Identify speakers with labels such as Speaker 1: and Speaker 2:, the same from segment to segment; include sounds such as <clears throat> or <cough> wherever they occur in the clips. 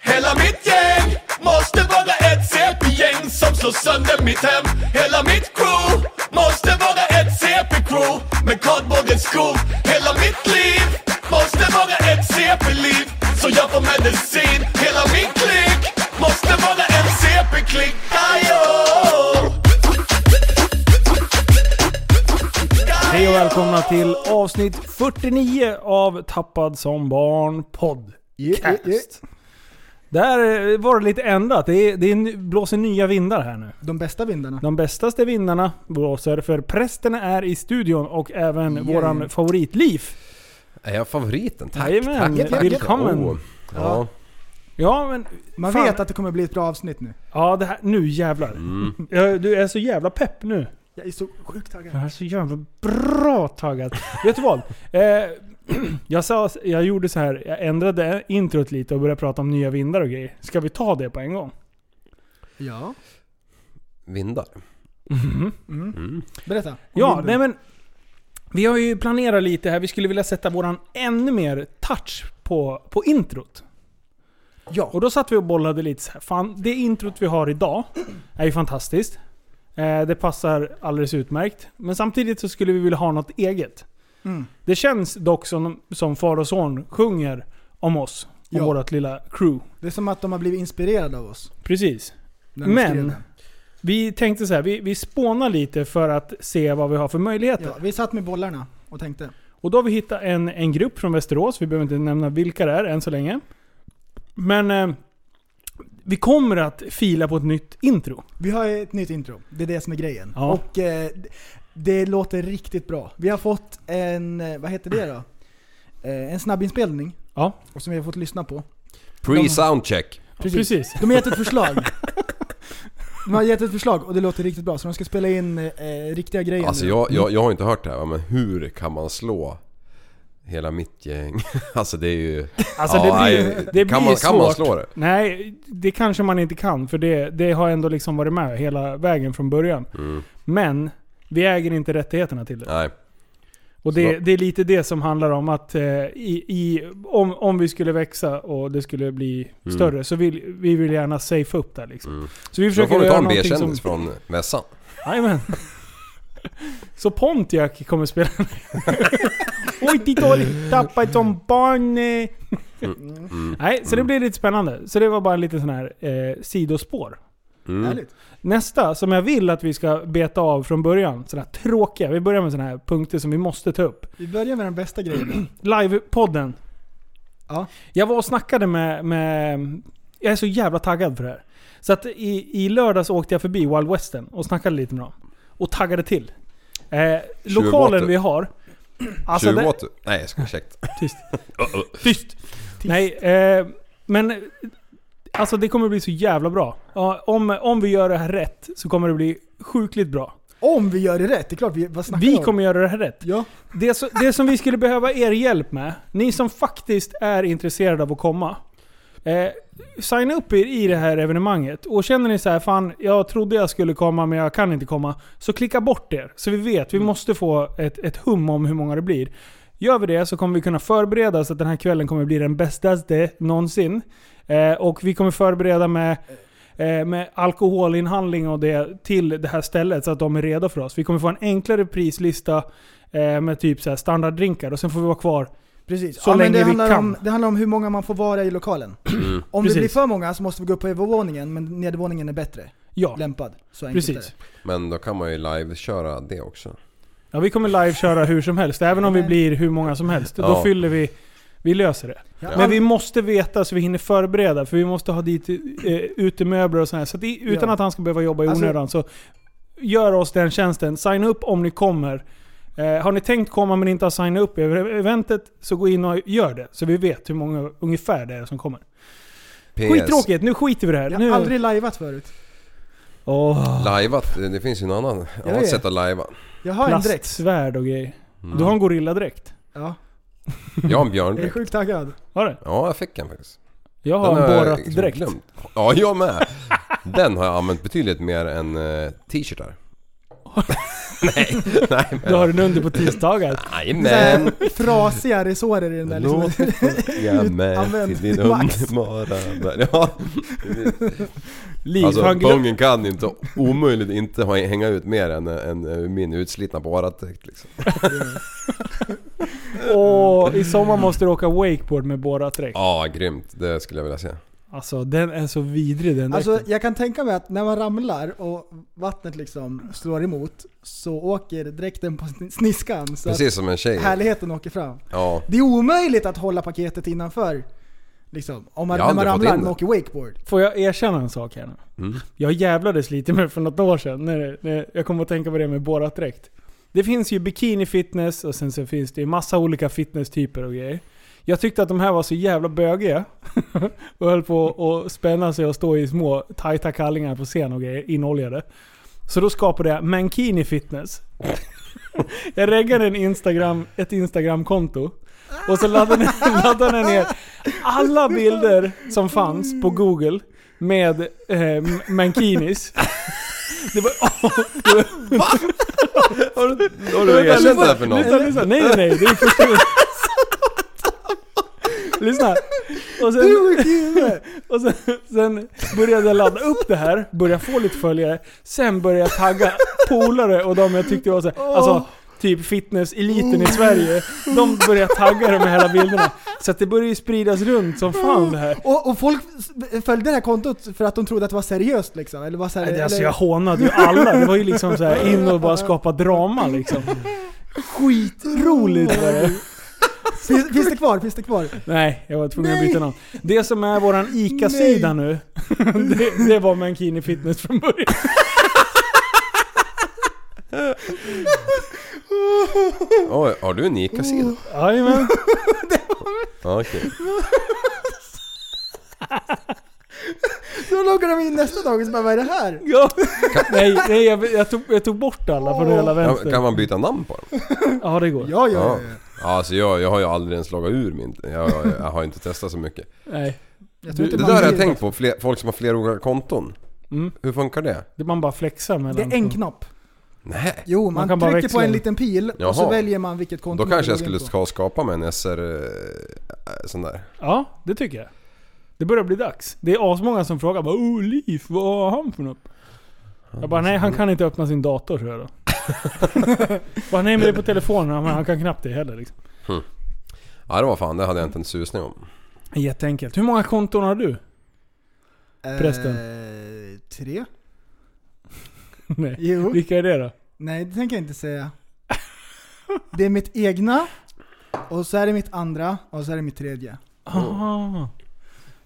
Speaker 1: Hela mitt gäng måste vara ett CP-gäng som slår sönder mitt hem Hela mitt crew måste vara ett CP-crew med kardborrens skor Hela mitt liv måste vara ett CP-liv så jag får medicin Hela min klick måste vara en CP-klick Ajo!
Speaker 2: Hej och välkomna till avsnitt 49 av Tappad som barn podcast.
Speaker 3: Yeah, yeah, yeah.
Speaker 2: Där var det lite ändrat. Det, är, det är, ny- blåser nya vindar här nu.
Speaker 3: De bästa vindarna.
Speaker 2: De bästaste vindarna blåser för prästerna är i studion och även
Speaker 3: Yeah.
Speaker 2: våran favoritliv.
Speaker 4: Är jag favoriten? Tack!
Speaker 2: Jajamän,
Speaker 3: tack, tack.
Speaker 2: välkommen.
Speaker 4: Åh, ja.
Speaker 2: Ja men...
Speaker 3: Man
Speaker 2: fan.
Speaker 3: vet att det kommer bli ett bra avsnitt nu.
Speaker 2: Ja det här, nu jävlar.
Speaker 3: Mm.
Speaker 2: Ja, Du är så jävla pepp nu.
Speaker 3: Jag är så sjukt taggad.
Speaker 2: Jag är så jävla bra taggad. Vet du vad? Eh, <clears throat> jag, sa, jag gjorde så här, jag ändrade introt lite och började prata om nya vindar och grejer. Ska vi ta det på en gång?
Speaker 3: Ja.
Speaker 4: Vindar.
Speaker 3: Mm.
Speaker 4: Mm.
Speaker 3: Berätta. om
Speaker 2: Ja,
Speaker 3: vinden.
Speaker 2: nej men. Vi har ju planerat lite här, vi skulle vilja sätta våran ännu mer touch på, på introt.
Speaker 3: Ja.
Speaker 2: Och då satt vi och bollade lite så här. Fan, det introt vi har idag är ju fantastiskt. Eh, det passar alldeles utmärkt. Men samtidigt så skulle vi vilja ha något eget.
Speaker 3: Mm.
Speaker 2: Det känns dock som, som far och son sjunger om oss. Om
Speaker 3: Ja.
Speaker 2: vårt lilla crew.
Speaker 3: Det är som att de har blivit inspirerade av oss.
Speaker 2: Precis.
Speaker 3: när de skrev
Speaker 2: Men-
Speaker 3: den.
Speaker 2: Vi tänkte så här, vi, vi spånar lite för att se vad vi har för möjligheter.
Speaker 3: Ja, vi satt med bollarna och tänkte.
Speaker 2: Och då har vi hittat en, en grupp från Västerås, vi behöver inte nämna vilka det är än så länge. Men eh, vi kommer att fila på ett nytt intro.
Speaker 3: Vi har ett nytt intro. Det är det som är grejen.
Speaker 2: Ja.
Speaker 3: Och eh, d- det låter riktigt bra. Vi har fått en, eh, vad heter det då? Eh, en snabbinspelning.
Speaker 2: Ja.
Speaker 3: Och som vi har fått lyssna på.
Speaker 4: Pre-soundcheck.
Speaker 2: Precis. Precis.
Speaker 3: De har gett ett förslag. De har gett ett förslag och det låter riktigt bra. Så de ska spela in eh, riktiga grejer
Speaker 4: Alltså
Speaker 3: nu.
Speaker 4: jag, jag,
Speaker 2: Mm.
Speaker 4: jag har inte hört det här va, men hur kan man slå hela mitt gäng? <laughs> Alltså det är ju...
Speaker 2: Alltså
Speaker 4: Ja,
Speaker 2: det blir,
Speaker 4: nej,
Speaker 2: det blir
Speaker 4: kan man,
Speaker 2: svårt.
Speaker 4: kan man slå det?
Speaker 2: Nej, det kanske man inte kan för det, det har ändå liksom varit med hela vägen från början.
Speaker 4: Mm.
Speaker 2: Men vi äger inte rättigheterna till det.
Speaker 4: Nej.
Speaker 2: Och det,
Speaker 4: Så-
Speaker 2: det är lite det som handlar om att eh, i, i, om, om vi skulle växa och det skulle bli
Speaker 4: Mm.
Speaker 2: större så vill vi vill gärna safea upp där liksom.
Speaker 4: Mm.
Speaker 2: Så vi
Speaker 4: Då
Speaker 2: försöker
Speaker 4: får du ta
Speaker 2: göra
Speaker 4: en
Speaker 2: någonting
Speaker 4: B-kändis
Speaker 2: som...
Speaker 4: från mässan. <laughs>
Speaker 2: Jajamän. Så Pontiac kommer spela
Speaker 4: <laughs>
Speaker 2: Oj, dåligt tappat som barn. eh.
Speaker 3: Mm.
Speaker 4: Mm.
Speaker 2: Nej, så det blir lite spännande. Så det var bara en liten sån här eh, sidospår.
Speaker 4: Mm.
Speaker 3: Härligt.
Speaker 2: Nästa som jag vill att vi ska beta av från början, sådana här tråkiga. Vi börjar med sådana här punkter som vi måste ta upp.
Speaker 3: Vi börjar med den bästa grejen.
Speaker 2: Livepodden.
Speaker 3: <clears throat> Ja.
Speaker 2: Jag var och snackade med, med... Jag är så jävla taggad för det här. Så att i, i lördags åkte jag förbi Wild Western och snackade lite med dem. Och taggade till. Eh, lokalen
Speaker 4: du.
Speaker 2: vi har... Alltså
Speaker 4: Tjuv
Speaker 2: den-
Speaker 4: åt du? Nej, jag ska ursäkta.
Speaker 2: Tyst. Tyst. Nej, eh, men... Alltså det kommer bli så jävla bra. Ja, om, om vi gör det här rätt så kommer det bli sjukligt bra.
Speaker 3: Om vi gör det rätt, det är klart vi, vad snackar
Speaker 2: Vi
Speaker 3: om?
Speaker 2: kommer göra det här rätt.
Speaker 3: Ja,
Speaker 2: Det, så, det som vi skulle behöva er hjälp med, ni som faktiskt är intresserade av att komma. Eh, signa upp er i det här evenemanget. Och känner ni så här, fan jag trodde jag skulle komma men jag kan inte komma. Så klicka bort er. Så vi vet, vi måste få ett, ett hum om hur många det blir. Gör vi det så kommer vi kunna förbereda så att den här kvällen kommer bli den bästaste någonsin. Eh, och vi kommer förbereda med, eh, med alkoholinhandling och det till det här stället så att de är redo för oss. Vi kommer få en enklare prislista eh, med typ så här standarddrinkar och sen får vi vara kvar.
Speaker 3: precis.
Speaker 2: Så
Speaker 3: ja,
Speaker 2: länge
Speaker 3: men det
Speaker 2: vi
Speaker 3: handlar
Speaker 2: kan.
Speaker 3: Om, det handlar om hur många man får vara i lokalen.
Speaker 4: <clears throat> Mm.
Speaker 3: Om
Speaker 2: Precis.
Speaker 3: det blir för många så måste vi gå upp på övervåningen, men nedervåningen är bättre
Speaker 2: Ja,
Speaker 3: lämpad. Så enkelt är
Speaker 2: precis.
Speaker 3: det.
Speaker 4: Men då kan man ju live-köra det också.
Speaker 2: Ja, vi kommer live-köra hur som helst. Även om vi blir hur många som helst. Då
Speaker 4: Ja.
Speaker 2: fyller vi... Vi löser det.
Speaker 3: Ja.
Speaker 2: Men vi måste veta så vi hinner förbereda. För vi måste ha dit eh, utemöbler och sånt här. Så att, i- utan
Speaker 3: Ja.
Speaker 2: att han ska behöva jobba i
Speaker 3: Alltså-
Speaker 2: onödan så gör oss den tjänsten. Signa upp om ni kommer. Eh, har ni tänkt komma men inte har signat upp över eventet så gå in och gör det. Så vi vet hur många ungefär det är som kommer.
Speaker 4: PS.
Speaker 2: Skittråkigt, nu skiter vi i det här.
Speaker 3: Jag
Speaker 2: nu...
Speaker 3: har aldrig liveat förut.
Speaker 2: Åh,
Speaker 4: Liveat, det finns ju någon annan, annat
Speaker 3: vet.
Speaker 4: sätt att livea.
Speaker 3: Jag har en direkt.
Speaker 2: plastsvärd och grejer.
Speaker 4: Mm.
Speaker 2: Du har en gorilladräkt.
Speaker 3: Ja.
Speaker 4: Jag
Speaker 3: Jag
Speaker 4: har en
Speaker 3: är
Speaker 4: björndräkt.
Speaker 3: sjukt taggad.
Speaker 2: Har du?
Speaker 4: Ja, jag fick en faktiskt.
Speaker 2: Jag
Speaker 4: Den
Speaker 2: har en
Speaker 4: jag liksom
Speaker 2: borrat-dräkt.
Speaker 4: glömt. Ja, <laughs> jag med. Den har jag använt betydligt mer än eh, t-shirtar. nej, nej
Speaker 2: Du har
Speaker 4: men...
Speaker 2: en under
Speaker 4: <laughs>
Speaker 2: på tisdagar.
Speaker 4: Nej
Speaker 3: Så
Speaker 4: men...
Speaker 3: här Frasiga resårer i den där liksom.
Speaker 4: Låt <laughs> det följa med
Speaker 3: Använd
Speaker 4: till din
Speaker 3: max.
Speaker 4: underbara värld. Ja,
Speaker 2: Liv,
Speaker 4: alltså
Speaker 2: han glöm-
Speaker 4: Bongen kan inte, omöjligt inte ha- hänga ut mer än, än min utslitna baratdräkt liksom.
Speaker 2: Och i sommar måste du åka wakeboard med Borat-dräkt.
Speaker 4: Ja, grymt. Det skulle jag vilja se.
Speaker 2: Alltså den är så vidrig den dräkten.
Speaker 3: Alltså jag kan tänka mig att när man ramlar och vattnet liksom slår emot så åker dräkten på sn- sniskan så
Speaker 4: Precis som en tjej.
Speaker 3: att härligheten åker fram.
Speaker 4: Ja,
Speaker 3: Det är omöjligt att hålla paketet innanför. Liksom, om man,
Speaker 4: Jag har
Speaker 3: när man
Speaker 4: aldrig fått
Speaker 3: ramlar
Speaker 4: in
Speaker 3: och
Speaker 4: det.
Speaker 3: åker wakeboard.
Speaker 2: Får jag erkänna en sak här nu?
Speaker 4: Mm.
Speaker 2: Jag jävlades lite med för något år sedan. När, när jag kom att tänka på det med Borat-dräkt. Det finns ju bikini fitness och sen så finns det ju massa olika fitnesstyper och grejer. Jag tyckte att de här var så jävla bögiga. <laughs> och höll på att spänna sig och stå i små tajta kallingar på scen och grejer, inoljade. Så då skapade jag Mankini fitness. <laughs> jag reggade en Instagram, ett Instagram-konto. Och så laddade <laughs> jag- laddade jag ner alla bilder som fanns på google med eh, mankinis. Det var...
Speaker 4: Har du, har du erkänt det här för någon?
Speaker 2: Lyssna, lyssna. Nej, nej, nej. Det är första gången. Lyssna. Och sen, och sen, sen började jag ladda upp det här, började få lite följare. Sen började jag tagga polare och de jag tyckte var så här, alltså typ fitnesseliten i Sverige. De började tagga de här hela bilderna. Så att det började ju spridas runt som fan det här.
Speaker 3: Och, och folk s- följde det här kontot för att de trodde att det var seriöst liksom. Eller var så här,
Speaker 2: Nej, det- Alltså
Speaker 3: eller,
Speaker 2: jag hånade ju alla. Det var ju liksom så här in och bara skapa drama liksom. Skitroligt var det.
Speaker 3: finns, finns det kvar? Finns det kvar?
Speaker 2: Nej, jag var tvungen att byta namn. Det som är våran ICA-sida nu, <laughs> det, det var Mankini Fitness från början.
Speaker 4: Oj, har du en ICA-sida?
Speaker 2: Jajamän.
Speaker 4: Ja, okej.
Speaker 3: Då loggar de in nästa dag och så bara vad är det här?
Speaker 2: <laughs> Ja. Nej, nej jag, jag, tog, jag tog bort alla från hela
Speaker 4: Ja,
Speaker 2: vänster.
Speaker 4: Kan man byta namn på dem?
Speaker 2: Ja, det går.
Speaker 3: Ja, ja, ja.
Speaker 4: Ja. Alltså jag, jag har ju aldrig ens loggat ur min... Jag, jag, jag har inte testat så mycket.
Speaker 2: Nej,
Speaker 3: Jag tror
Speaker 2: Du-
Speaker 3: inte
Speaker 4: Det
Speaker 3: man
Speaker 4: där har jag
Speaker 3: blir-
Speaker 4: tänkt på, fler, folk som har flera olika konton.
Speaker 2: Mm.
Speaker 4: Hur funkar det?
Speaker 2: det man bara flexar mellan.
Speaker 3: Det är en knapp.
Speaker 4: Nej.
Speaker 3: Jo, man,
Speaker 2: Mm. kan bara
Speaker 3: trycker
Speaker 2: växla
Speaker 3: på en
Speaker 2: in.
Speaker 3: liten pil och så
Speaker 4: Jaha.
Speaker 3: väljer man vilket konto
Speaker 4: Då kanske jag
Speaker 3: vill logga
Speaker 4: skulle
Speaker 3: in på.
Speaker 4: ska skapa mig en SR... eh, Sån där.
Speaker 2: Ja, det tycker jag. Det börjar bli dags. Det är asmånga som frågar bara oh, Leif, vad har han för något?” Jag bara “Nej, han kan inte öppna sin dator” tror jag då. <laughs> bara “Nej, men det är på telefonen, men han kan knappt det heller”. Liksom.
Speaker 4: Ja det var fan, det hade jag inte en susning om.
Speaker 2: Jätteenkelt. Hur många konton har du? Prästen.
Speaker 3: Eh, tre?
Speaker 2: <laughs> Nej.
Speaker 3: Jo.
Speaker 2: Vilka är det då?
Speaker 3: Nej, det tänker jag inte säga. Det är mitt egna, och så är det mitt andra, och så är det mitt tredje.
Speaker 2: Ah.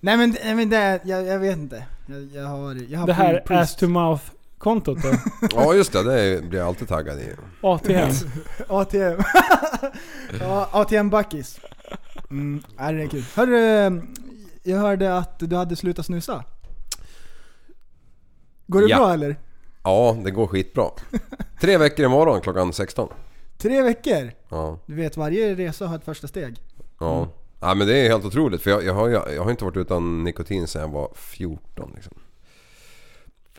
Speaker 3: Nej men, nej, men det är, jag, jag vet inte. Jag, jag har, jag har
Speaker 2: Det här
Speaker 3: pre-
Speaker 2: ass to mouth-kontot <laughs> då?
Speaker 4: Ja just det, det blir jag alltid taggad i.
Speaker 2: ATM?
Speaker 3: ATM. <laughs> ja, ATM-backis. Mm, nej, det är kul. Hörru, jag hörde att du hade slutat snusa. Går det
Speaker 4: Ja.
Speaker 3: bra eller?
Speaker 4: Ja, det går skitbra. Tre veckor imorgon klockan 16.
Speaker 3: Tre veckor?
Speaker 4: Ja.
Speaker 3: Du vet, varje resa har ett första steg.
Speaker 4: Ja. ja men det är helt otroligt för jag, jag, har, jag, jag har inte varit utan nikotin sedan jag var 14 liksom.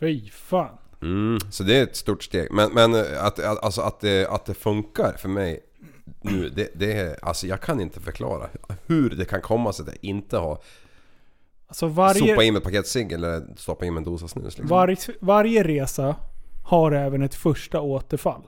Speaker 2: Fy fan.
Speaker 4: Mm, så det är ett stort steg. Men, men att, att, alltså att, det, att det funkar för mig nu, det, det är, alltså jag kan inte förklara hur det kan komma sig att jag inte har
Speaker 2: Alltså varje,
Speaker 4: sopat in ett paket cigg eller stoppat in en dosa snus. Liksom.
Speaker 2: varje, varje resa har även ett första återfall.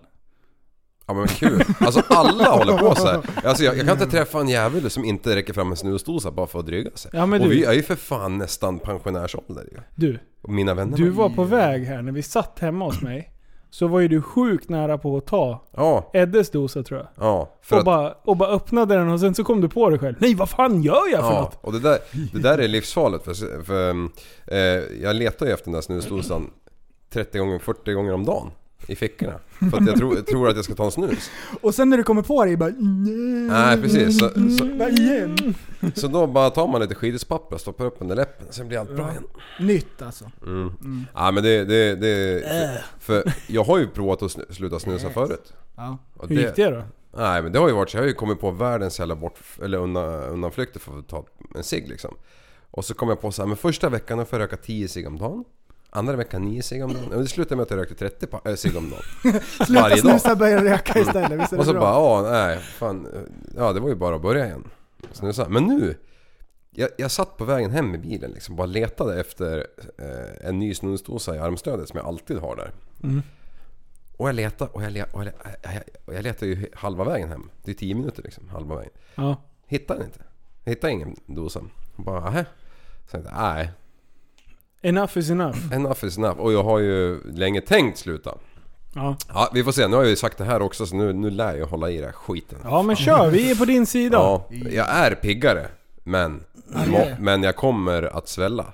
Speaker 4: Ja men kul! Alltså alla håller på så här. Alltså jag, jag kan inte träffa en jävel som inte räcker fram en snusdosa bara för att dryga sig.
Speaker 2: Ja, men
Speaker 4: och
Speaker 2: du-
Speaker 4: vi är ju för fan nästan pensionärsålder ju.
Speaker 2: Du,
Speaker 4: Och mina vänner
Speaker 2: du var på väg här när vi satt hemma hos mig. Så var ju du sjukt nära på att ta
Speaker 4: Ja,
Speaker 2: Eddes dosa tror jag.
Speaker 4: ja. För
Speaker 2: och,
Speaker 4: att,
Speaker 2: bara, och bara öppnade den och sen så kom du på dig själv. Nej vad fan gör jag för
Speaker 4: ja
Speaker 2: något?
Speaker 4: och det där, det där är livsfarligt för, för um, eh, jag letar ju efter den där snusdosan 30 gånger, 40 gånger om dagen i fickorna. För att jag tror, tror att jag ska ta en snus.
Speaker 3: Och sen när du kommer på det, bara nej.
Speaker 4: Nej precis, så, så,
Speaker 3: Bara igen.
Speaker 4: så då bara tar man lite skidspapper och stoppar upp under läppen sen blir allt bra igen.
Speaker 3: Nytt alltså.
Speaker 4: Mm. Ja men det... det, det
Speaker 2: Äh.
Speaker 4: för, för jag har ju provat att snu- sluta snusa förut.
Speaker 3: Ja.
Speaker 4: Och
Speaker 2: Hur gick det då?
Speaker 4: Nej men det har ju varit så. Jag har ju kommit på världens jävla bort... Eller undan, undanflykter för att ta en cigg liksom. Och så kom jag på så här, men första veckan då får jag röka 10 cigg om dagen. Andra veckan 9 cigg om dagen. Men Det slutade med att jag rökte 30 pa- äh, cigg om dagen.
Speaker 3: <laughs> Sluta
Speaker 4: Varje dag. Mm.
Speaker 3: snusa, börja röka istället. Visst är det
Speaker 4: Och så
Speaker 3: bra?
Speaker 4: bara, ja nej, fan. Ja det var ju bara att börja igen. Snusa. Men nu. Jag, jag satt på vägen hem i bilen liksom, bara letade efter eh, en ny snusdosa i armstödet som jag alltid har där.
Speaker 3: Mm.
Speaker 4: Och jag letade och jag, le- och jag, jag, jag, jag letade ju halva vägen hem. Det är 10 minuter liksom, halva vägen.
Speaker 2: Ja.
Speaker 4: Hittade den inte. Hittade ingen dosa. Och bara, "Nähä." Så jag tänkte, nej.
Speaker 2: Enough is enough.
Speaker 4: Enough is enough. Och jag har ju länge tänkt sluta.
Speaker 2: Ja.
Speaker 4: Ja, vi får se. Nu har jag ju sagt det här också så nu, nu lär jag hålla i den här skiten.
Speaker 2: ja men kör, vi är på din sida.
Speaker 4: Ja, jag är piggare. Men, må, men jag kommer att svälla.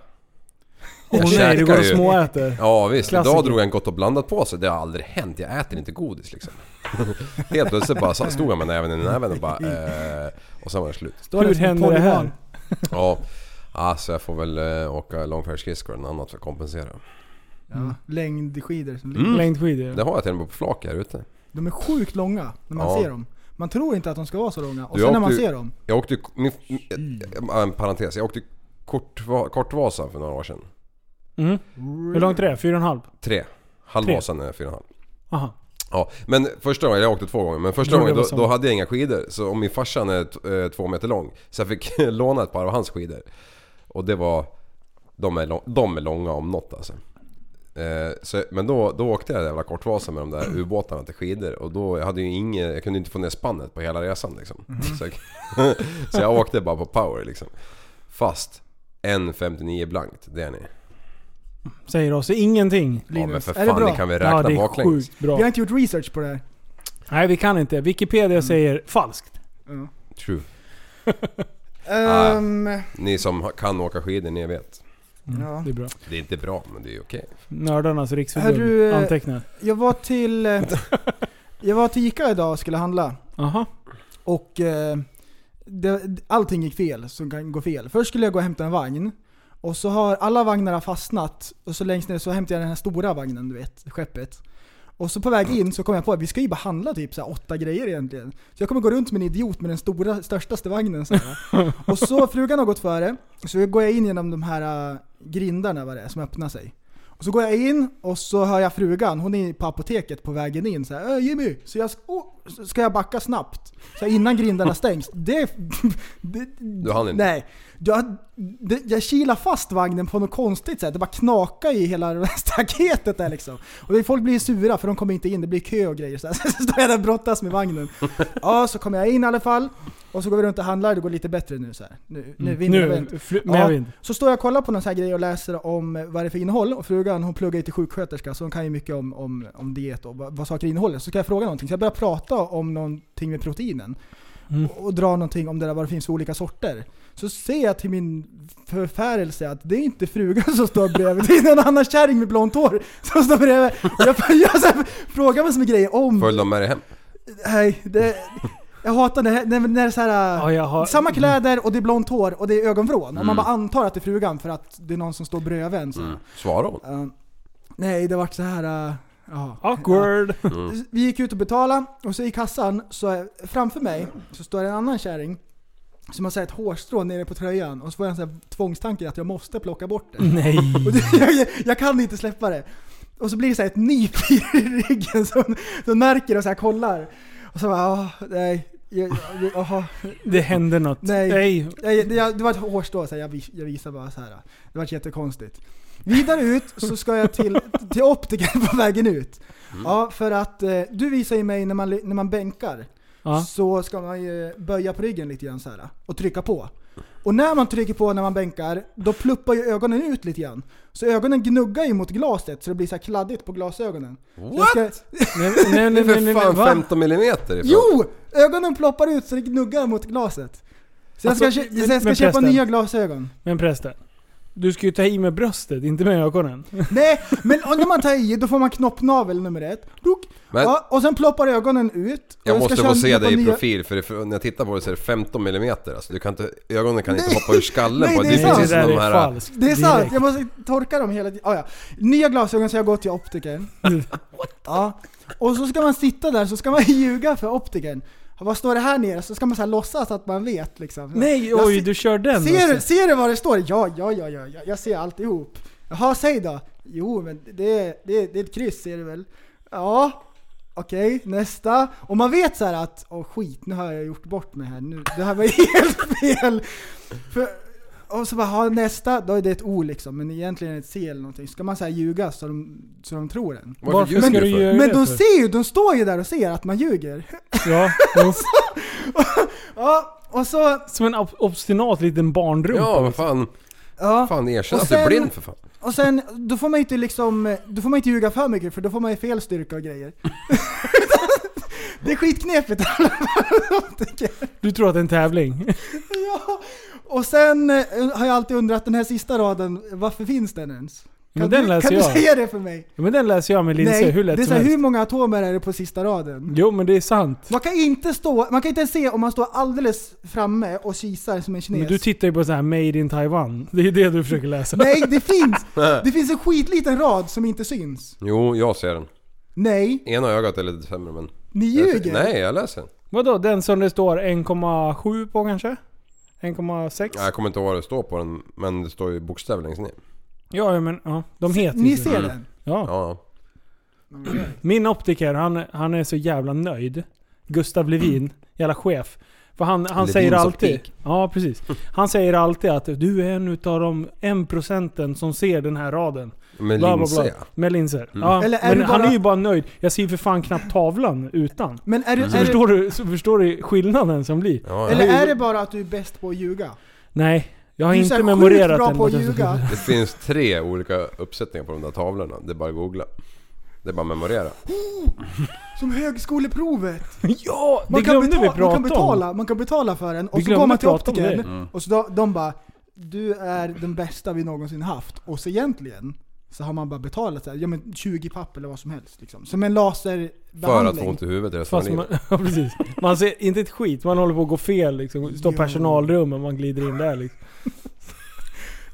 Speaker 2: Åh
Speaker 4: Jag
Speaker 2: nej,
Speaker 4: käkar
Speaker 2: du går och
Speaker 4: ju.
Speaker 2: småäter.
Speaker 4: Ja visst,
Speaker 2: Klassiker.
Speaker 4: idag drog jag en gott och blandat på sig. Det har aldrig hänt. Jag äter inte godis liksom. <laughs> Helt plötsligt bara så- stod jag med näven i näven och bara... Eh, och sen var det slut.
Speaker 3: Står
Speaker 2: Hur
Speaker 3: som en
Speaker 2: händer det här?
Speaker 4: Ja, alltså jag får väl eh, åka långfärdsskridskor eller något annat för att kompensera.
Speaker 3: Ja, Mm. längdskidor som
Speaker 4: Mm.
Speaker 2: Längdskidor.
Speaker 4: Det har jag till och med på flak här ute.
Speaker 3: De är sjukt långa när man
Speaker 4: Ja.
Speaker 3: ser dem. Man tror inte att de ska vara så långa. Och
Speaker 4: Du,
Speaker 3: sen
Speaker 4: jag
Speaker 3: när man
Speaker 4: åkte ju-
Speaker 3: ser dem.
Speaker 4: Jag åkte ju... Min, äh, en parentes. Jag åkte kortva, Kortvasan för några år sedan.
Speaker 2: Mm. Hur långt är det? Fyra och en halv?
Speaker 4: Tre. Halvvasan är fyra och en halv.
Speaker 2: Aha.
Speaker 4: Ja, men första gången, jag åkte två gånger, men första
Speaker 2: Tror det
Speaker 4: gången
Speaker 2: var
Speaker 4: då,
Speaker 2: samma.
Speaker 4: då hade jag inga skidor. Så om min farsan är t- eh, två meter lång, så jag fick <laughs> låna ett par av hans skidor. Och det var... De är, lång, de är långa om något alltså. Eh, så, men då, då åkte jag jävla Kortvasan med de där ubåtarna till skidor och då jag hade ju inget, jag kunde inte få ner spannet på hela resan liksom.
Speaker 2: Mm.
Speaker 4: Så, jag, <laughs> så jag åkte bara på power liksom. Fast 1.59 blankt, det är ni.
Speaker 2: Säger oss ingenting.
Speaker 4: Ja men
Speaker 3: Linus,
Speaker 4: för
Speaker 3: är det
Speaker 4: fan,
Speaker 3: bra?
Speaker 4: ni kan väl
Speaker 2: Ja,
Speaker 4: räkna
Speaker 2: det är
Speaker 4: baklänges?
Speaker 2: sjukt bra.
Speaker 3: Vi har inte gjort research på det här.
Speaker 2: Nej, vi kan inte.
Speaker 4: Mm.
Speaker 2: Wikipedia säger falskt.
Speaker 3: Ja.
Speaker 4: True.
Speaker 3: Ehm,
Speaker 4: Ni som kan åka skidor, ni vet.
Speaker 3: ja.
Speaker 2: Det är bra.
Speaker 4: Det är inte bra, men det är okej.
Speaker 2: Nördarnas riksförbund
Speaker 3: Är du, eh,
Speaker 2: antecknar.
Speaker 3: Jag var till... eh,
Speaker 4: <laughs>
Speaker 3: Jag var till Ica idag och skulle handla.
Speaker 2: Aha.
Speaker 3: Och eh, det, allting gick fel som kan gå fel. Först skulle jag gå och hämta en vagn. Och så har alla vagnarna fastnat. Och så längst ner så hämtade jag den här stora vagnen, du vet, skeppet. Och så på väg in så kom jag på att vi ska ju bara handla typ så här åtta grejer egentligen. Så jag kommer gå runt som en idiot med den stora, störstaste vagnen så här. Och så frugan har gått före. Så går jag in genom de här äh, grindarna vad det är, som öppnar sig. Och så går jag in och så hör jag frugan, hon är på apoteket på vägen in så här, "Äh, Jimmy! Så jag, oh, så ska jag backa snabbt? Så här,
Speaker 2: <laughs>
Speaker 3: innan grindarna stängs. Det, <laughs> det,
Speaker 4: Du hann inte.
Speaker 3: Nej. Jag, det, jag kilar fast vagnen på något konstigt sätt. Det bara knakar i hela <laughs> staketet där liksom. Och det, folk blir sura för de kommer inte in, det blir kö och grejer. Så, här. <laughs> så står jag där och brottas
Speaker 2: <laughs>
Speaker 3: med vagnen. Ja, så kommer jag in i alla fall. Och så går vi runt och handlar, det går lite bättre nu så här. Nu, nu
Speaker 2: Mm.
Speaker 3: vinner vi.
Speaker 2: Nu, fl- med
Speaker 3: Ja,
Speaker 2: vind.
Speaker 3: Så står jag och kollar på någon sån här grej och läser om eh, vad det är för innehåll och frugan hon pluggar ju till sjuksköterska så hon kan ju mycket om, om, om diet och vad, vad saker innehåller. Så ska jag fråga någonting. Så jag börjar prata om någonting med proteinen
Speaker 2: Mm.
Speaker 3: och, och dra någonting om det där vad det finns för olika sorter. Så ser jag till min förfärelse att det är inte frugan som står bredvid, det är någon annan kärring med blont hår som står bredvid. Jag, jag så här, frågar vad som är grejer om...
Speaker 4: Följde de med dig hem?
Speaker 3: Nej, det, jag hatar när, när, när det är så här,
Speaker 2: Ja, jag har...
Speaker 3: samma kläder och det är blont hår och det är ögonvrån. Och man bara antar att det är frugan för att det är någon som står bredvid en. Så.
Speaker 4: Mm. Svarade hon?
Speaker 3: Eh, nej, det vart så här. eh, ja.
Speaker 2: Awkward.
Speaker 3: Vi gick ut och betalade och så i kassan, så eh, framför mig så står det en annan kärring som har så här ett hårstrå nere på tröjan och så får jag en sån här tvångstanke att jag måste plocka bort det.
Speaker 2: <laughs> Nej.
Speaker 3: Och det, <laughs> jag, jag kan inte släppa det. Och så blir det så här ett nyp i ryggen som som märker och så här kollar. Och så bara, ah, nej. Jag, jag, aha.
Speaker 2: Det hände något.
Speaker 3: Nej.
Speaker 2: Nej.
Speaker 3: Jag, det, jag, det var ett hårstrå, så här, jag, vis- jag visar bara så här. Det var jättekonstigt. Vidare ut så ska jag till, till optiker på vägen ut. Ja, för att eh, du visar ju mig när man, när man bänkar
Speaker 2: Ja.
Speaker 3: så ska man ju böja på ryggen lite grann så här och trycka på. Och när man trycker på när man bänkar, då pluppar ju ögonen ut lite grann. Så ögonen gnuggar ju mot glaset så det blir så här kladdigt på glasögonen. Så jag
Speaker 4: What?
Speaker 3: Ska,
Speaker 2: Nej, nej,
Speaker 3: <laughs>
Speaker 4: Det
Speaker 2: nej,
Speaker 4: är
Speaker 2: nej, nej,
Speaker 4: för
Speaker 2: nej.
Speaker 4: fan
Speaker 2: Va?
Speaker 4: 15 millimeter ifrån.
Speaker 3: jo! Ögonen ploppar ut så det gnuggar mot glaset. Så jag ska,
Speaker 2: Alltså,
Speaker 3: kö-
Speaker 2: men-
Speaker 3: så jag ska
Speaker 2: men
Speaker 3: köpa
Speaker 2: förresten.
Speaker 3: nya glasögon.
Speaker 2: Men prästen. Du ska ju ta i med bröstet, inte med ögonen.
Speaker 3: Nej, men om- när man tar i då får man knoppnavel nummer ett. Duk.
Speaker 4: Men-
Speaker 3: ja, och sen ploppar ögonen ut. Och
Speaker 4: Jag
Speaker 3: ska
Speaker 4: måste
Speaker 3: köra
Speaker 4: få se
Speaker 3: nya-
Speaker 4: dig i profil för det- när jag tittar på dig så är det 15 millimeter. Alltså, du kan inte, ögonen kan inte
Speaker 3: Nej.
Speaker 4: hoppa ur skallen
Speaker 3: Nej,
Speaker 4: på
Speaker 3: det
Speaker 4: dig.
Speaker 3: är sant.
Speaker 2: det
Speaker 4: precis
Speaker 2: där
Speaker 4: som de
Speaker 2: är
Speaker 4: här...
Speaker 2: falskt.
Speaker 3: Det är
Speaker 2: direkt.
Speaker 3: sant, jag måste torka dem hela tiden. Ah, ja. Nya glasögon så jag går
Speaker 2: <laughs>
Speaker 3: till optikern. <laughs> ja. Och så ska man sitta där så ska man <laughs> ljuga för optikern. Vad står det här nere? Så ska man så här låtsas att man vet liksom.
Speaker 2: Nej,
Speaker 3: Jag
Speaker 2: oj,
Speaker 3: se-
Speaker 2: du kör den.
Speaker 3: Ser,
Speaker 2: alltså.
Speaker 3: ser du vad det står? Ja, ja, ja, ja, ja. jag ser alltihop. Jaha, säg då. Jo, men det, det, det är ett kryss ser du väl? Ja. Okej, nästa. Och man vet så här att, åh skit, nu har jag gjort bort mig här. Nu, det här var <laughs> helt fel. För, och så bara, ha nästa, då är det ett O liksom, men egentligen är det ett C eller någonting. Ska man så här ljuga så de, så de tror en?
Speaker 4: Varför
Speaker 2: Varför
Speaker 4: ljuger
Speaker 2: ska
Speaker 4: du
Speaker 2: du
Speaker 4: för?
Speaker 2: göra
Speaker 3: Men
Speaker 2: det
Speaker 3: de
Speaker 2: för?
Speaker 3: ser ju, de står ju där och ser att man ljuger.
Speaker 2: Ja, jo.
Speaker 3: Ja, och så,
Speaker 2: Som en ob- obstinat liten barnrumpa.
Speaker 4: Ja, vad fan.
Speaker 3: ja.
Speaker 4: Fan erkänn
Speaker 3: Och
Speaker 4: att du är
Speaker 3: sen-
Speaker 4: blind för fan.
Speaker 3: Och sen, då får man ju inte liksom, då får man inte ljuga för mycket för då får man ju fel styrka
Speaker 2: <laughs>
Speaker 3: och grejer. det är skitknepigt <laughs> i alla fall, tycker jag.
Speaker 2: Du tror att det är en tävling?
Speaker 3: Ja. Och sen eh, har jag alltid undrat den här sista raden, varför finns den ens? Kan,
Speaker 2: Men den
Speaker 3: du,
Speaker 2: läser
Speaker 3: kan
Speaker 2: jag.
Speaker 3: du säga det för mig?
Speaker 2: Ja, men den läser jag med linser hur lätt
Speaker 3: det är
Speaker 2: som
Speaker 3: så här,
Speaker 2: helst.
Speaker 3: hur många atomer är det på sista raden?
Speaker 2: Jo men det är sant.
Speaker 3: Man kan inte stå, man kan inte ens se om man står alldeles framme och kisar som en kines.
Speaker 2: Men du tittar ju på så här Made in Taiwan. Det är det du försöker läsa.
Speaker 3: Nej, det finns!
Speaker 4: <laughs>
Speaker 3: Det finns en skitliten rad som inte syns.
Speaker 4: Jo, jag ser den.
Speaker 3: Nej,
Speaker 4: Ena ögat är lite sämre men...
Speaker 3: ni
Speaker 4: Jag ser-
Speaker 3: ljuger!
Speaker 4: Nej, jag läser den.
Speaker 2: Vadå? Den som det står 1,7 på kanske? 1,6?
Speaker 4: Nej, Jag kommer inte ihåg vad det står på den, men det står ju bokstäver längst ner.
Speaker 2: Ja, ja, men ja, de heter ju
Speaker 3: Ni
Speaker 2: så.
Speaker 3: ser
Speaker 4: Mm.
Speaker 3: den?
Speaker 2: Ja.
Speaker 4: Ja.
Speaker 2: Min optiker, han, han är så jävla nöjd. Gustav Levin, jävla chef. För han, han
Speaker 4: Levins
Speaker 2: säger alltid...
Speaker 4: optik.
Speaker 2: Ja, precis. Han säger alltid att du är en utav de 1% som ser den här raden.
Speaker 4: Men
Speaker 2: Bla, bla,
Speaker 4: linser
Speaker 2: bla.
Speaker 4: ja. Mm.
Speaker 2: Med linser. Ja,
Speaker 3: Eller är
Speaker 2: men
Speaker 3: du
Speaker 2: han
Speaker 3: bara-
Speaker 2: är ju bara nöjd. Jag ser ju för fan knappt tavlan utan.
Speaker 3: Men är det,
Speaker 2: Så,
Speaker 3: är det,
Speaker 2: förstår du, så förstår du skillnaden som blir?
Speaker 4: Ja, ja.
Speaker 3: eller är det bara att du är bäst på att ljuga?
Speaker 2: Nej, jag har
Speaker 3: Du är så
Speaker 2: inte
Speaker 3: här sjukt
Speaker 2: memorerat
Speaker 3: bra
Speaker 2: den.
Speaker 3: på att
Speaker 2: Jag-
Speaker 3: ljuga.
Speaker 4: Det finns tre olika uppsättningar på de där tavlorna. Det är bara att googla. Det är bara att memorera.
Speaker 3: Som högskoleprovet!
Speaker 2: Ja, det
Speaker 3: Man kan,
Speaker 2: glömde vi
Speaker 3: betala, man,
Speaker 2: prata om.
Speaker 3: kan betala, man kan betala för den
Speaker 2: Vi
Speaker 3: och så
Speaker 2: glömde
Speaker 3: går man till
Speaker 2: prata om
Speaker 3: optikern
Speaker 2: det.
Speaker 4: Mm.
Speaker 3: och så de, de bara Du är den bästa vi någonsin haft. Och så egentligen så har man bara betalat så här, ja, men 20 papp eller vad som helst. Liksom. Som en
Speaker 4: För att få
Speaker 3: laserbehandling.
Speaker 4: ont i huvudet resten av
Speaker 2: Fast
Speaker 4: livet.
Speaker 2: man, <laughs> ja, precis. man ser inte ett skit, man håller på att gå fel liksom. Står
Speaker 3: Jo.
Speaker 2: personalrummen, man glider in där liksom.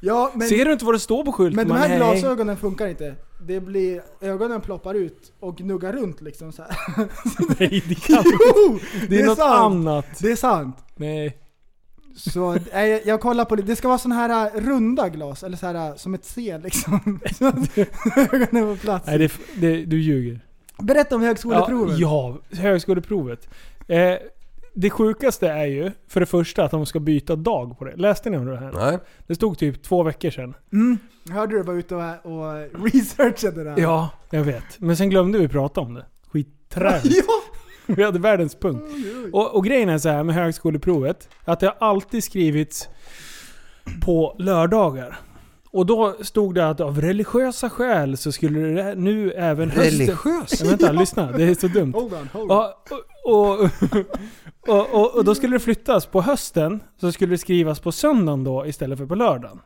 Speaker 3: Ja, men,
Speaker 2: Ser du inte vad det står på skylten?
Speaker 3: men de
Speaker 2: Man,
Speaker 3: här
Speaker 2: "Nej."
Speaker 3: glasögonen funkar inte. Det blir, ögonen ploppar ut och gnuggar runt liksom så här.
Speaker 2: <laughs>
Speaker 3: <laughs>
Speaker 2: Nej, det, kan,
Speaker 3: Jo!
Speaker 2: det är något
Speaker 3: sant.
Speaker 2: annat.
Speaker 3: Det är sant.
Speaker 2: Nej.
Speaker 3: Så nej, jag- jag kollar på det. Det ska vara sådana här äh, runda glas, eller så här äh, som ett C liksom. <laughs> Så att Ögonen på plats.
Speaker 2: Nej, det, det, du ljuger.
Speaker 3: Berätta om högskoleprovet.
Speaker 2: Ja, ja högskoleprovet. Eh, det sjukaste är ju, för det första, att de ska byta dag på det. Läste ni om det här?
Speaker 4: Nej.
Speaker 2: Det stod typ två veckor sedan.
Speaker 3: Mm. Hörde du var ute och, och researchade det där?
Speaker 2: Ja, jag vet. Men sen glömde vi prata om det.
Speaker 3: <laughs>
Speaker 2: Skitträligt.
Speaker 3: <laughs> ja.
Speaker 2: Vi hade världens punkt. Och, och grejen är så här med högskoleprovet, att det har alltid skrivits på lördagar. Och då stod det att av religiösa skäl så skulle det nu även hösten... Ja, vänta, lyssna. Det är så dumt.
Speaker 4: Oh.
Speaker 3: Hold on, hold on.
Speaker 2: Ja, Och, <laughs> och, och, och, och då skulle det flyttas på hösten, så skulle det skrivas på söndagen då istället för på lördagen.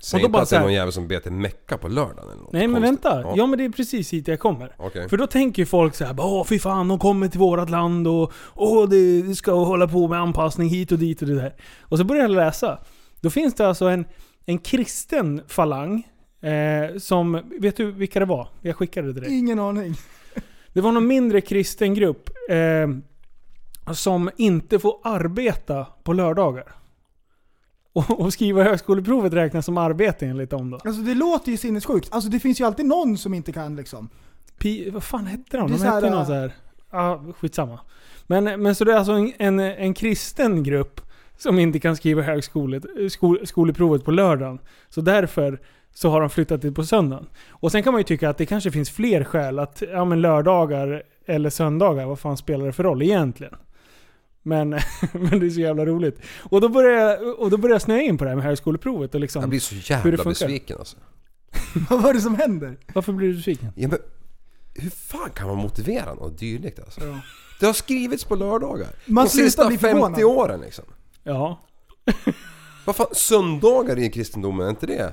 Speaker 4: Säg
Speaker 2: Och då
Speaker 4: inte
Speaker 2: bara
Speaker 4: att det
Speaker 2: så
Speaker 4: är
Speaker 2: här-
Speaker 4: någon jävel som ber till Mecka på lördagen eller något
Speaker 2: Nej men
Speaker 4: konstigt.
Speaker 2: vänta,
Speaker 4: Ja.
Speaker 2: ja men det är precis hit jag kommer.
Speaker 4: Okej.
Speaker 2: För då tänker ju folk så här, bara, åh fy fan, de kommer till vårat land och åh, det det ska hålla på med anpassning hit och dit och det där. Och så börjar jag läsa. Då finns det alltså en, en kristen falang eh, som, vet du vilka det var? Jag skickade det till dig.
Speaker 3: Ingen aning.
Speaker 2: Det var någon mindre kristen grupp eh, som inte får arbeta på lördagar. Och, och skriva högskoleprovet räknas som arbete enligt dem då.
Speaker 3: Alltså det låter ju sinnessjukt. Alltså det finns ju alltid någon som inte kan liksom. <laughs>
Speaker 2: Pi, vad fan hette de?
Speaker 3: Det är
Speaker 2: De
Speaker 3: så här,
Speaker 2: hette ju någon
Speaker 3: äh,
Speaker 2: så här. Ja, skitsamma. Men, men så det är alltså en, en, en kristen grupp som inte kan skriva högskolet, skol, skoleprovet på lördagen. Så därför så har de flyttat det på söndagen. Och sen kan man ju tycka att det kanske finns fler skäl att ja, men lördagar eller söndagar, vad fan spelar det för roll egentligen? Men, <laughs> men det är så jävla roligt. Och då börjar jag, och då börjar jag snöa in på det här med högskoleprovet och
Speaker 4: Jag
Speaker 2: liksom,
Speaker 4: blir så
Speaker 2: Hur det
Speaker 4: jävla
Speaker 2: funkar.
Speaker 4: besviken alltså.
Speaker 3: Vad var det som händer? <laughs>
Speaker 2: varför blir du besviken?
Speaker 4: Ja, men, hur fan kan man motivera något dylikt alltså?
Speaker 3: Ja.
Speaker 4: Det har skrivits på lördagar.
Speaker 3: Man
Speaker 4: De
Speaker 3: slutar
Speaker 4: sista
Speaker 3: bli
Speaker 4: 50
Speaker 3: förvånad.
Speaker 4: åren liksom.
Speaker 2: Ja,
Speaker 4: Vad fan, söndagar i kristendomen, är inte det?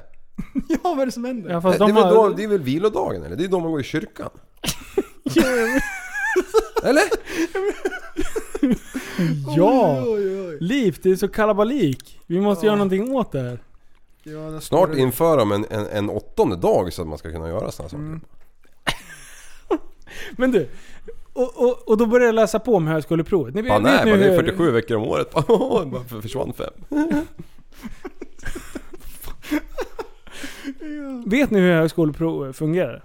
Speaker 3: Ja, vad är det som händer?
Speaker 2: ja
Speaker 4: Det,
Speaker 2: fast
Speaker 4: det, är
Speaker 2: de
Speaker 4: väl
Speaker 2: har,
Speaker 4: då, det är väl vilodagen eller? Det är då man går
Speaker 2: <laughs>
Speaker 4: i kyrkan. eller?
Speaker 2: ja.
Speaker 3: Oj, oj, oj.
Speaker 2: Liv, det är så kalabalik. Vi måste göra någonting åt det här.
Speaker 3: Ja, där står
Speaker 4: Snart
Speaker 3: det.
Speaker 4: inför de en, en, en åttonde dag så att man ska kunna göra sådana
Speaker 3: Mm.
Speaker 4: saker.
Speaker 2: Men du, och, och, och då började jag läsa på om högskoleprovet. Ni vet,
Speaker 4: Fan,
Speaker 2: vet
Speaker 4: nej,
Speaker 2: ni
Speaker 4: man, det är
Speaker 2: hur-
Speaker 4: 47 veckor om året. <laughs> Varför försvann fem?
Speaker 2: Vet ni hur högskoleprov fungerar?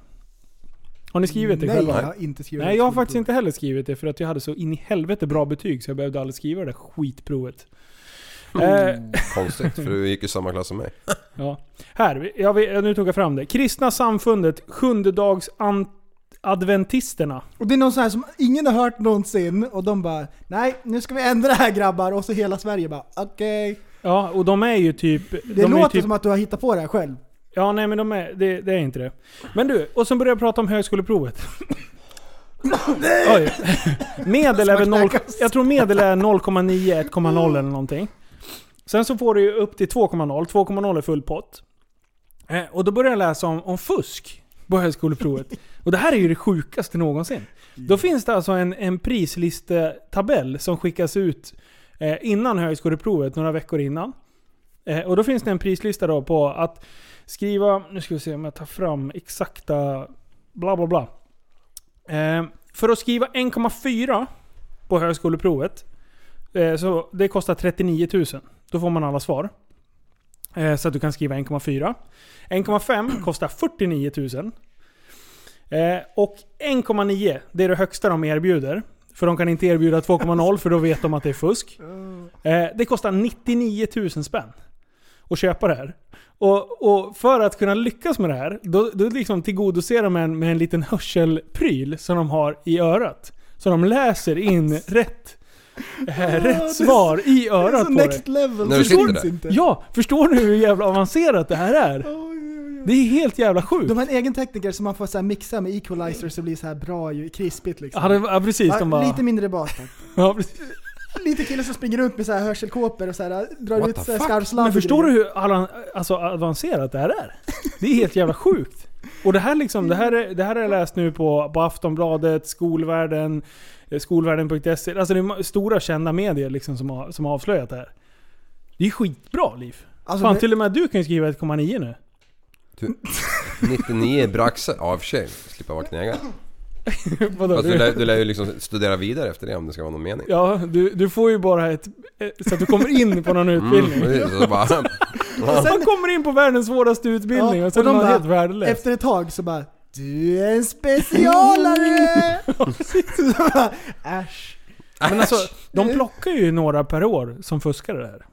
Speaker 2: Har ni skrivit det
Speaker 3: Nej,
Speaker 2: själva?
Speaker 3: jag har inte skrivit
Speaker 2: Nej, jag har faktiskt inte heller skrivit det för att jag hade så in i helvete bra betyg så jag behövde aldrig skriva det där skitprovet. Eh,
Speaker 4: Konstigt, för du gick ju samma klass som mig.
Speaker 2: ja. Här, jag vet, nu tog jag fram det. Kristna samfundet, sjundedags an- adventisterna.
Speaker 3: Och det är någon sån här som ingen har hört någonsin och de bara Nej, nu ska vi ändra det här grabbar. Och så hela Sverige bara okej.
Speaker 2: Ja, och de är ju typ...
Speaker 3: Det
Speaker 2: de är ju
Speaker 3: låter
Speaker 2: typ,
Speaker 3: som att du har hittat på det
Speaker 2: <laughs>
Speaker 3: här själv.
Speaker 2: Ja, nej men de är, det, det är inte det. Men du, och sen började jag prata om högskoleprovet. Oj. <laughs> Medel är väl 0,
Speaker 3: Smaknackas.
Speaker 2: jag tror medel är 0,9, 1,0 eller någonting. Sen så får du ju upp till 2,0. 2,0 är full pott. Eh, och då började jag läsa om, om fusk på högskoleprovet. Och det här är ju det sjukaste någonsin. Då finns det alltså en, en prislistetabell som skickas ut eh, innan högskoleprovet, några veckor innan. Eh, och då finns det en prislista då på att skriva, nu ska vi se om jag tar fram exakta bla bla bla. Eh, för att skriva 1,4 på högskoleprovet, eh, så det kostar 39 000. Då får man alla svar. Eh, så att du kan skriva 1,4. 1,5 kostar 49 000. Eh, och 1,9, det är det högsta de erbjuder. För de kan inte erbjuda 2,0 för då vet de att det är fusk. Eh, det kostar 99 000 spänn att köpa det här. Och, och för att kunna lyckas med det här, då, då liksom tillgodoser de en med en liten hörselpryl som de har i örat. Så de läser in rätt, eh, rätt svar i
Speaker 3: Det är
Speaker 2: örat
Speaker 3: så
Speaker 2: på det.
Speaker 3: next level.
Speaker 4: När
Speaker 3: Det
Speaker 4: du sitter
Speaker 3: finns
Speaker 4: där.
Speaker 3: inte.
Speaker 2: Ja, förstår du hur jävla avancerat det här är? Det är helt jävla sjukt.
Speaker 3: De har en egen tekniker som man får så här mixa med equalizer så det blir så här bra ju, krispigt liksom.
Speaker 2: Ja, det, ja precis. De
Speaker 3: Ja,
Speaker 2: bara,
Speaker 3: Lite mindre bas tack.
Speaker 2: ja, precis.
Speaker 3: Lite kille som springer runt med så här hörselkåpor och så här, äh, drar
Speaker 4: What
Speaker 3: ut
Speaker 4: the
Speaker 3: så här
Speaker 4: fuck?
Speaker 3: skarvsladd
Speaker 2: Men
Speaker 3: och
Speaker 2: förstår du
Speaker 3: grejer.
Speaker 2: hur alla- alltså, avancerat det här är? Det är helt jävla sjukt. Och det här, liksom, det här, är- det här har jag läst nu på, på Aftonbladet, Skolvärlden, eh, skolvärlden.se. Alltså det är ma- stora kända medier liksom som, har, som har avslöjat det här. Det är skitbra Liv.
Speaker 3: Alltså,
Speaker 2: Fan
Speaker 3: det-
Speaker 2: till och med du kan ju skriva 1,9 nu.
Speaker 4: Du, 99 braxar, ja i och för sig, slippa vara knegare.
Speaker 2: Vadå?
Speaker 4: Fast du
Speaker 2: Du,
Speaker 4: lär, du lär ju liksom studera vidare efter det om det ska vara någon mening.
Speaker 2: ja, du, du får ju bara ett... eh, Så att du kommer in på någon
Speaker 4: Mm.
Speaker 2: utbildning.
Speaker 4: precis, och så <laughs> bara,
Speaker 2: Man kommer in på världens svåraste utbildning
Speaker 3: Ja,
Speaker 2: och sen
Speaker 3: och de
Speaker 2: är man
Speaker 3: bara,
Speaker 2: helt värdelös.
Speaker 3: Efter ett tag så bara Du är
Speaker 2: <laughs>
Speaker 3: en specialare! så bara, äsch.
Speaker 2: Men alltså, <laughs> de plockar ju några per år som fuskar det här.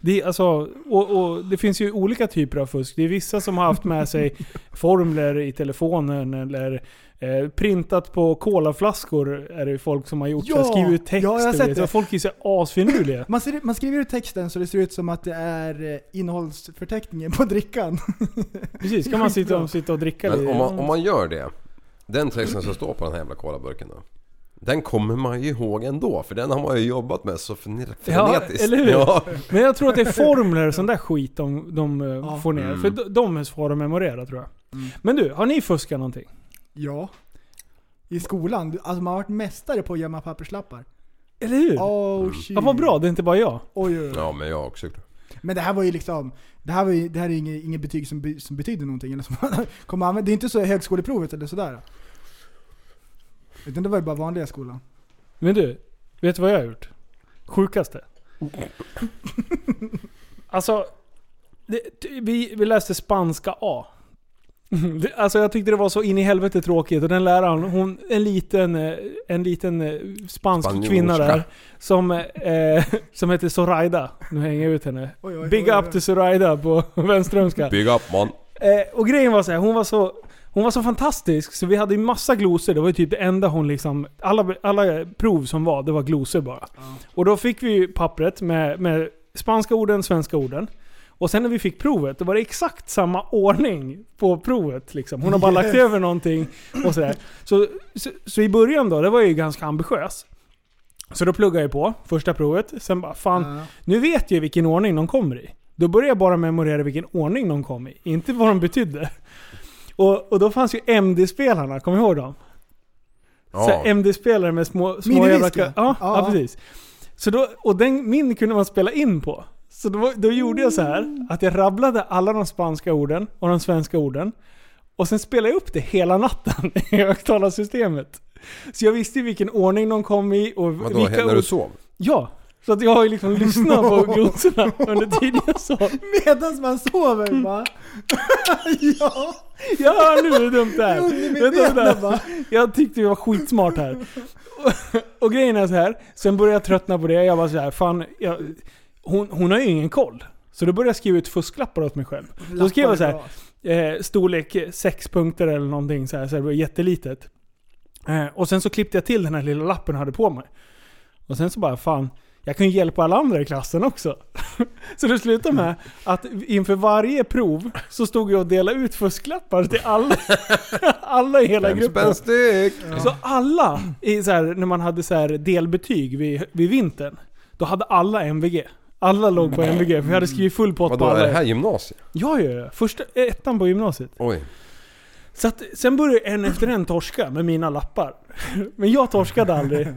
Speaker 2: Det, är alltså, och, och det finns ju olika typer av fusk. Det är vissa som har haft med
Speaker 3: <laughs>
Speaker 2: sig formler i telefonen eller eh, printat på colaflaskor är det ju folk som har gjort.
Speaker 3: Ja,
Speaker 2: Ja, skrivit ut text
Speaker 3: ja, jag har
Speaker 2: och
Speaker 3: sett
Speaker 2: grejer.
Speaker 3: det.
Speaker 2: Folk är så asfinurliga.
Speaker 3: Man, ser, man skriver ut texten så det ser ut som att det är eh, innehållsförteckningen på drickan. <laughs>
Speaker 2: Precis, ska man sitta och, sitta och dricka
Speaker 4: men
Speaker 2: lite.
Speaker 4: om man, om man gör det, den texten som står på den här jävla colaburken då. Den kommer man ju ihåg ändå, för den har man ju jobbat med så fene-
Speaker 2: Ja,
Speaker 4: frenetiskt.
Speaker 2: eller hur?
Speaker 4: Ja.
Speaker 2: Men jag tror att det är formler och sån där skit de, de eh,
Speaker 3: Ja.
Speaker 2: får ner.
Speaker 4: Mm.
Speaker 2: För de, de är svåra att memorera tror jag.
Speaker 3: Mm.
Speaker 2: Men du, har ni fuskat någonting?
Speaker 3: Ja. I skolan. Du- Alltså man har varit mästare på att gömma papperslappar.
Speaker 2: Eller hur? Mm. Ja,
Speaker 3: Oh shit.
Speaker 2: vad bra. Det är inte bara jag.
Speaker 3: Oj, oj, oj.
Speaker 4: ja, men jag har också gjort det.
Speaker 3: Men det här var ju liksom, det här, var ju, det här är ju inget, inget betyg som, be, som betyder någonting. Eller som man <laughs> kommer använda. Det är inte så högskoleprovet eller sådär. Utan det var ju bara vanliga skolan.
Speaker 2: Men du, vet du vad jag har gjort?
Speaker 3: <laughs>
Speaker 2: Sjukaste. Alltså, det, ty- vi, vi läste spanska A. Det- Alltså jag tyckte det var så in i helvete tråkigt och den läraren, hon, en liten, eh, en liten eh, spansk
Speaker 4: Spanjorska.
Speaker 2: kvinna där. Som, eh, som heter Zoraida. Nu hänger jag ut henne.
Speaker 3: Oj, oj,
Speaker 2: Big
Speaker 3: oj, oj.
Speaker 2: up till Zoraida på <laughs> Vänströmska.
Speaker 4: Big up man.
Speaker 2: Eh, och grejen var så här, hon var så, hon var så fantastisk så vi hade ju massa glosor. Det var ju typ det enda hon liksom... Alla, alla prov som var, det var glosor bara. Och då fick vi ju pappret med, med spanska orden, svenska orden. Och sen när vi fick provet, då var det exakt samma ordning på provet. Liksom. Hon har bara lagt över någonting och sådär. Så, så, så i början då, det var jag ju ganska ambitiös. Så då pluggade jag på första provet. Sen bara, fan,
Speaker 3: Ja.
Speaker 2: nu vet jag vilken ordning de kommer i. Då började jag bara memorera vilken ordning de kom i, inte vad de betydde. Och, och då fanns ju MD-spelarna, kommer du ihåg dem? Så
Speaker 4: Ja.
Speaker 2: här MD-spelare med små, små
Speaker 3: Minidisc,
Speaker 2: jävla...
Speaker 3: ja.
Speaker 2: Ja, ja.
Speaker 3: Ja.
Speaker 2: precis. Så då, och den, min kunde man spela in på. Så då, då gjorde jag så här att jag rabblade alla de spanska orden och de svenska orden. Och sen spelade jag upp det hela natten <laughs> i högtalarsystemet. Så jag visste i vilken ordning de kom i och
Speaker 4: Vadå,
Speaker 2: vilka
Speaker 4: när du
Speaker 2: ord...
Speaker 4: sov?
Speaker 2: Ja. Så att jag har ju
Speaker 3: <laughs>
Speaker 2: liksom lyssnat på glosorna under tiden jag sa
Speaker 3: Medan man sover bara. <laughs> ja,
Speaker 2: Ja, nu är det dumt det här. Vänta,
Speaker 3: undermedvetna
Speaker 2: vänta.
Speaker 3: bara.
Speaker 2: Jag tyckte vi var skitsmart här. Och, och grejen är så här. sen började jag tröttna på det. Jag var så här, fan. Jag, hon, hon har ju ingen koll. Så då började jag skriva ut fusklappar åt mig själv. Då skrev jag så här,
Speaker 3: Lappar är bra.
Speaker 2: eh, storlek 6 punkter eller någonting så här, så det var jättelitet. Eh, och sen så klippte jag till den här lilla lappen jag hade på mig. Och sen så bara, fan, jag kan ju hjälpa alla andra i klassen också. <laughs> så det slutade med att inför varje prov så stod jag och delade ut fusklappar till alla, <laughs> alla i hela
Speaker 4: Fem
Speaker 2: gruppen.
Speaker 4: spänn styck!
Speaker 2: Så alla, i så här, när man hade så här delbetyg vid, vid vintern, då hade alla MVG. Alla låg på MVG, för jag hade skrivit full pott på
Speaker 4: Vadå, är det
Speaker 2: alla.
Speaker 4: här gymnasiet?
Speaker 2: Ja, ja, ja. Första, ettan på gymnasiet.
Speaker 4: Oj.
Speaker 2: Så att, sen började en efter en torska med mina lappar. Men jag torskade aldrig.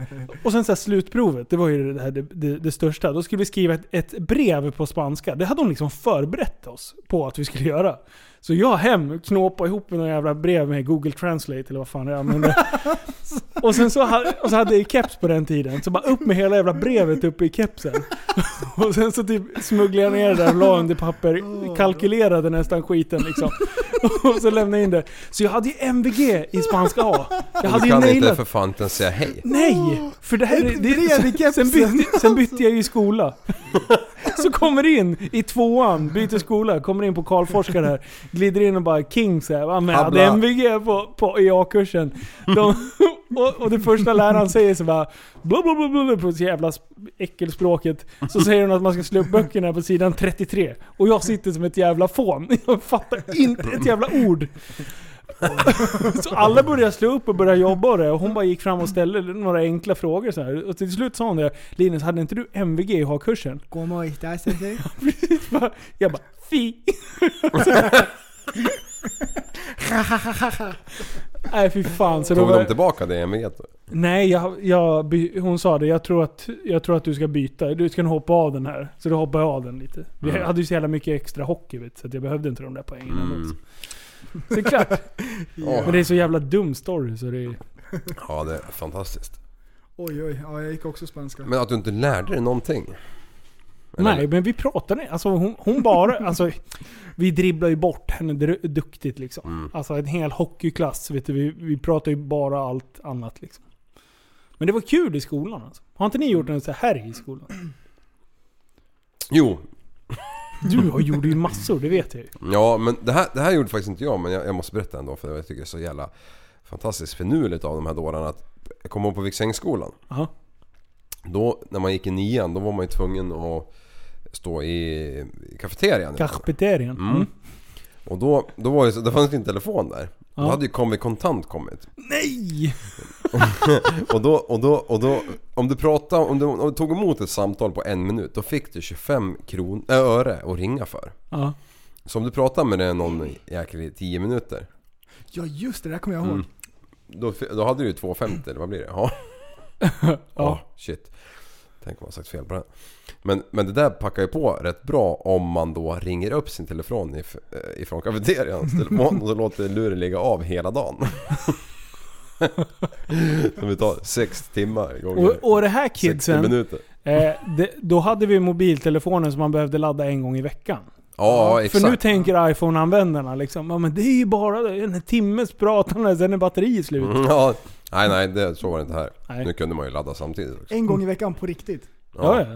Speaker 2: Och sen så här slutprovet, det var ju det, här, det, det, det största. Då skulle vi skriva ett, ett brev på spanska. Det hade hon liksom förberett oss på att vi skulle göra. Så jag hem knåpade ihop med några jävla brev med Google Translate eller vad fan jag använde. Och sen så, ha- och så hade jag ju keps på den tiden. Så bara upp med hela jävla brevet uppe i kepsen. <laughs> Och sen så typ smugglade jag ner det där och la under papper. Kalkylerade nästan skiten liksom. <laughs> Och så lämnade jag in det. Så jag hade ju MVG i spanska A. Jag
Speaker 4: Du
Speaker 2: hade ju
Speaker 4: kan inte
Speaker 2: nailat.
Speaker 4: för fan inte ens säga hej.
Speaker 2: Nej! För Alltså, det här är...
Speaker 3: Ett brev i
Speaker 2: Det, sen, bytte, sen bytte jag ju skola. Så kommer in i tvåan, byter skola, kommer in på Karlforska där. Glider in och bara King såhär, va, men jag hade
Speaker 4: Habla.
Speaker 2: MVG på, på EA-kursen. De, <laughs> och, och det första läraren säger så bara bla bla bla bla bla på så jävla sp- äckelspråket. Så säger hon att man ska slå upp böckerna på sidan 33. Och jag sitter som ett jävla fån. <laughs> Jag fattar inte ett jävla ord. Så alla började slå upp och började jobba och det. Och hon bara gick fram och ställde några enkla frågor så här. Och till slut sa hon det. Linus, hade inte du MVG i ha-kursen?
Speaker 3: Como estás, sensei?
Speaker 2: Precis bara, <laughs> jag bara fi. <laughs> Nej fy fan. Så då
Speaker 4: Tog
Speaker 2: var,
Speaker 4: de tillbaka det MVG?
Speaker 2: nej, jag, jag, by- hon sa det. Jag tror, att, jag tror att du ska byta. Du ska nog hoppa av den här. Så då hoppade jag av den lite. Vi
Speaker 4: Mm.
Speaker 2: hade ju så jävla mycket extra hockey vet, du, så att jag behövde inte de där poängen.
Speaker 4: Mm.
Speaker 2: Mm. Så det är
Speaker 4: <laughs>
Speaker 2: klart.
Speaker 4: Åh,
Speaker 2: Men det är så jävla dum story så det är...
Speaker 4: Ja, det är fantastiskt.
Speaker 3: Oj, oj. Ja, jag gick också spanska.
Speaker 4: Men att du inte lärde dig någonting? Eller-
Speaker 2: Nej, men vi pratade. Alltså hon, hon bara... Alltså, vi dribblar ju bort henne dru- duktigt liksom.
Speaker 4: Mm.
Speaker 2: Alltså en hel hockeyklass. Vet du, vi, vi pratar ju bara allt annat liksom. Men det var kul i skolan alltså. Har inte ni gjort en så här i skolan?
Speaker 4: Jo,
Speaker 2: Du har gjort ju massor, det vet jag ju.
Speaker 4: Ja, men det här, det här gjorde faktiskt inte jag, men jag, jag måste berätta ändå för jag tycker det är så jävla fantastiskt finurligt av de här dårarna att jag kom ihåg på Viksängsskolan.
Speaker 2: Aha.
Speaker 4: Då, när man gick i nian, då var man ju tvungen att stå i i kafeterian.
Speaker 2: Cafeterian. Mm.
Speaker 4: Mm. Och då, då var det så, det fanns det en telefon där.
Speaker 2: Ja.
Speaker 4: Då hade ju Kombi Kontant kommit.
Speaker 2: Nej!
Speaker 4: Och då, och då, och då om, du pratade, om, du, om du tog emot ett samtal på en minut, då fick du 25 kron, äh, öre att ringa för.
Speaker 2: Ja.
Speaker 4: Så om du pratade med någon jäkel i 10 minuter,
Speaker 3: Ja, just det. Det där kommer jag
Speaker 4: Mm.
Speaker 3: ihåg.
Speaker 4: Då, då hade du ju 2,50 eller vad blir det?
Speaker 2: <laughs>
Speaker 4: Ja. ja. Shit. Tänk om jag har sagt fel på den. Men, men det där packar ju på rätt bra om man då ringer upp sin telefon if, eh, ifrån kafeterians telefon och så låter luren ligga av
Speaker 2: <laughs>
Speaker 4: hela dagen. Som vi tar 6 timmar gånger
Speaker 2: Och, och det här
Speaker 4: 60
Speaker 2: kidsen,
Speaker 4: minuter.
Speaker 2: eh, det, då hade vi mobiltelefoner som man behövde ladda en gång i veckan.
Speaker 4: Ja, exakt.
Speaker 2: För nu tänker iPhone-användarna liksom, ja men det är ju bara en timmes pratande, sen är batteriet slut.
Speaker 4: Mm, <laughs> ja. Nej, nej, det, så var det inte här.
Speaker 2: Nej.
Speaker 4: Nu kunde man ju ladda samtidigt också.
Speaker 3: En gång i veckan på riktigt.
Speaker 2: Ja, ja.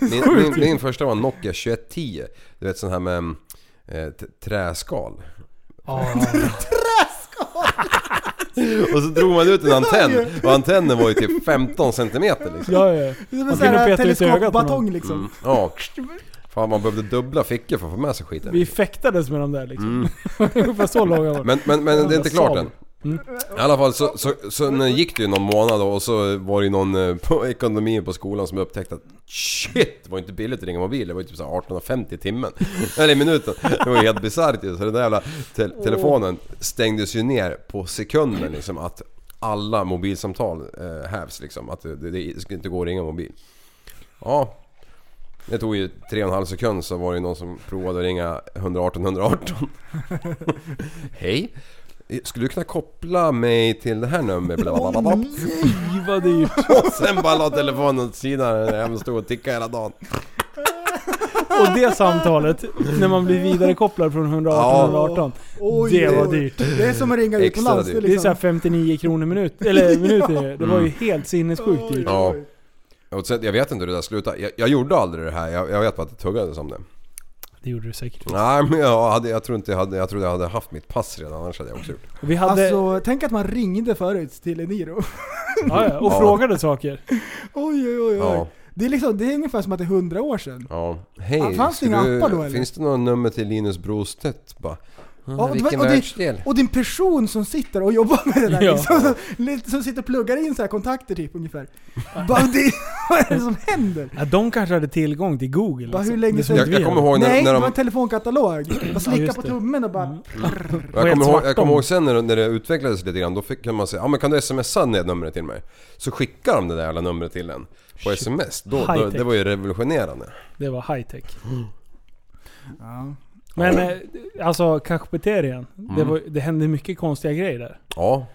Speaker 4: Min, min, min första var Nokia 2110. Du vet sån här med mm, eh, t- träskal. <laughs> Och så drog man ut en antenn och antennen var ju typ 15 centimeter liksom.
Speaker 2: ja, ja.
Speaker 3: Det är som
Speaker 2: Man
Speaker 3: en sån här
Speaker 2: kunde peta ut i ögat på någon.
Speaker 3: teleskopbatong liksom.
Speaker 4: Mm, ja. Fan man behövde dubbla fickor för att få med sig skiten.
Speaker 2: Vi fäktades med de där liksom. <laughs> Ungefär så långa var de.
Speaker 4: Mm. Men, men, men det är inte klart än.
Speaker 2: Mm.
Speaker 4: I alla fall så, så, så nu gick det ju någon månad och så var det ju någon eh, på ekonomin på skolan som upptäckte att shit, det var inte billigt att ringa mobil. Det var ju typ så här 18.50 i timmen. <laughs> Eller i minuten. Det var ju helt bisarrt ju. Så den där jävla te- telefonen stängdes ju ner på sekunden liksom att alla mobilsamtal eh, hävs liksom. Att det, det, det skulle inte gå att ringa mobil. Ja. Det tog ju tre och en halv sekund så var det ju någon som provade att ringa 118 118. <laughs> Hej. Eh, Skulle du kunna koppla mig till det här numret? Blablabla.
Speaker 3: Mm.
Speaker 2: Fy vad dyrt.
Speaker 4: <laughs> Och sen bara la telefonen åt sidan när jag stod och tickade hela dagen.
Speaker 2: Och det samtalet, när man blir vidarekopplad från 118
Speaker 4: Ja.
Speaker 2: 118.
Speaker 3: Oj,
Speaker 2: Det
Speaker 3: oj,
Speaker 2: var
Speaker 3: oj.
Speaker 2: dyrt.
Speaker 3: Det är som att ringa
Speaker 4: Extra
Speaker 3: utomlands.
Speaker 4: dyrt.
Speaker 3: är
Speaker 2: Det är
Speaker 3: liksom-
Speaker 2: såhär 59 kronor minut, eller minuter. Det var
Speaker 4: Mm.
Speaker 2: ju helt
Speaker 3: liksom.
Speaker 2: sinnessjukt dyrt.
Speaker 4: Ja. Och sen, jag vet inte hur det där slutade. Jag, jag gjorde aldrig det här. Jag, jag vet bara att det tuggades om det.
Speaker 2: Det gjorde du säkert.
Speaker 4: Nej men jag, hade, jag tror inte jag hade, jag trodde jag hade haft mitt pass redan annars hade jag också gjort det.
Speaker 2: Vi hade,
Speaker 3: Alltså, tänk att man ringde förut till Eniro.
Speaker 2: ja, ja, och
Speaker 4: Ja.
Speaker 2: frågade saker.
Speaker 3: <laughs> Oj, oj, oj. oj.
Speaker 4: Ja,
Speaker 3: Det, är liksom, det är ungefär som att det är hundra år sedan.
Speaker 4: ja.
Speaker 3: Ah,
Speaker 4: Hej,
Speaker 3: fanns det
Speaker 4: skulle
Speaker 3: inga
Speaker 4: du-
Speaker 3: appar då, eller?
Speaker 4: finns det något nummer till Linus Brostedt? Bara, mm,
Speaker 3: Ja, och det var-
Speaker 4: vilken
Speaker 3: och det-
Speaker 4: världsdel?
Speaker 3: Och din person som sitter och jobbar med det där
Speaker 2: Ja.
Speaker 3: liksom, lite- som sitter och pluggar in så här kontakter typ
Speaker 2: <laughs>
Speaker 3: ungefär. Bara, det, <laughs> vad är det som händer?
Speaker 2: Ja, de kanske hade tillgång till Google.
Speaker 3: Bara,
Speaker 2: alltså.
Speaker 3: hur länge
Speaker 2: Det
Speaker 3: sedan-
Speaker 2: såg
Speaker 4: Jag,
Speaker 2: vi
Speaker 4: jag kommer
Speaker 2: hade.
Speaker 4: ihåg när,
Speaker 3: Nej,
Speaker 4: när
Speaker 3: det var
Speaker 4: de...
Speaker 3: en
Speaker 4: <clears throat>
Speaker 3: telefonkatalog. Bara slicka
Speaker 2: just
Speaker 3: på
Speaker 2: det.
Speaker 3: tummen och bara...
Speaker 4: Jag
Speaker 2: Helt
Speaker 4: kommer, ihåg, jag
Speaker 2: svartom.
Speaker 4: kommer ihåg sen när, när det utvecklades lite grann, då fick kan man säga ja men kan du smsa ner numret till mig? Så skickar de det där jävla numret till en på sms. Då, då,
Speaker 2: High-tech.
Speaker 4: det var ju revolutionerande.
Speaker 2: Det var high tech.
Speaker 3: Ja.
Speaker 2: Men eh, alltså kafeterian. Det, var- det hände mycket konstiga grejer där.
Speaker 4: Ja,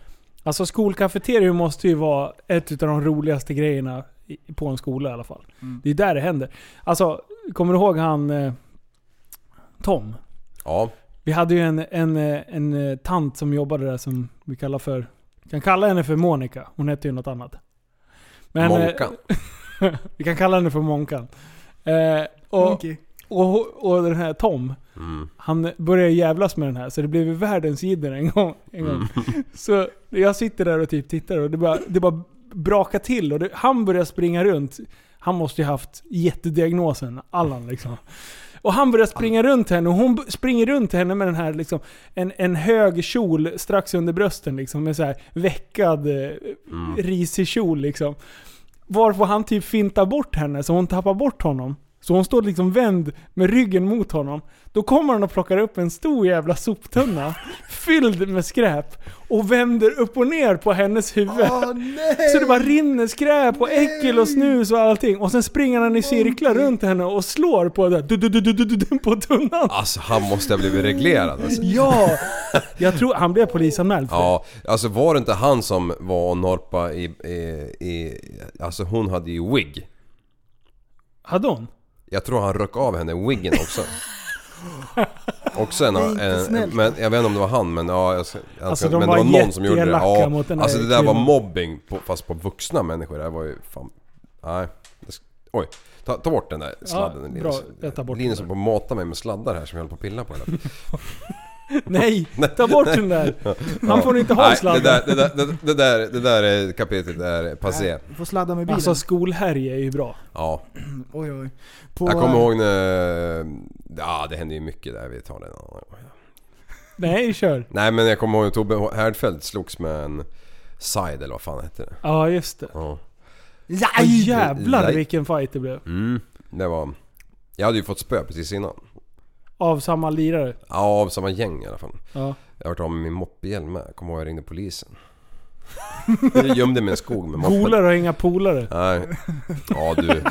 Speaker 2: Alltså skolkafeterium måste ju vara ett utav de roligaste grejerna i- på en skola i alla fall.
Speaker 3: Mm.
Speaker 2: Det är där det händer. Alltså, kommer du ihåg han eh, Tom?
Speaker 4: ja.
Speaker 2: Vi hade ju en, en, eh, en eh, tant som jobbade där som vi kallar för... Vi kan kalla henne för Monica. Hon hette ju något annat. Men, eh,
Speaker 4: Månkan.
Speaker 2: vi kan kalla henne för Monkan. Eh, och,
Speaker 3: Monkey.
Speaker 2: och, och den här Tom,
Speaker 4: Mm.
Speaker 2: han började jävlas med den här så det blev ju världens jidder en gång. En gång. Så jag sitter där och typ tittar och det bara, det bara brakar till och det, han börjar springa runt. Han måste ju haft jättediagnosen, Allan liksom. Och han börjar springa runt henne och hon b- springer runt henne med den här liksom, en, en hög kjol strax under brösten liksom med så här veckad, eh, risig kjol liksom. Varpå han typ fintar bort henne så hon tappar bort honom. Så hon står liksom vänd med ryggen mot honom. Då kommer han och plockar upp en stor jävla soptunna fylld med skräp och vänder upp och ner på hennes huvud.
Speaker 3: Åh nej!
Speaker 2: Så det bara rinner skräp och äckel och snus och allting. Och sen springer han i cirklar runt henne och slår på, det, du, du, du, du, du, du, du, på tunnan.
Speaker 4: Alltså han måste ha blivit reglerad alltså.
Speaker 2: Ja! Jag tror han blev polisanmäld för det.
Speaker 4: Ja, alltså var det inte han som var och norpa i, i, i... Alltså hon hade ju wig.
Speaker 2: Hade hon?
Speaker 4: Jag tror han rök av henne
Speaker 2: <laughs>
Speaker 4: wiggen också. Och sen,
Speaker 3: Det är inte
Speaker 4: en,
Speaker 3: snällt.
Speaker 4: men jag vet inte om det var han men ja, jag, ska- jag,
Speaker 2: Alltså,
Speaker 4: ska-
Speaker 2: de
Speaker 4: men
Speaker 2: var
Speaker 4: det var någon som gjorde det.
Speaker 2: jätteelaka mot den här
Speaker 4: alltså det där var
Speaker 2: kvinnan.
Speaker 4: mobbing på, fast på vuxna människor. Det här var ju fan... Nej. det sk- Oj. Ta, ta bort den där sladden
Speaker 2: bra.
Speaker 4: Linus.
Speaker 2: Jag tar bort
Speaker 4: Linus
Speaker 2: den
Speaker 4: på mata mig med sladdar här som jag höll på att pilla på hela tiden.
Speaker 2: Nej, ta bort den där. <laughs> Han får inte ha
Speaker 4: Nej, det
Speaker 2: sladden.
Speaker 4: där, det, där, det, det där, det där är kapitlet är passé.
Speaker 3: Du får sladda med bilen.
Speaker 2: Alltså skolhärje är ju bra.
Speaker 4: Ja.
Speaker 3: oj, oj. På,
Speaker 4: Jag kommer ihåg när... Ja, det hände ju mycket där. Vi tar det en annan gång.
Speaker 2: Nej, kör.
Speaker 4: Nej men jag kommer ihåg att Tobbe Härdfeldt slogs med en side eller vad fan hette det?
Speaker 2: Ja, just det.
Speaker 4: Ja.
Speaker 2: Aj,
Speaker 3: Jaj!
Speaker 2: jävlar
Speaker 4: Nej.
Speaker 2: vilken fight det blev.
Speaker 4: Mm. Det var... Jag hade ju fått spö precis innan.
Speaker 2: Av samma lirare.
Speaker 4: Ja, av samma gäng i alla fall.
Speaker 2: Ja.
Speaker 4: Jag har varit av med min moppehjälm med. Jag kommer ihåg jag ringde polisen. Jag gömde mig i en skog med moppen.
Speaker 2: Polare har inga polare.
Speaker 4: Nej. Ja du.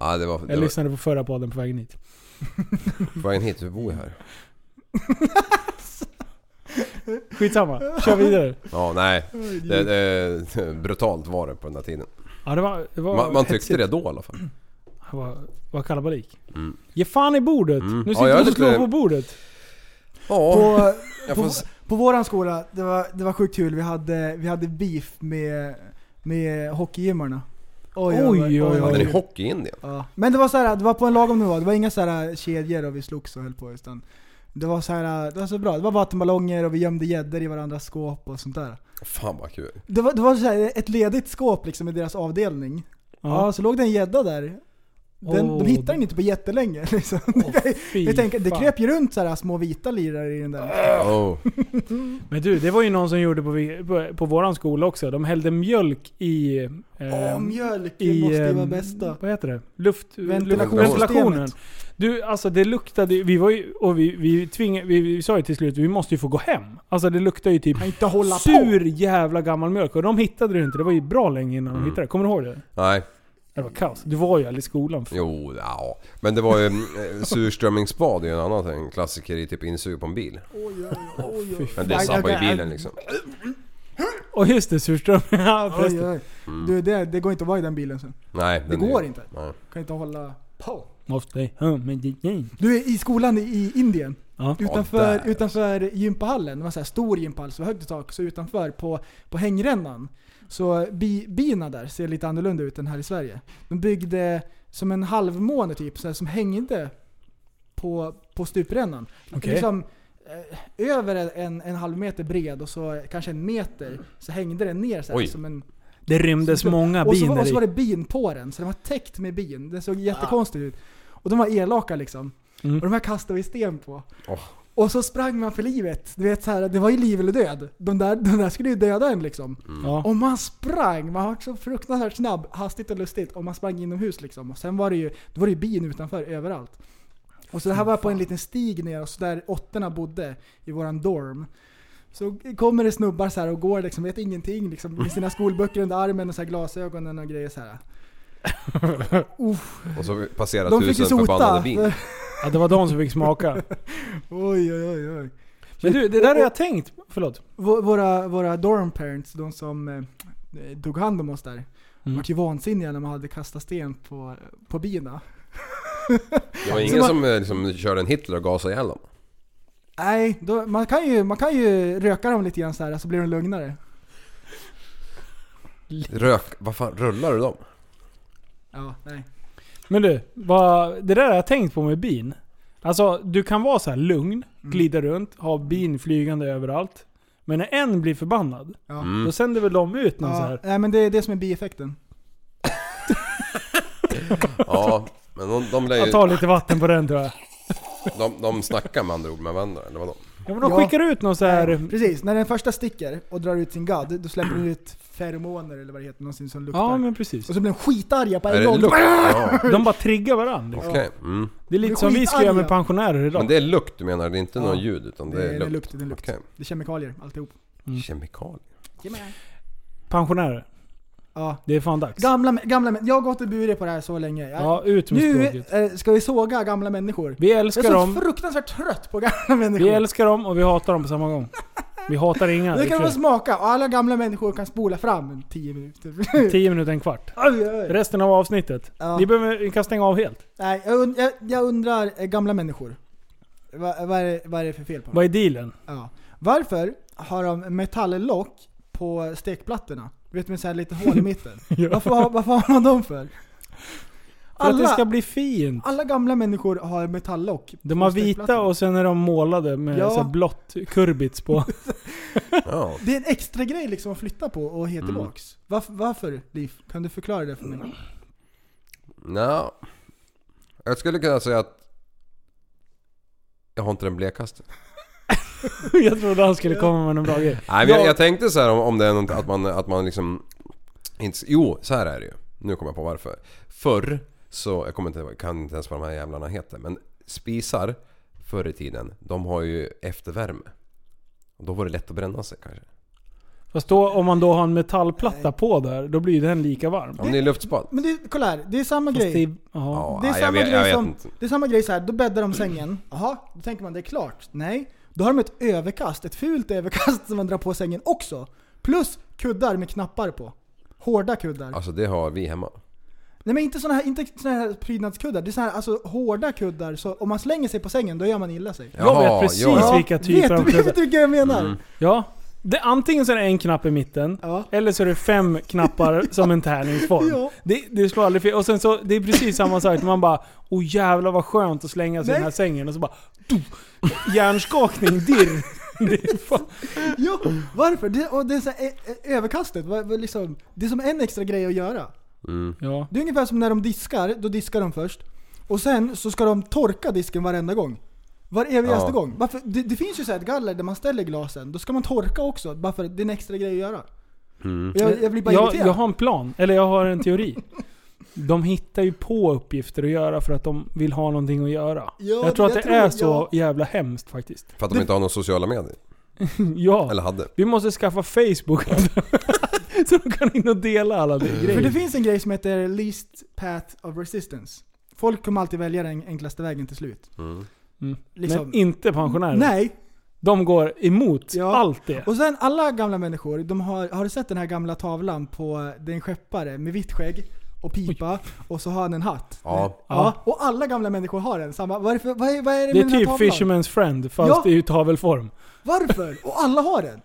Speaker 4: Ja det var... Det
Speaker 2: Jag
Speaker 4: var
Speaker 2: lyssnade på förra podden på vägen hit.
Speaker 4: på vägen hit, du bor ju här.
Speaker 2: Skitsamma, kör vidare.
Speaker 4: Ja nej. Det, det, brutalt var det på den där tiden.
Speaker 2: Ja, det var, det var
Speaker 4: Man, man tyckte
Speaker 2: hetsigt.
Speaker 4: det då i alla fall.
Speaker 2: Det var, var kalabalik.
Speaker 4: Mm.
Speaker 2: Ge fan i bordet!
Speaker 4: Mm.
Speaker 2: Nu
Speaker 4: Ja,
Speaker 2: sitter
Speaker 4: jag
Speaker 2: du
Speaker 4: är
Speaker 2: och slår
Speaker 4: lite-
Speaker 2: på bordet.
Speaker 4: Ja.
Speaker 3: På,
Speaker 4: Jag
Speaker 3: på,
Speaker 4: får... s-
Speaker 3: på våran skola, det var, det var sjukt kul. Vi hade, vi hade beef med, med hockeygymmarna.
Speaker 2: Oj, oj,
Speaker 4: Hade
Speaker 2: oj.
Speaker 4: ni hockey i Indien?
Speaker 3: Ja. Men det var så här, det var på en lagom nivå. Det var inga så här eh, kedjor och vi slogs och höll på. Utan det var så här, eh, det var så bra. Det var vattenballonger och vi gömde gäddor i varandras skåp och sånt där.
Speaker 4: Fan vad kul.
Speaker 3: Det var, det var så här ett ledigt skåp liksom i deras avdelning. Ja,
Speaker 2: Ja.
Speaker 3: så låg det en gädda där. Den,
Speaker 2: Åh,
Speaker 3: De hittade den inte på jättelänge. <laughs> Liksom.
Speaker 2: fy
Speaker 3: jag tänker, det
Speaker 2: fan.
Speaker 3: kröp ju runt så här små vita lirare i den där.
Speaker 4: Oh.
Speaker 2: Men du, det var ju någon som gjorde på, vi- på, på våran skola också. De hällde mjölk i... eh,
Speaker 3: Åh, mjölk
Speaker 2: i,
Speaker 3: måste ju
Speaker 2: eh,
Speaker 3: vara bästa.
Speaker 2: Vad heter det? Luft...
Speaker 3: Ventilationssystemet.
Speaker 2: Ventilationen. Du, alltså det luktade ju- Vi var ju... Och vi, vi, tving, vi, vi sa ju till slut vi måste ju få gå hem. Alltså det luktade ju typ
Speaker 3: Kan inte hålla på.
Speaker 4: Mm.
Speaker 2: sur jävla gammal mjölk. Och de hittade det ju inte. Det var ju bra länge innan de hittade det. Kommer du ihåg det?
Speaker 4: Nej.
Speaker 2: Det var kaos. Du var ju aldrig i skolan. för-
Speaker 4: Jo, ja. Men det var ju... eh, Surströmmingsbad är ju en annan en klassiker i typ insug på en bil. Men det
Speaker 3: Aj,
Speaker 4: sabbar ju
Speaker 3: aj, aj.
Speaker 4: bilen liksom.
Speaker 2: Och just det, surström. <laughs> Ja,
Speaker 3: Oj,
Speaker 2: förresten.
Speaker 3: oj. Du, det, det går inte att vara i den bilen sen.
Speaker 4: Nej, liksom. Mm. den
Speaker 3: Det
Speaker 4: är-
Speaker 3: går inte.
Speaker 4: Nej.
Speaker 3: Kan inte hålla på.
Speaker 2: Måste ha med dig.
Speaker 3: Du är i skolan i- i Indien.
Speaker 2: Ja.
Speaker 4: Ja,
Speaker 3: Utanför,
Speaker 4: där.
Speaker 3: utanför gympahallen, det var en stor gympahall så högt i tak, så utanför på, på hängrännan. Så bi, bina där ser lite annorlunda ut än här i Sverige. De byggde som en halvmåne typ, så här, som hängde på, på stuprännan.
Speaker 2: Okej.
Speaker 3: Liksom, eh, över en, en halv meter bred och så kanske en meter så hängde den ner så här,
Speaker 4: Oj.
Speaker 3: som en...
Speaker 2: Det rymdes
Speaker 3: som-
Speaker 2: många
Speaker 3: och så, var-
Speaker 2: bin
Speaker 3: och så var
Speaker 2: där i.
Speaker 3: det bin på den, så den var täckt med bin. Den såg jättekonstig ut. Och de var elaka liksom.
Speaker 2: Mm.
Speaker 3: Och de här kastade vi sten på.
Speaker 4: Åh.
Speaker 3: Och så sprang man för livet. Du vet så här, det var ju liv eller död. De där, de där skulle ju döda en liksom.
Speaker 2: Ja.
Speaker 3: Och man sprang, man var så fruktansvärt snabb, hastigt och lustigt. Och man sprang inomhus liksom. Och sen var det ju, då var det ju bin utanför överallt. Och så det här var på en liten stig ner och så där åttorna bodde i våran dorm. Så kommer det snubbar så här och går liksom, vet ingenting liksom, med sina skolböcker under armen och så här glasögonen och grejer så här. Uff,
Speaker 4: Och så passerar
Speaker 3: de fick ju
Speaker 4: tusen förbannade
Speaker 3: sota.
Speaker 4: bin.
Speaker 2: ja, det var de som fick <laughs> smaka.
Speaker 3: <laughs> oj, oj, oj, oj.
Speaker 2: Men du, det där har jag tänkt. Förlåt.
Speaker 3: Vå- våra, våra dorm parents, de som eh, tog hand om oss där,
Speaker 2: Mm.
Speaker 3: var ju vansinniga när man hade kastat sten på, på bina.
Speaker 4: Det var
Speaker 3: Så
Speaker 4: ingen
Speaker 3: man-
Speaker 4: som eh, liksom, körde en Hitler och gasade ihjäl dem.
Speaker 3: Nej, då, man, kan ju, man kan ju röka dem lite grann så här så blir de lugnare.
Speaker 4: Rök... Vad fan, rullar du dem?
Speaker 3: Ja, nej.
Speaker 2: Men du, vad, det där har jag tänkt på med bin. Alltså, du kan vara så här lugn, glida runt, ha bin flygande överallt. Men när en blir förbannad,
Speaker 3: Ja.
Speaker 2: då sänder väl de ut någon så
Speaker 3: Ja,
Speaker 2: här.
Speaker 3: nej men det är det som är bieffekten.
Speaker 4: Ja, men de, de, lär
Speaker 2: Jag
Speaker 4: ju,
Speaker 2: tar lite vatten på den tror jag.
Speaker 4: de, de snackar med andra ord med varandra, eller vadå?
Speaker 2: Ja, men de
Speaker 3: Ja.
Speaker 2: skickar ut någon så här.
Speaker 3: Precis, när den första sticker och drar ut sin gadd, då släpper den ut feromoner eller vad det heter, någonting som luktar.
Speaker 2: Ja men precis.
Speaker 3: Och så blir de skitarga på
Speaker 4: Är
Speaker 3: en
Speaker 4: det
Speaker 3: gång.
Speaker 4: lukt? Ja,
Speaker 2: De bara triggar varandra.
Speaker 4: okej. Mm.
Speaker 2: Det är
Speaker 3: De
Speaker 2: lite
Speaker 3: är
Speaker 2: som vi ska göra med
Speaker 3: skitarga.
Speaker 2: pensionärer
Speaker 4: Men
Speaker 2: idag.
Speaker 4: det är lukt du menar, det är inte
Speaker 3: Ja.
Speaker 4: någon ljud utan
Speaker 3: Det är, det är
Speaker 4: lukt?
Speaker 3: lukt, det är lukt.
Speaker 4: Okej.
Speaker 3: Det är kemikalier, alltihop.
Speaker 2: Mm.
Speaker 3: <laughs>
Speaker 4: Kemikalier?
Speaker 2: Pensionärer.
Speaker 3: Ja.
Speaker 2: Det är fan dags.
Speaker 3: Gamla, män- gamla män. Jag har gått och burit på det här så länge. Jag,
Speaker 2: Ja, ut med
Speaker 3: nu
Speaker 2: språket.
Speaker 3: eh, ska vi såga gamla människor.
Speaker 2: Vi
Speaker 3: Jag är
Speaker 2: älskar
Speaker 3: så
Speaker 2: dem,
Speaker 3: fruktansvärt trött på gamla
Speaker 2: <laughs>
Speaker 3: människor.
Speaker 2: vi älskar dem och vi hatar dem på samma gång. Vi hatar inga.
Speaker 3: det
Speaker 2: Det
Speaker 3: kan man
Speaker 2: är
Speaker 3: smaka. Och alla gamla människor kan spola fram 10 minuter.
Speaker 2: 10 minuter, en kvart.
Speaker 3: Oj, oj, oj.
Speaker 2: Resten av avsnittet.
Speaker 3: Ja.
Speaker 2: Ni, behöver, ni kan stänga av helt.
Speaker 3: Nej, jag, und jag, jag undrar, eh, gamla människor. Va, vad, är det, vad är det för fel på dem?
Speaker 2: Vad är dealen?
Speaker 3: Ja. Varför har de metalllock på stekplattorna? Du vet med så här lite hål
Speaker 2: <laughs>
Speaker 3: i mitten. varför, har- varför har man dem för?
Speaker 2: För att det
Speaker 3: Alla-
Speaker 2: ska bli fint.
Speaker 3: Alla gamla människor har metalllock.
Speaker 2: De
Speaker 3: på
Speaker 2: har vita
Speaker 3: stekplattorna.
Speaker 2: och sen är de målade med
Speaker 3: Ja.
Speaker 2: så här blått kurbits
Speaker 3: <laughs>
Speaker 2: på. <laughs>
Speaker 4: Ja.
Speaker 3: Det är en extra grej liksom att flytta på och heter
Speaker 4: Mm.
Speaker 3: tillbaks. Varför, varför Liv? Kan du förklara det för mig?
Speaker 4: Nja. Jag skulle kunna säga att... Jag har inte den blekaste.
Speaker 2: jag trodde han skulle komma med någon bra grej.
Speaker 4: Nej men jag,
Speaker 2: Ja.
Speaker 4: jag tänkte så här om, om det är något, att man, att man liksom... Inte, jo, så här är det ju. Nu kommer jag på varför. Förr så, jag kommer inte, kan inte ens vad de här jävlarna heter, men spisar förr i tiden, de har ju eftervärme. Och då var det lätt att bränna sig kanske.
Speaker 2: Fast då, om man då har en metallplatta på där, då blir ju den lika varm.
Speaker 4: Om det är luftspad?
Speaker 3: Men du, kolla här. Det är samma
Speaker 2: Fast det,
Speaker 3: grej.
Speaker 2: är- ja.
Speaker 4: Ja,
Speaker 3: Det är
Speaker 4: jag
Speaker 3: samma
Speaker 4: vet, jag
Speaker 3: grej
Speaker 4: vet
Speaker 3: som...
Speaker 4: inte.
Speaker 3: Det är samma grej så här. då bäddar de sängen. Jaha, då tänker man det är klart. Nej. Då har de ett överkast, ett fult överkast <laughs> som man drar på sängen också. Plus kuddar med knappar på. Hårda kuddar.
Speaker 4: Alltså det har vi hemma.
Speaker 3: Nej men inte såna här, inte såna här prydnadskuddar. Det är såna här alltså, hårda kuddar. Så om man slänger sig på sängen, då gör man illa sig.
Speaker 2: Jag vet precis
Speaker 4: ja.
Speaker 2: vilka typer
Speaker 3: vet,
Speaker 2: av
Speaker 3: du-
Speaker 2: kuddar.
Speaker 3: Vet du vilka jag menar?
Speaker 4: Mm.
Speaker 2: ja. Det, antingen så är det en knapp i mitten,
Speaker 3: Ja.
Speaker 2: eller så är det fem knappar som en tärningsform.
Speaker 3: <laughs> Ja.
Speaker 2: Det, det slår aldrig fel. Och sen så, det är precis samma sak. Man bara Åh jävlar vad skönt att slänga sig i den här
Speaker 3: Nej.
Speaker 2: sängen. Och så bara du, Hjärnskakning, dirr. <laughs> Det är fan-
Speaker 3: Ja, varför? Det, och det är så här, eh, eh, överkastet, vad, vad liksom, det är som en extra grej att göra.
Speaker 2: Ja.
Speaker 3: Det är ungefär som när de diskar, då diskar de först. Och sen så ska de torka disken varenda gång. Var evigaste
Speaker 4: Ja.
Speaker 3: gång. Varför? Det, det finns ju så här ett galler där man ställer glasen, då ska man torka också. Bara för att det är en extra grej att göra.
Speaker 4: Mm.
Speaker 3: Och Jag, jag blir bara
Speaker 2: Jag,
Speaker 3: irriterad.
Speaker 2: jag har en plan, eller jag har en teori. De hittar ju på uppgifter att göra för att de vill ha någonting att göra.
Speaker 3: Ja,
Speaker 2: jag tror att
Speaker 3: jag
Speaker 2: det är
Speaker 3: tror-
Speaker 2: så jävla hemskt faktiskt. <laughs>
Speaker 4: För att de inte har några sociala medier.
Speaker 2: ja,
Speaker 4: Eller hade.
Speaker 2: vi måste skaffa Facebook. <laughs> så de kan in och dela alla de
Speaker 3: För det
Speaker 2: grejer.
Speaker 3: finns en grej som heter least path of resistance. Folk kommer alltid välja den enklaste vägen till slut.
Speaker 4: Mm.
Speaker 2: Mm.
Speaker 3: Liksom-
Speaker 2: Men inte pensionärer.
Speaker 3: Nej,
Speaker 2: De går emot
Speaker 3: Ja.
Speaker 2: allt det.
Speaker 3: Och sen alla gamla människor, de har, har du sett den här gamla tavlan på den skeppare med vitt skägg och pipa och så har han en hatt?
Speaker 4: Ja.
Speaker 3: ja. Och alla gamla människor har den samma. Varför, vad, är, vad är det
Speaker 2: Det är
Speaker 3: med den här
Speaker 2: typ
Speaker 3: tavlan?
Speaker 2: Fisherman's Friend fast
Speaker 3: Ja.
Speaker 2: i tavelform.
Speaker 3: Varför? Och alla har den!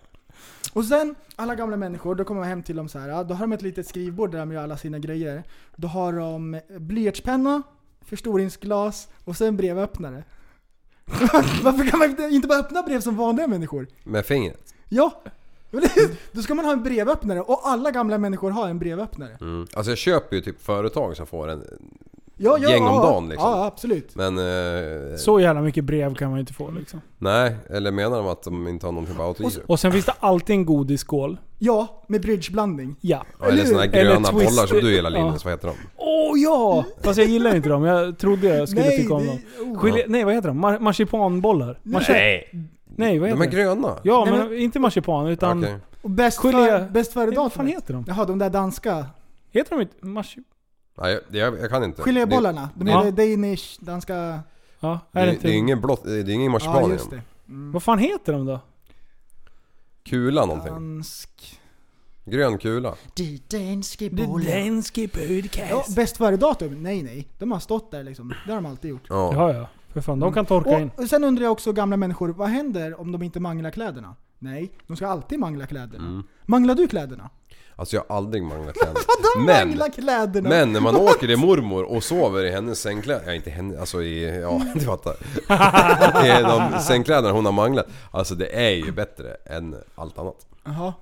Speaker 3: Och sen, alla gamla människor, då kommer man hem till dem så här. Då har de ett litet skrivbord där de gör alla sina grejer. Då har de blyertspenna, förstoringsglas och sen brevöppnare. <laughs> Varför kan man inte- inte bara öppna brev som vanliga människor?
Speaker 4: Med fingret.
Speaker 3: Ja! Men det- Då ska man ha en brevöppnare och alla gamla människor har en brevöppnare.
Speaker 4: Mm. Alltså jag köper ju typ företag som får en.
Speaker 3: Ja,
Speaker 4: Gäng om dagen, liksom.
Speaker 3: Ja, absolut.
Speaker 4: Men... Eh,
Speaker 2: Så jävla mycket brev kan man inte få liksom.
Speaker 4: Nej, eller menar de att de inte har någonting på autogiro?
Speaker 2: Och sen finns det alltid en godisskål.
Speaker 3: Ja, med bridgeblandning.
Speaker 2: Ja.
Speaker 4: Ja, eller såna här
Speaker 2: Eller
Speaker 4: gröna
Speaker 2: twist-
Speaker 4: bollar som du gillar
Speaker 2: Ja.
Speaker 4: Linus, vad heter de?
Speaker 2: Åh ja! Fast jag gillar inte dem. Jag trodde jag skulle
Speaker 3: Nej,
Speaker 2: tycka om
Speaker 3: det-
Speaker 2: dem.
Speaker 3: oh.
Speaker 2: Gelé, nej vad heter de? Mar- marsipanbollar? Marsi-
Speaker 4: Nej!
Speaker 2: nej vad
Speaker 4: De
Speaker 2: heter
Speaker 4: är
Speaker 2: det?
Speaker 4: gröna?
Speaker 2: Ja
Speaker 3: Nej,
Speaker 2: men, inte marsipan utan...
Speaker 4: Okej.
Speaker 3: Och oh, bäst,
Speaker 2: Gelé-
Speaker 3: för, bäst före datum.
Speaker 2: Vad fan heter de?
Speaker 3: Jaha, de där danska
Speaker 2: Heter de inte marsi...
Speaker 4: Nej, jag, jag kan inte.
Speaker 3: gelébollarna. De
Speaker 2: Ja.
Speaker 3: är Danish, danska...
Speaker 2: Ja,
Speaker 4: Det,
Speaker 2: är det
Speaker 4: det, det är
Speaker 2: inte...
Speaker 4: ingen blått, det är ingen marsipan
Speaker 3: Ja,
Speaker 4: i
Speaker 3: just
Speaker 4: dem.
Speaker 3: det. Mm.
Speaker 2: Vad fan heter de då?
Speaker 4: Kula någonting.
Speaker 3: Dansk...
Speaker 4: Grön kula.
Speaker 3: De danske
Speaker 2: Danske
Speaker 3: Ja,
Speaker 2: podcast.
Speaker 3: bäst före datum? Nej, nej. De har stått där liksom. Det har de alltid gjort.
Speaker 4: Ja.
Speaker 2: Ja ja. För fan, de kan torka in.
Speaker 3: Och, och sen undrar jag också gamla människor, vad händer om de inte manglar kläderna? Nej, de ska alltid mangla kläderna.
Speaker 4: Mm.
Speaker 3: Manglar du kläderna?
Speaker 4: Alltså jag har aldrig manglat
Speaker 2: <laughs>
Speaker 4: kläder.
Speaker 3: <laughs> Vadå
Speaker 4: Men,
Speaker 3: mangla kläderna?
Speaker 4: men när man åker till mormor och sover i hennes sängkläder. Ja inte henne, alltså i, ja <laughs>
Speaker 2: <laughs>
Speaker 4: du fattar. I de sängkläderna hon har manglat. Alltså det är ju bättre än allt annat.
Speaker 3: Jaha.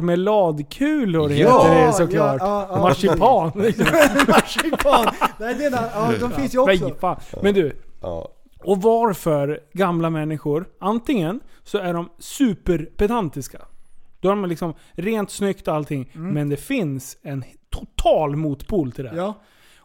Speaker 2: Marmeladkulor
Speaker 4: Ja,
Speaker 2: heter det såklart.
Speaker 3: ja, ja, ja.
Speaker 2: Marsipan. liksom.
Speaker 3: <laughs> Marsipan! Nej, det är där. Ja, de finns ju
Speaker 2: Nej,
Speaker 3: också.
Speaker 2: fan. Men du,
Speaker 4: Ja.
Speaker 2: och varför gamla människor, antingen så är de superpedantiska. Då har de liksom rent snyggt och allting. Men det finns en total motpol till det. här.
Speaker 3: Mm. Ja,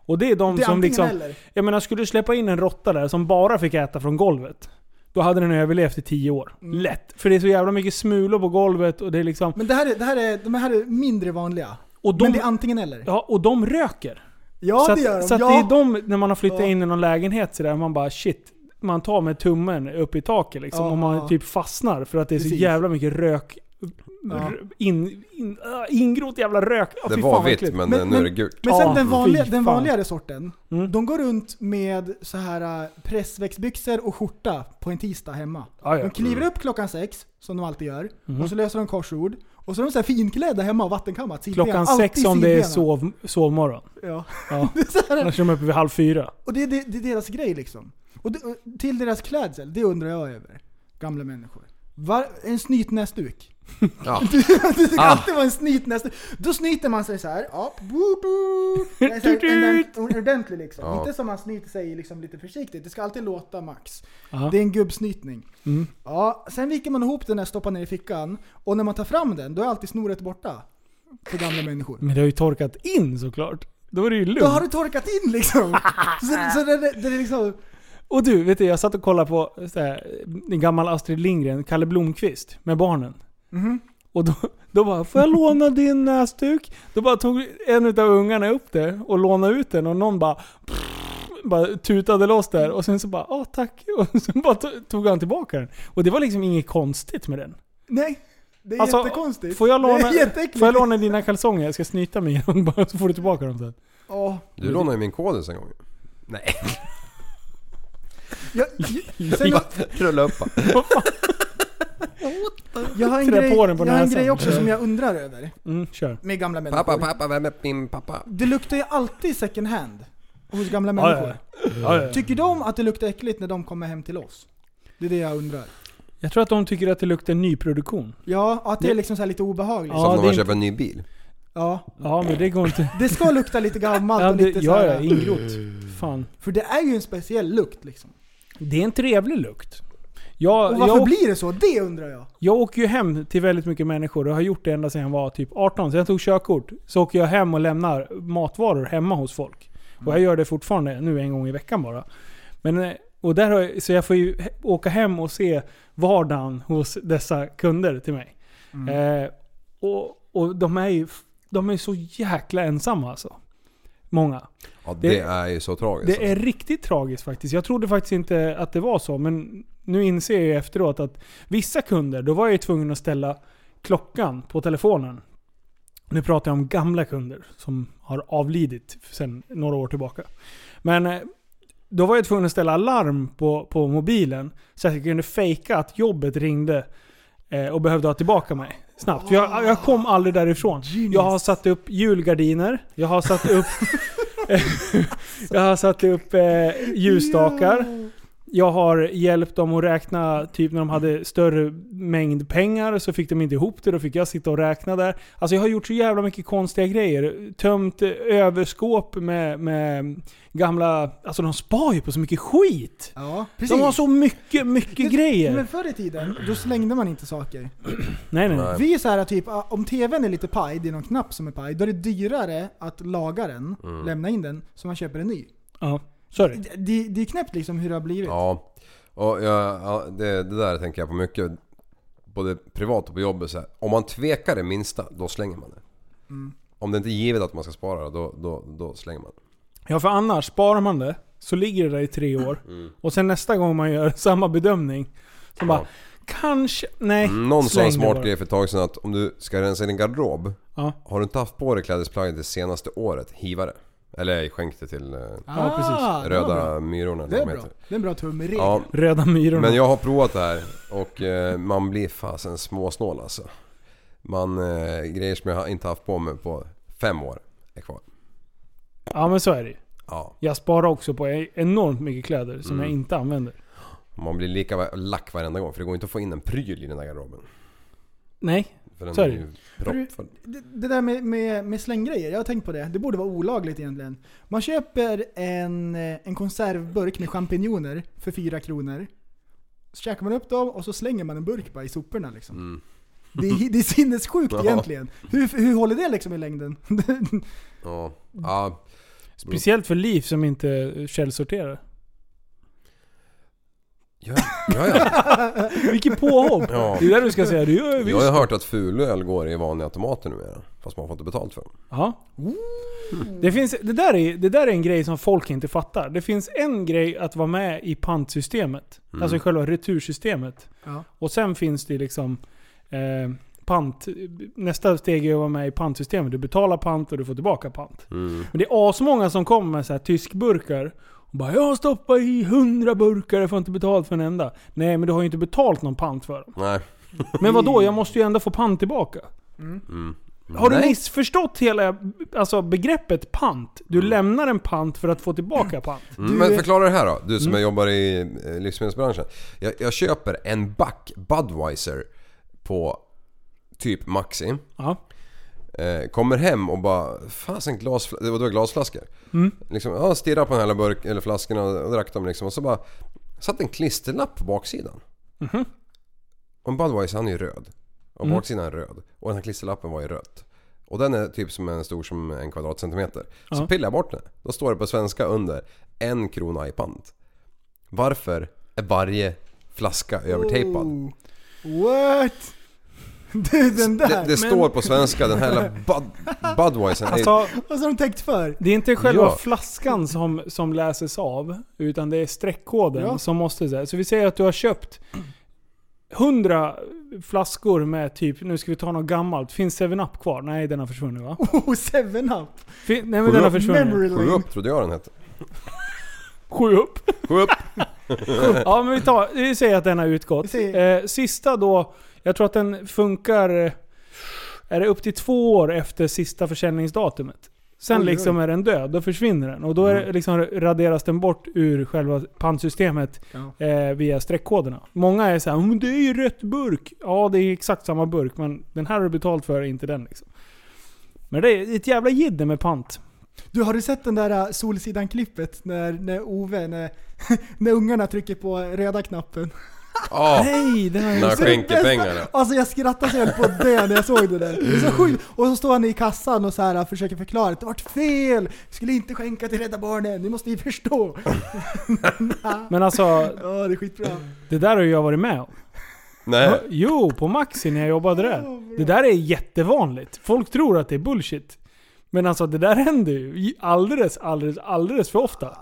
Speaker 2: Och det är de
Speaker 3: det är
Speaker 2: som
Speaker 3: antingen
Speaker 2: liksom...
Speaker 3: eller.
Speaker 2: Jag menar, skulle du släppa in en råtta där som bara fick äta från golvet. Då hade den överlevt i tio år.
Speaker 3: Mm.
Speaker 2: Lätt. För det är så jävla mycket smulor på golvet och det är liksom...
Speaker 3: Men det här är, det här är, de här är mindre vanliga.
Speaker 2: Och de,
Speaker 3: Men det är antingen eller.
Speaker 2: ja, och de röker.
Speaker 3: Ja,
Speaker 2: så att,
Speaker 3: det gör de.
Speaker 2: Så att
Speaker 3: ja.
Speaker 2: det är de, när man har flyttat
Speaker 3: Ja.
Speaker 2: in i någon lägenhet sådär, man bara shit. Man tar med tummen upp i taket liksom.
Speaker 3: Ja,
Speaker 2: och man
Speaker 3: ja.
Speaker 2: typ fastnar för att det är så
Speaker 3: Precis.
Speaker 2: jävla mycket rök.
Speaker 3: Ja.
Speaker 2: r- In, in, äh, ingrott jävla rök. Ja,
Speaker 4: Det
Speaker 2: fy
Speaker 4: var
Speaker 2: fan vad
Speaker 4: vitt
Speaker 2: äckligt.
Speaker 4: men,
Speaker 3: Men-
Speaker 4: nu är det
Speaker 3: men-
Speaker 4: gult.
Speaker 3: Men sen
Speaker 2: Ja,
Speaker 3: den, vanliga,
Speaker 2: fy
Speaker 3: den
Speaker 2: fan.
Speaker 3: vanligare sorten.
Speaker 2: Mm.
Speaker 3: De går runt med så här äh, pressväxtbyxor och skjorta på en tisdag hemma.
Speaker 2: Ah, Ja, ja.
Speaker 3: De
Speaker 4: Mm.
Speaker 3: kliver upp klockan sex, som de alltid gör.
Speaker 2: Mhm.
Speaker 3: Och så löser de korsord. Och så är de så här finklädda hemma och vattenkammat. sidbena.
Speaker 2: Klockan
Speaker 3: Alltid
Speaker 2: sex om det är
Speaker 3: sidbena.
Speaker 2: sov, sovmorgon.
Speaker 3: Ja. <laughs>
Speaker 2: Ja.
Speaker 3: Det är så här,
Speaker 2: Annars är de uppe vid halv fyra.
Speaker 3: och det är, det, det är deras grej liksom. Och, det, och till deras klädsel, det undrar jag över. Gamla människor. Var, en snytnäsduk.
Speaker 4: Ja.
Speaker 3: <laughs> Det ska
Speaker 4: Ah.
Speaker 3: alltid vara en snytnäsduk. Då snyter man sig så här. Ja, bo,
Speaker 4: <laughs>
Speaker 3: bo. Det är så här ordent- ordentlig liksom.
Speaker 4: Ja.
Speaker 3: Inte som man snyter sig liksom lite försiktigt. Det ska alltid låta max.
Speaker 2: Ja.
Speaker 3: Det är en gubbsnytning.
Speaker 2: Mm.
Speaker 3: Ja, sen viker man ihop den där, stoppar ner i fickan. Och när man tar fram den, då är alltid snoret borta. För gamla människor.
Speaker 4: Mm.
Speaker 2: Men det har ju torkat in såklart. Då är det ju lugnt.
Speaker 3: Då har det torkat in
Speaker 4: <laughs>
Speaker 3: liksom. Så, så det, det, det är liksom...
Speaker 2: Och du, vet du, jag satt och kollade på eh, så här, en gammal Astrid Lindgren, Kalle Blomqvist, med barnen. Och då, då bara, får jag låna din näsduk? Då bara tog en av ungarna upp det och lånade ut den och någon bara, bara tutade loss där och sen så bara, ja tack. <laughs> Och sen bara to- tog han tillbaka den. Och det var liksom inget konstigt med den.
Speaker 3: Nej, det är
Speaker 2: Alltså,
Speaker 3: jättekonstigt.
Speaker 2: Får jag låna,
Speaker 3: det är jätteäckligt.
Speaker 2: får jag låna dina kalsonger? Jag ska snyta mig igen <laughs> bara så får du tillbaka dem sen. <laughs>
Speaker 3: Ja.
Speaker 4: Du lånade ju min kodis en gång. Nej.
Speaker 3: Jag, jag, sen, jag,
Speaker 4: Rulla upp bara.
Speaker 3: jag har en
Speaker 2: Trä
Speaker 3: grej,
Speaker 2: på den på
Speaker 3: jag har en
Speaker 2: näsan.
Speaker 3: grej också som jag undrar över
Speaker 2: Mm, kör.
Speaker 3: med gamla människor.
Speaker 4: Pappa, pappa, vem är min pappa?
Speaker 3: Det luktar ju alltid second hand hos gamla
Speaker 2: Ja, ja,
Speaker 3: människor.
Speaker 2: Ja, ja, ja.
Speaker 3: Tycker de att det luktar äckligt när de kommer hem till oss? Det är det jag undrar.
Speaker 2: Jag tror att de tycker att det luktar nyproduktion.
Speaker 3: Ja, och att det är liksom så här lite obehagligt.
Speaker 2: Ja,
Speaker 4: Som
Speaker 2: det är
Speaker 4: när man
Speaker 2: inte-
Speaker 4: köper en ny bil.
Speaker 3: Ja.
Speaker 2: Ja, men det går inte.
Speaker 3: Det ska lukta lite gammalt
Speaker 2: Ja,
Speaker 3: och
Speaker 2: det,
Speaker 3: lite
Speaker 2: ja, ja,
Speaker 3: såhär.
Speaker 2: ingrott. Fan.
Speaker 3: För det är ju en speciell lukt liksom.
Speaker 2: Det är en trevlig lukt. Jag,
Speaker 3: Och
Speaker 2: jag,
Speaker 3: varför
Speaker 2: åk-
Speaker 3: blir det så? Det undrar jag.
Speaker 2: jag åker ju hem till väldigt mycket människor och har gjort det ända sedan jag var typ 18. Sen jag tog körkort så åker jag hem och lämnar matvaror hemma hos folk. Och jag gör det fortfarande nu en gång i veckan bara. Men eh, Och där har jag, så jag får ju he- åka hem och se vardagen hos dessa kunder till mig.
Speaker 3: Mm.
Speaker 2: Eh, och, och de är ju f- de är så jäkla ensamma alltså. Många.
Speaker 4: Ja,
Speaker 2: Det-
Speaker 4: det, är ju så tragiskt.
Speaker 2: Det är riktigt tragiskt faktiskt. Jag trodde faktiskt inte att det var så, men nu inser jag ju efteråt att vissa kunder, då var jag ju tvungen att ställa klockan på telefonen. Nu pratar jag om gamla kunder som har avlidit sedan några år tillbaka. Men eh, då var jag tvungen att ställa alarm på, på mobilen så att jag kunde fejka att jobbet ringde eh, och behövde ha tillbaka mig snabbt. För Jag, jag kom aldrig därifrån. Jag har satt upp julgardiner, jag har satt upp jag har satt upp eh, ljusstakar. Jag har hjälpt dem att räkna, typ när de hade större mängd pengar så fick de inte ihop det, då fick jag sitta och räkna där. Alltså jag har gjort så jävla mycket konstiga grejer. Tömt eh, överskåp med, med gamla... Alltså de spar ju på så mycket skit!
Speaker 3: Ja, precis.
Speaker 2: De har så mycket, mycket grejer!
Speaker 3: Men förr i tiden, då slängde man inte saker.
Speaker 2: nej, nej, nej.
Speaker 4: Nej.
Speaker 3: Vi är så här typ, ah, om tvn är lite paj, det är någon knapp som är paj, då är det dyrare att laga den,
Speaker 4: Mm.
Speaker 3: lämna in den, så man köper en ny.
Speaker 2: Ja, sorry.
Speaker 3: Det, det, det är knäppt liksom hur det har blivit.
Speaker 4: Ja, och jag, ja, det, det där tänker jag på mycket. Både privat och på jobbet. Så här. Om man tvekar det minsta, då slänger man det.
Speaker 3: Mm.
Speaker 4: Om det inte är givet att man ska spara, då, då, då slänger man det.
Speaker 2: Ja, för annars, sparar man det så ligger det där i tre år. Och sen nästa gång man gör samma bedömning, så bara
Speaker 4: Mm. Ja.
Speaker 2: Kanske... Nej.
Speaker 4: Någon
Speaker 2: släng
Speaker 4: sån
Speaker 2: det
Speaker 4: smart
Speaker 2: bara.
Speaker 4: grej för ett tag sedan att om du ska rensa din garderob.
Speaker 2: Ja.
Speaker 4: Har du inte haft på dig klädesplagget det senaste året, hiva det. Eller skänk det till eh,
Speaker 3: Ja, precis.
Speaker 4: Röda myrorna.
Speaker 3: Ah, Det
Speaker 4: eller
Speaker 3: är
Speaker 4: vad de
Speaker 3: bra.
Speaker 4: heter.
Speaker 3: Det är en bra tumregel.
Speaker 4: Ja,
Speaker 2: Röda myrorna.
Speaker 4: men jag har provat det här och eh, man blir fasen småsnål alltså. Man, eh, grejer som jag har inte haft på mig på fem år är kvar.
Speaker 2: Ja men så är det ju.
Speaker 4: Ja,
Speaker 2: Jag sparar också på enormt mycket kläder som
Speaker 4: Mm.
Speaker 2: jag inte använder.
Speaker 4: man blir lika va- lack varenda gång för det går inte att få in en pryl i den där garderoben.
Speaker 2: Nej.
Speaker 4: För den
Speaker 2: Så är
Speaker 4: är
Speaker 2: det.
Speaker 4: ju proppfull.
Speaker 3: Det, det där med, med, med slänggrejer, jag har tänkt på det. Det borde vara olagligt egentligen. Man köper en, eh, en konservburk med champinjoner för fyra kronor. Så käkar man upp dem och så slänger man en burk bara i soporna liksom.
Speaker 4: Mm.
Speaker 3: Det, är- det är sinnessjukt
Speaker 4: <laughs> Ja.
Speaker 3: egentligen. Hur, hur håller det liksom i
Speaker 4: <laughs>
Speaker 3: längden? <laughs>
Speaker 4: Ja. ja,
Speaker 2: Speciellt för liv som inte eh, källsorterar.
Speaker 4: ja, ja.
Speaker 2: <laughs>
Speaker 4: ja. <laughs>
Speaker 2: Vilket påhopp!
Speaker 4: ja.
Speaker 2: Det är där du ska säga. Du gör ju
Speaker 4: Jag har
Speaker 2: visst.
Speaker 4: ju hört att fulöl går i vanliga automater numera. Fast man får inte betalt för dem.
Speaker 2: Ja. Det, finns, det, där är, det där är en grej som folk inte fattar. Det finns en grej att vara med i pantsystemet.
Speaker 4: Mm.
Speaker 2: Alltså i själva retursystemet.
Speaker 3: Ja.
Speaker 2: Och sen finns det liksom eh, pant. Nästa steg är att vara med i pantsystemet. Du betalar pant och du får tillbaka pant.
Speaker 4: Mm.
Speaker 2: Men det är asmånga som kommer med så här tyskburkar. Och bara, jag har stoppat i hundra burkar, jag får inte betalt för en enda. Nej, men du har ju inte betalt någon pant för dem.
Speaker 4: Nej.
Speaker 2: Men vad då? jag måste ju ändå få pant tillbaka. Har du
Speaker 4: Mm. Nej.
Speaker 2: missförstått hela alltså, begreppet pant? Du lämnar en pant för att få tillbaka pant.
Speaker 4: Mm, men förklara det här då, du som jobbar i eh, livsmedelsbranschen. Jag, jag köper en back Budweiser på typ Maxi.
Speaker 2: Ja.
Speaker 4: Eh, kommer hem och bara, fasen glas, det var då glasflaskor. Liksom, ja, stirrar på den här lilla burk, eller flaskorna och drack dem liksom. Och så bara, satt en klisterlapp på baksidan. Och en Budweiser han är ju röd. Och baksidan är röd. Och den här klisterlappen var i rött. Och den är typ som en stor som en kvadratcentimeter. Så
Speaker 2: Ja.
Speaker 4: pillar jag bort den. Då står det på svenska under, en krona i pant. Varför är varje flaska övertejpad?
Speaker 3: Oh. What? <laughs> Du den där!
Speaker 4: Det, det står på svenska, den här lilla Bud, Budweisern. är-
Speaker 2: Alltså,
Speaker 3: Vad har de tänkt för? <laughs>
Speaker 2: det är inte själva
Speaker 4: Ja.
Speaker 2: flaskan som, som läses av, utan det är streckkoden
Speaker 3: Ja.
Speaker 2: som måste... Så, här. så vi säger att du har köpt 100 flaskor med typ, nu ska vi ta något gammalt. Finns 7-Up kvar? Nej, den har försvunnit va?
Speaker 3: Oh, 7-Up!
Speaker 2: Fin- Nej men den har
Speaker 4: Sju upp.
Speaker 2: försvunnit.
Speaker 3: Memory
Speaker 4: Sju
Speaker 3: lane!
Speaker 4: upp trodde jag den hette.
Speaker 2: 7 upp.
Speaker 4: Sju upp!
Speaker 2: <laughs> Ja men vi, tar, vi säger att den har
Speaker 3: Vi
Speaker 2: utgått.
Speaker 3: säger-
Speaker 2: Eh, sista då, jag tror att den funkar... eh, Är det upp till två år efter sista försäljningsdatumet? Sen
Speaker 3: Oj, oj.
Speaker 2: liksom är den död, då försvinner den. Och då är det,
Speaker 4: Mm.
Speaker 2: liksom raderas den bort ur själva pantsystemet
Speaker 3: Ja.
Speaker 2: eh, via streckkoderna. Många är såhär men det är ju rätt burk”. Ja, det är exakt samma burk, men den här har du betalt för, inte den liksom. Men det är ett jävla jidder med pant.
Speaker 3: Du har du sett den där äh, <laughs> Solsidan-klippet när, när Ove, när, när ungarna trycker på röda knappen?
Speaker 4: Ja,
Speaker 2: Nej, det
Speaker 3: <laughs>
Speaker 4: när
Speaker 2: var...
Speaker 4: jag skänker pengarna. Mm.
Speaker 3: Alltså jag skrattade så jag höll på att dö när jag såg det där. Det är så sjukt. Och så står han i kassan och så här äh, försöker förklara att det vart fel. Skulle inte skänka till Rädda Barnen, ni måste ju förstå.
Speaker 2: Men alltså,
Speaker 3: Ja, det är skitbra.
Speaker 4: Mm.
Speaker 2: det där har ju jag varit med om.
Speaker 4: Nej.
Speaker 2: Äh, Jo, på Maxi när jag jobbade där. Det där är jättevanligt. Folk tror att det är bullshit. Men alltså det där händer ju alldeles, alldeles, alldeles för ofta.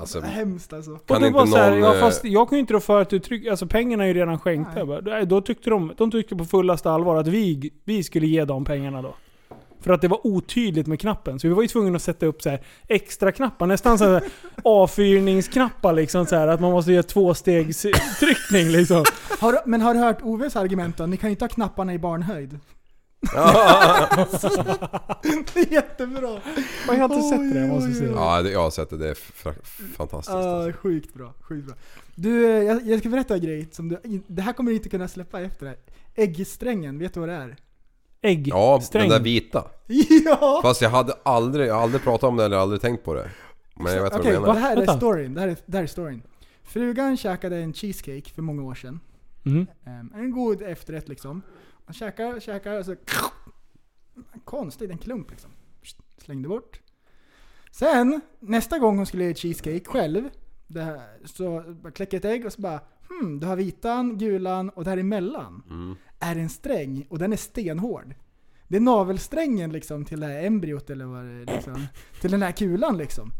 Speaker 4: Alltså,
Speaker 3: Hemskt alltså.
Speaker 4: Kan
Speaker 2: och då
Speaker 4: inte
Speaker 2: bara så här,
Speaker 4: någon,
Speaker 2: ja,
Speaker 4: eh,
Speaker 2: fast
Speaker 4: <laughs>
Speaker 2: jag kan ju inte rå för att du trycker, alltså pengarna är ju redan skänkta. Jag bara, Nej. Då tyckte de, de tyckte på fullaste allvar att vi, vi skulle ge dem pengarna då. För att det var otydligt med knappen. Så vi var ju tvungna att sätta upp så här extra knappar. Nästan så här avfyrningsknappar liksom. Så här, att man måste göra tvåstegstryckning liksom.
Speaker 3: Har, du- men har du hört Oves argument då? Ni kan ju inte ha knapparna i barnhöjd. <laughs> det är jättebra.
Speaker 2: Jag har inte sett det, jag måste
Speaker 3: Oj, oj,
Speaker 2: säga.
Speaker 3: oj.
Speaker 4: Ja, det- jag har sett det. Det är fra- fantastiskt.
Speaker 3: Ah,
Speaker 4: alltså.
Speaker 3: sjukt bra, sjukt bra. Du, eh, jag, jag ska berätta en grej som du, det här kommer du inte kunna släppa efter det här. Äggsträngen, vet du vad det är? <laughs>
Speaker 2: Ägg.
Speaker 4: Ja,
Speaker 2: sträng.
Speaker 4: den där vita.
Speaker 3: Ja!
Speaker 4: Fast jag hade aldrig, jag har aldrig pratat om det eller aldrig tänkt på det. Men jag vet vad
Speaker 3: Okej,
Speaker 4: du menar.
Speaker 3: det här är
Speaker 2: Vänta.
Speaker 3: storyn. Det här är, det här är storyn. Frugan käkade en cheesecake för många år sedan.
Speaker 2: Mm.
Speaker 3: Ehm, En god efterrätt liksom. Han käkar, käkar och så... Konstigt, en klump liksom. Slängde bort. Sen, nästa gång hon skulle göra cheesecake själv. Det här, så bara kläcker ett ägg och så bara hmm, du har vitan, gulan och däremellan
Speaker 4: Mm.
Speaker 3: är en sträng och den är stenhård. Det är navelsträngen liksom till det här embryot eller vad det är liksom. Till den här kulan liksom.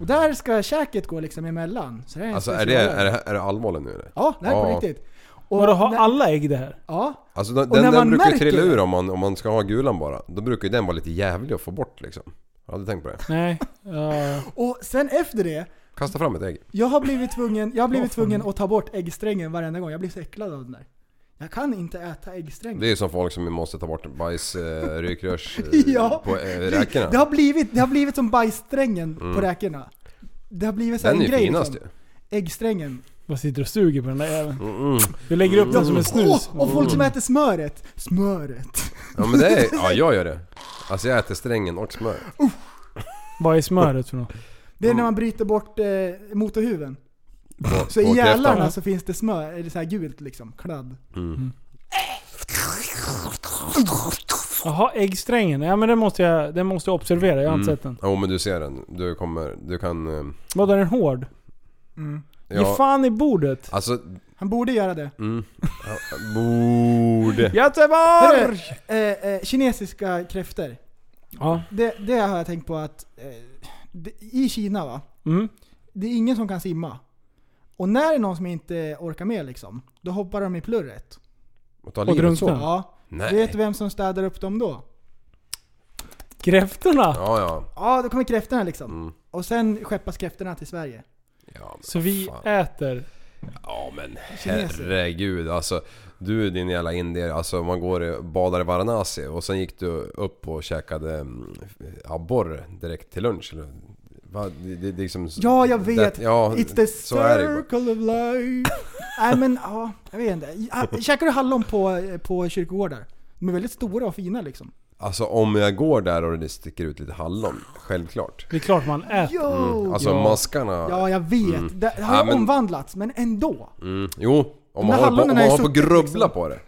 Speaker 3: Och där ska käket gå liksom emellan. Så det är en
Speaker 4: Mm. Alltså är det,
Speaker 3: specialare.
Speaker 4: är det, är det allvarligt nu eller?
Speaker 3: Ja, det här är på
Speaker 4: Ja.
Speaker 3: riktigt. Och
Speaker 2: Vadå, har
Speaker 3: när-
Speaker 2: alla ägg det här?
Speaker 3: Ja,
Speaker 4: Alltså den,
Speaker 3: när
Speaker 4: den,
Speaker 3: man
Speaker 4: den brukar ju
Speaker 3: märker
Speaker 4: trilla
Speaker 3: det-
Speaker 4: ur om man, om man ska ha gulan bara. Då brukar ju den vara lite jävlig att få bort liksom. Har du tänkt på det?
Speaker 2: Nej. Ja.
Speaker 3: och sen efter det,
Speaker 4: Kasta fram ett ägg.
Speaker 3: jag har
Speaker 4: <laughs>
Speaker 3: blivit tvungen, jag har blivit tvungen att ta bort äggsträngen varenda gång. Jag blir så äcklad av den där. Jag kan inte äta äggsträngen. <laughs>
Speaker 4: Det är ju som folk som måste ta bort bajs, eh, rykrörs, eh,
Speaker 3: Ja.
Speaker 4: på eh,
Speaker 3: Det- Det
Speaker 4: räkorna. Mm.
Speaker 3: har blivit, det har blivit som bajssträngen på räkorna. Det har blivit så här
Speaker 4: Den är
Speaker 3: en
Speaker 4: ju
Speaker 3: grej
Speaker 4: finast ju.
Speaker 3: liksom. Äggsträngen.
Speaker 2: Vad sitter du och suger på den där jäveln?
Speaker 4: Mm.
Speaker 2: Du lägger upp den som en snus.
Speaker 3: Åh, och folk som äter smöret. Smöret.
Speaker 4: Ja men det
Speaker 3: <laughs>
Speaker 4: är, ja jag gör det. Alltså jag äter strängen och smör.
Speaker 2: Vad är smöret för något?
Speaker 3: Det är
Speaker 4: Mm.
Speaker 3: när man bryter bort eh, motorhuven.
Speaker 4: På,
Speaker 3: Så i
Speaker 4: på kräftan.
Speaker 3: gälarna så finns det smör, eller så här gult liksom, kladd.
Speaker 4: Mm.
Speaker 2: Jaha, äggsträngen. Ja men den måste jag, den måste jag observera. Jag har inte
Speaker 4: Mm.
Speaker 2: sett den.
Speaker 4: Jo men du ser den. Du kommer, du kan... eh,
Speaker 2: Vadå, är den hård? Ge
Speaker 4: Ja,
Speaker 2: fan i bordet!
Speaker 4: alltså...
Speaker 3: Han borde göra det.
Speaker 4: Mm. Ja, Borde...
Speaker 2: Göteborg!
Speaker 3: Hörru, eh, eh, kinesiska kräftor.
Speaker 2: Ja.
Speaker 3: Det, det har jag tänkt på att eh, det, i Kina va,
Speaker 2: Mm.
Speaker 3: det är ingen som kan simma. Och när det är någon som inte orkar med liksom, då hoppar de i plurret.
Speaker 4: Och ta
Speaker 2: Och
Speaker 4: livet så.
Speaker 2: drunkna.
Speaker 3: Ja.
Speaker 4: Nej.
Speaker 3: Vet du vem som städar upp dem då?
Speaker 2: Kräftorna!
Speaker 4: Ja, ja.
Speaker 3: Ja, då kommer kräftorna liksom.
Speaker 4: Mm.
Speaker 3: Och sen skeppas kräftorna till Sverige.
Speaker 4: Ja, men
Speaker 2: Så vi
Speaker 4: fan.
Speaker 2: äter.
Speaker 4: Ja men
Speaker 3: Kineser.
Speaker 4: herregud alltså. Du din jävla indier, alltså man går och badar i Varanasi och sen gick du upp och käkade mm, abborre direkt till lunch eller? Va? Det, det, det är liksom,
Speaker 3: Ja, jag vet.
Speaker 4: Det, ja,
Speaker 3: It's the
Speaker 4: så är det ju.
Speaker 3: circle of life. Nej men ja, jag vet inte. Ja, Käkar du hallon på, på kyrkogårdar? De är väldigt stora och fina liksom.
Speaker 4: Alltså om jag går där och det sticker ut lite hallon, självklart.
Speaker 2: Det är klart man äter.
Speaker 3: Jo!
Speaker 4: Alltså
Speaker 2: Ja.
Speaker 4: maskarna...
Speaker 3: Ja, jag vet.
Speaker 4: Mm.
Speaker 3: Det har
Speaker 4: Ja,
Speaker 3: ju
Speaker 4: men-
Speaker 3: omvandlats, men ändå.
Speaker 4: Mm, jo, om
Speaker 3: De här
Speaker 4: man håller på, om
Speaker 3: hallonen
Speaker 4: man
Speaker 3: är
Speaker 4: håller på och
Speaker 3: suttit,
Speaker 4: grubbla
Speaker 3: liksom.
Speaker 4: på det.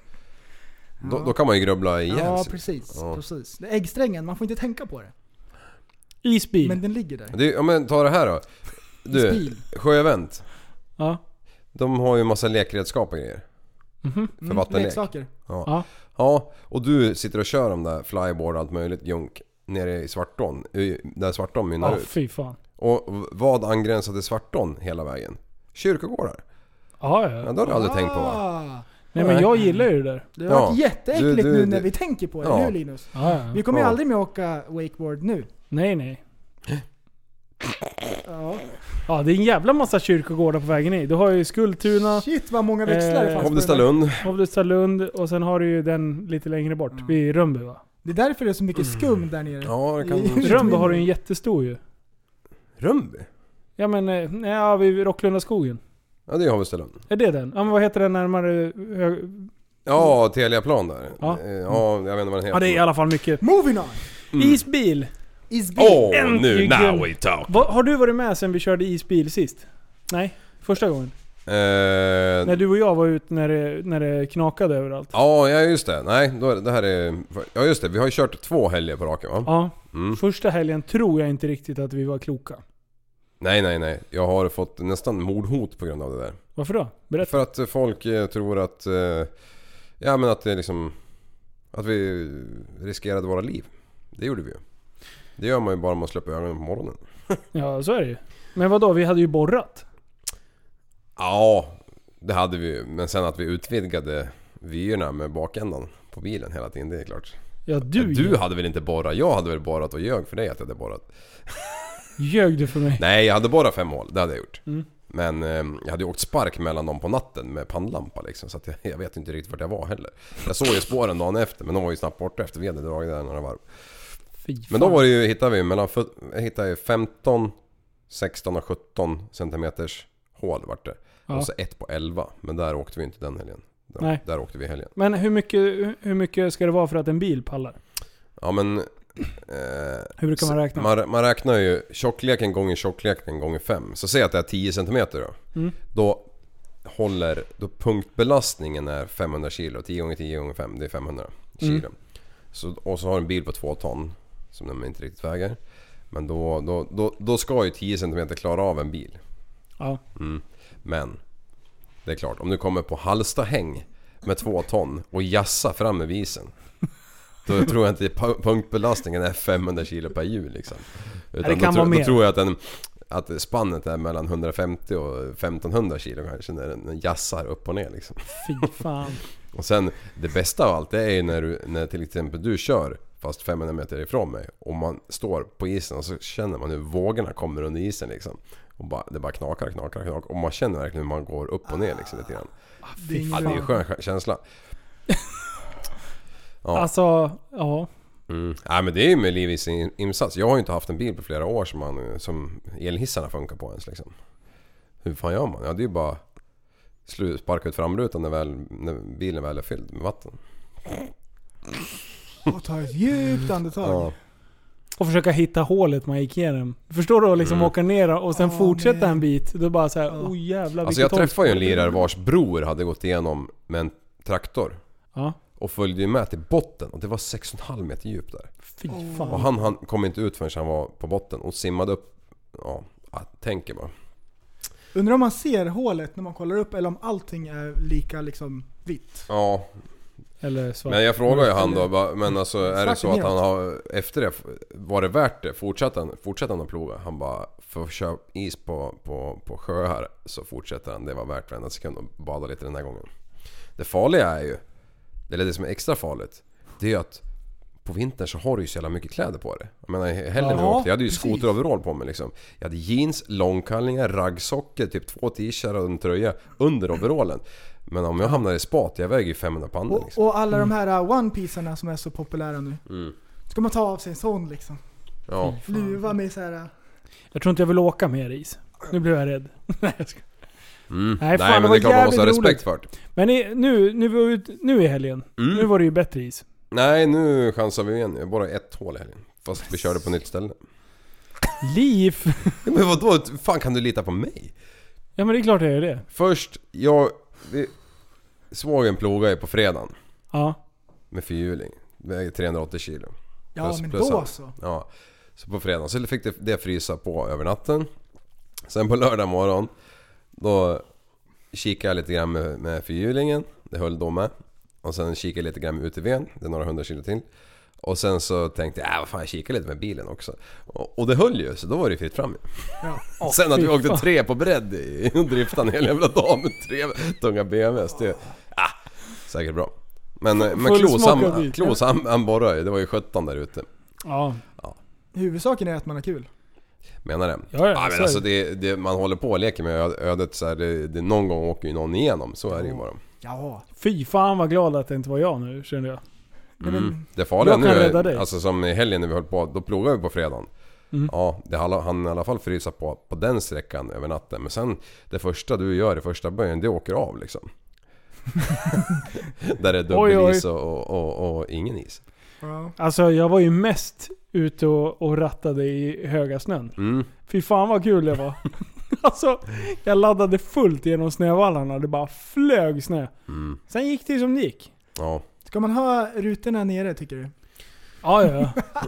Speaker 4: Då, då kan man ju grubbla ihjäl
Speaker 3: Ja,
Speaker 4: sig.
Speaker 3: precis.
Speaker 4: Ja.
Speaker 3: precis. Det är äggsträngen, man får inte tänka på det.
Speaker 4: Mm.
Speaker 2: Isbil.
Speaker 3: Men den ligger där.
Speaker 4: Det, är- ja men ta det här då. Du,
Speaker 3: Stil.
Speaker 4: sjövänt.
Speaker 2: Ja.
Speaker 4: De har ju massa lekredskap och grejer. För vattenlek.
Speaker 3: Mhm. Mm, Leksaker.
Speaker 4: Ja.
Speaker 2: Ja.
Speaker 4: Ja. och du sitter och kör de där flyboard och allt möjligt junk nere i Svartån. i- Där Svartån mynnar
Speaker 2: Ja,
Speaker 4: ut.
Speaker 2: fy fan.
Speaker 4: Och vad angränsar till Svartån hela vägen? Kyrkogårdar.
Speaker 2: Ja,
Speaker 4: Ja,
Speaker 2: ja.
Speaker 4: det har du aldrig tänkt på va?
Speaker 3: Ah,
Speaker 2: Nej men jag gillar ju det där.
Speaker 3: det har varit
Speaker 4: Ja.
Speaker 3: jätteäckligt
Speaker 4: Du- du-
Speaker 3: nu när
Speaker 4: du-
Speaker 3: vi tänker på det.
Speaker 4: Ja.
Speaker 3: Nu Linus.
Speaker 2: Ja,
Speaker 3: Vi
Speaker 2: ja.
Speaker 3: kommer ju
Speaker 4: Ja.
Speaker 3: aldrig mer åka wakeboard nu.
Speaker 2: Nej
Speaker 4: <gasps>
Speaker 2: nej.
Speaker 3: Ja.
Speaker 2: Ja det är en jävla massa kyrkogårdar på vägen i. Du har ju Skultuna,
Speaker 3: Shit vad många växlar
Speaker 2: Eh,
Speaker 3: det fanns på den där.
Speaker 4: Hovdestalund.
Speaker 2: Hovdestalund och sen har du ju den lite längre bort. Vid Rönnby va?
Speaker 3: Det är därför det är så mycket skum där nere.
Speaker 4: Mm. Ja, det kan...
Speaker 3: I-
Speaker 2: Rönnby har du ju en jättestor ju.
Speaker 4: Rönnby?
Speaker 2: Ja men, eh, nej, ja vid Rocklundaskogen.
Speaker 4: Ja, det är Hovdestalund.
Speaker 2: Är det den? Ja men vad heter den närmare... eh, Hög...
Speaker 4: Ja, Teliaplan där.
Speaker 2: Mm. Ja.
Speaker 4: Ja. ja, jag Mm. vet inte vad den heter.
Speaker 2: Ja det är i alla fall mycket.
Speaker 3: Moving on!
Speaker 2: Isbil!
Speaker 3: Isbil!
Speaker 4: Åh,
Speaker 2: Äntligen.
Speaker 4: nu, now we talk!
Speaker 2: Va, har du varit med sen vi körde isbil sist? Nej? Första gången?
Speaker 4: Eh,
Speaker 2: När du och jag var ute när det, när det knakade överallt.
Speaker 4: Ja, ja just det. Nej, då, är det det här är... Ja just det, vi har ju kört två helger på raken va?
Speaker 2: Ja.
Speaker 4: Mm.
Speaker 2: Första helgen tror jag inte riktigt att vi var kloka.
Speaker 4: Nej, nej, nej. Jag har fått nästan mordhot på grund av det där.
Speaker 2: Varför då? Berätta.
Speaker 4: För att eh, folk eh, tror att... eh, Ja men att det är liksom... Att vi riskerade våra liv. Det gjorde vi ju. Det gör man ju bara om man släpper ögonen på morgonen.
Speaker 2: Ja, så är det ju. Men vadå? Vi hade ju borrat.
Speaker 4: Ja, det hade vi ju. Men sen att vi utvidgade vyerna med bakändan på bilen hela tiden, det är klart.
Speaker 2: Ja, du,
Speaker 4: Du hade väl inte borrat? Jag hade väl borrat och ljög för dig att jag hade borrat?
Speaker 2: ljög du för mig.
Speaker 4: Nej, jag hade borrat fem hål. Det hade jag gjort.
Speaker 2: Mm.
Speaker 4: Men eh, jag hade ju åkt spark mellan dem på natten med pannlampa liksom. Så att jag, <laughs> jag vet inte riktigt vart jag var heller. Jag såg ju spåren dagen efter men de var ju snabbt borta efter vi hade dragit där några varv.
Speaker 2: Fy
Speaker 4: Men då var det ju, hittade vi mellan fut- jag hittade ju 15, 16 och 17 centimeters hål vart det.
Speaker 2: Ja.
Speaker 4: Och så ett på 11. Men där åkte vi inte den helgen. Där,
Speaker 2: Nej.
Speaker 4: där åkte vi i helgen.
Speaker 2: Men hur mycket, hur mycket ska det vara för att en bil pallar?
Speaker 4: Ja men... Eh,
Speaker 2: Hur brukar man räkna?
Speaker 4: Man, man räknar ju tjockleken gånger tjockleken gånger 5. Så säg att det är 10 cm då.
Speaker 2: Mm.
Speaker 4: Då håller... Då punktbelastningen är 500 kilo. 10 gånger 10 gånger 5, det är 500 kilo. Så, och så har du en bil på 2 ton som den inte riktigt väger. Men då, då, då, då ska ju 10 cm klara av en bil.
Speaker 2: Ja.
Speaker 4: Men det är klart, om du kommer på Hallstahäng med 2 ton och jassar fram med visen. Då tror jag inte pu- punktbelastningen är 500 kilo per hjul liksom. Utan
Speaker 2: det kan vara
Speaker 4: då, tror,
Speaker 2: mer.
Speaker 4: då tror jag att, den, att spannet är mellan 150 och 1500 kilo kanske när den jassar upp och ner liksom.
Speaker 2: Fy fan.
Speaker 4: Och sen det bästa av allt det är ju när, du, när till exempel du kör fast 500 meter ifrån mig och man står på isen och så känner man hur vågorna kommer under isen liksom. Och bara, det bara knakar, knakar, knakar och man känner verkligen hur man går upp och ner liksom lite grann.
Speaker 3: Ah, Det är ingen
Speaker 4: Ja, det är en
Speaker 3: bra.
Speaker 4: skön skön
Speaker 3: <laughs>
Speaker 4: känsla. <laughs> Ja.
Speaker 2: Alltså, ja.
Speaker 4: Mm. Nej men det är ju med livets in- insats. Jag har ju inte haft en bil på flera år som, man, som elhissarna funkar på ens liksom. Hur fan gör man? Ja det är ju bara slu- sparka ut framrutan när, väl, när bilen väl är fylld med vatten.
Speaker 3: Och ta ett djupt andetag.
Speaker 4: Mm. Ja.
Speaker 2: Och försöka hitta hålet man gick igenom. Förstår du? att
Speaker 4: Mm.
Speaker 2: Liksom åka ner och sen
Speaker 3: Ja,
Speaker 2: fortsätta
Speaker 3: nej.
Speaker 2: en bit. Då bara såhär,
Speaker 3: Ja.
Speaker 2: oh jävlar
Speaker 4: Alltså jag
Speaker 2: vilket håll."
Speaker 4: träffade ju en lirare vars bror hade gått igenom med en traktor.
Speaker 2: Ja.
Speaker 4: Och följde ju med till botten och det var 6,5 meter djupt där.
Speaker 2: Fy
Speaker 4: Och
Speaker 2: fan.
Speaker 4: han, han kom inte ut förrän han var på botten och simmade upp. Ja, jag tänker bara.
Speaker 3: Undrar om man ser hålet när man kollar upp eller om allting är lika liksom vitt.
Speaker 4: Ja,
Speaker 2: Eller svart.
Speaker 4: men jag frågar
Speaker 3: Mm.
Speaker 4: ju han då. bara, Men alltså är det så att han har... Efter det, var det värt det? Fortsatte han, fortsatte han att ploga? Han bara, för att köpa is på, på, på sjöar så fortsätter han. Det var värt varenda sekund att bada lite den här gången. Det farliga är ju, eller det som är extra farligt, det är ju att på vintern så har du ju så jävla mycket kläder på dig. Jag menar hellre när jag
Speaker 3: Ja,
Speaker 4: åkte, jag hade ju
Speaker 3: precis.
Speaker 4: skoteroverall på mig liksom. Jag hade jeans, långkallingar, raggsockor, typ två t-shirtar och en tröja under overallen. Men om jag hamnar i spat, jag väger ju 500 pannor liksom.
Speaker 3: Och, och alla de här uh, one piecearna som är så populära nu.
Speaker 4: Mm.
Speaker 3: Ska man ta av sig en sån liksom.
Speaker 4: Ja.
Speaker 3: Luva med så här. uh,
Speaker 2: Jag tror inte jag vill åka mer is. Nu blev jag rädd. <laughs> Nej, jag ska.
Speaker 4: Mm.
Speaker 2: Nej,
Speaker 4: Nej,
Speaker 2: fan, det
Speaker 4: men
Speaker 2: var
Speaker 4: det är klart man måste ha
Speaker 2: jävligt
Speaker 4: respekt för det.
Speaker 2: Men i, nu, nu, var vi ut, nu i helgen,
Speaker 4: Mm.
Speaker 2: nu var det ju bättre is.
Speaker 4: Nej, nu chansar vi igen. Jag har Bara ett hål i helgen. Fast vi körde på nytt ställe.
Speaker 2: Liv! <laughs>
Speaker 4: Ja, Men vadå? fan kan du lita på mig?
Speaker 2: Ja men det är klart jag gör det.
Speaker 4: Först, jag... Vi, svågen plogade ju på fredagen
Speaker 2: Ja.
Speaker 4: med fyrhjuling. Väger 380 kilo.
Speaker 3: Ja
Speaker 4: Plus-
Speaker 3: men
Speaker 4: plus
Speaker 3: då
Speaker 4: allt.
Speaker 3: så.
Speaker 4: Ja. Så på fredagen så fick det, det frysa på över natten. Sen på lördag morgon då kikade jag lite grann med, med fyrhjulingen. Det höll då med. Och sen kikade jag lite grann med UTVn. Det är några hundra kilo till. Och sen så tänkte jag, äh, vad fan jag kikar lite med bilen också. Och, och det höll ju, så då var det ju fritt fram ju. <laughs>
Speaker 3: Ja.
Speaker 4: Sen att
Speaker 2: fy
Speaker 4: vi åkte
Speaker 2: fan.
Speaker 4: tre på bredd i och driftade en hel jävla dag med tre tunga BMWs. Det, ah, säkert bra. Men, eh, men
Speaker 2: Full
Speaker 4: Klos,
Speaker 2: smockad
Speaker 4: han,
Speaker 2: bil.
Speaker 4: Klos han, han borrade ju. Det var ju 17 där ute.
Speaker 2: Ja.
Speaker 3: Huvudsaken är att man har kul.
Speaker 4: Menar det?
Speaker 2: Ja, ja,
Speaker 4: ah,
Speaker 2: så är
Speaker 4: men alltså
Speaker 2: det.
Speaker 4: det, det, man håller på och leker med ö- ödet så här, det, det, Någon gång åker ju någon igenom, så är det ju bara.
Speaker 3: Ja.
Speaker 2: Fy fan vad glad att det inte var jag nu kände jag.
Speaker 4: Mm.
Speaker 3: Nej, men,
Speaker 4: Det farliga
Speaker 2: Jag
Speaker 4: nu
Speaker 2: kan rädda dig. Mm.
Speaker 4: är, alltså som i helgen när vi höll på, då plogade vi på fredagen. Ja, det hann han i alla fall frysa på, på den sträckan över natten. Men sen det första du gör i första böjen, det åker av
Speaker 2: <laughs>
Speaker 4: liksom. Där det är
Speaker 2: Oj, oj.
Speaker 4: dubbelis och, och, och, och ingen is.
Speaker 3: ja.
Speaker 2: Alltså jag var ju mest ute och, och rattade i höga snön.
Speaker 4: Mm. <laughs>
Speaker 2: Fy fan vad kul det var. Alltså, jag laddade fullt genom snövallarna. Det bara flög snö.
Speaker 4: Mm.
Speaker 2: Sen gick det som det gick.
Speaker 4: Ja.
Speaker 3: Ska man ha rutorna nere tycker
Speaker 4: <clears throat>
Speaker 3: du?
Speaker 2: Ja, ja, ja.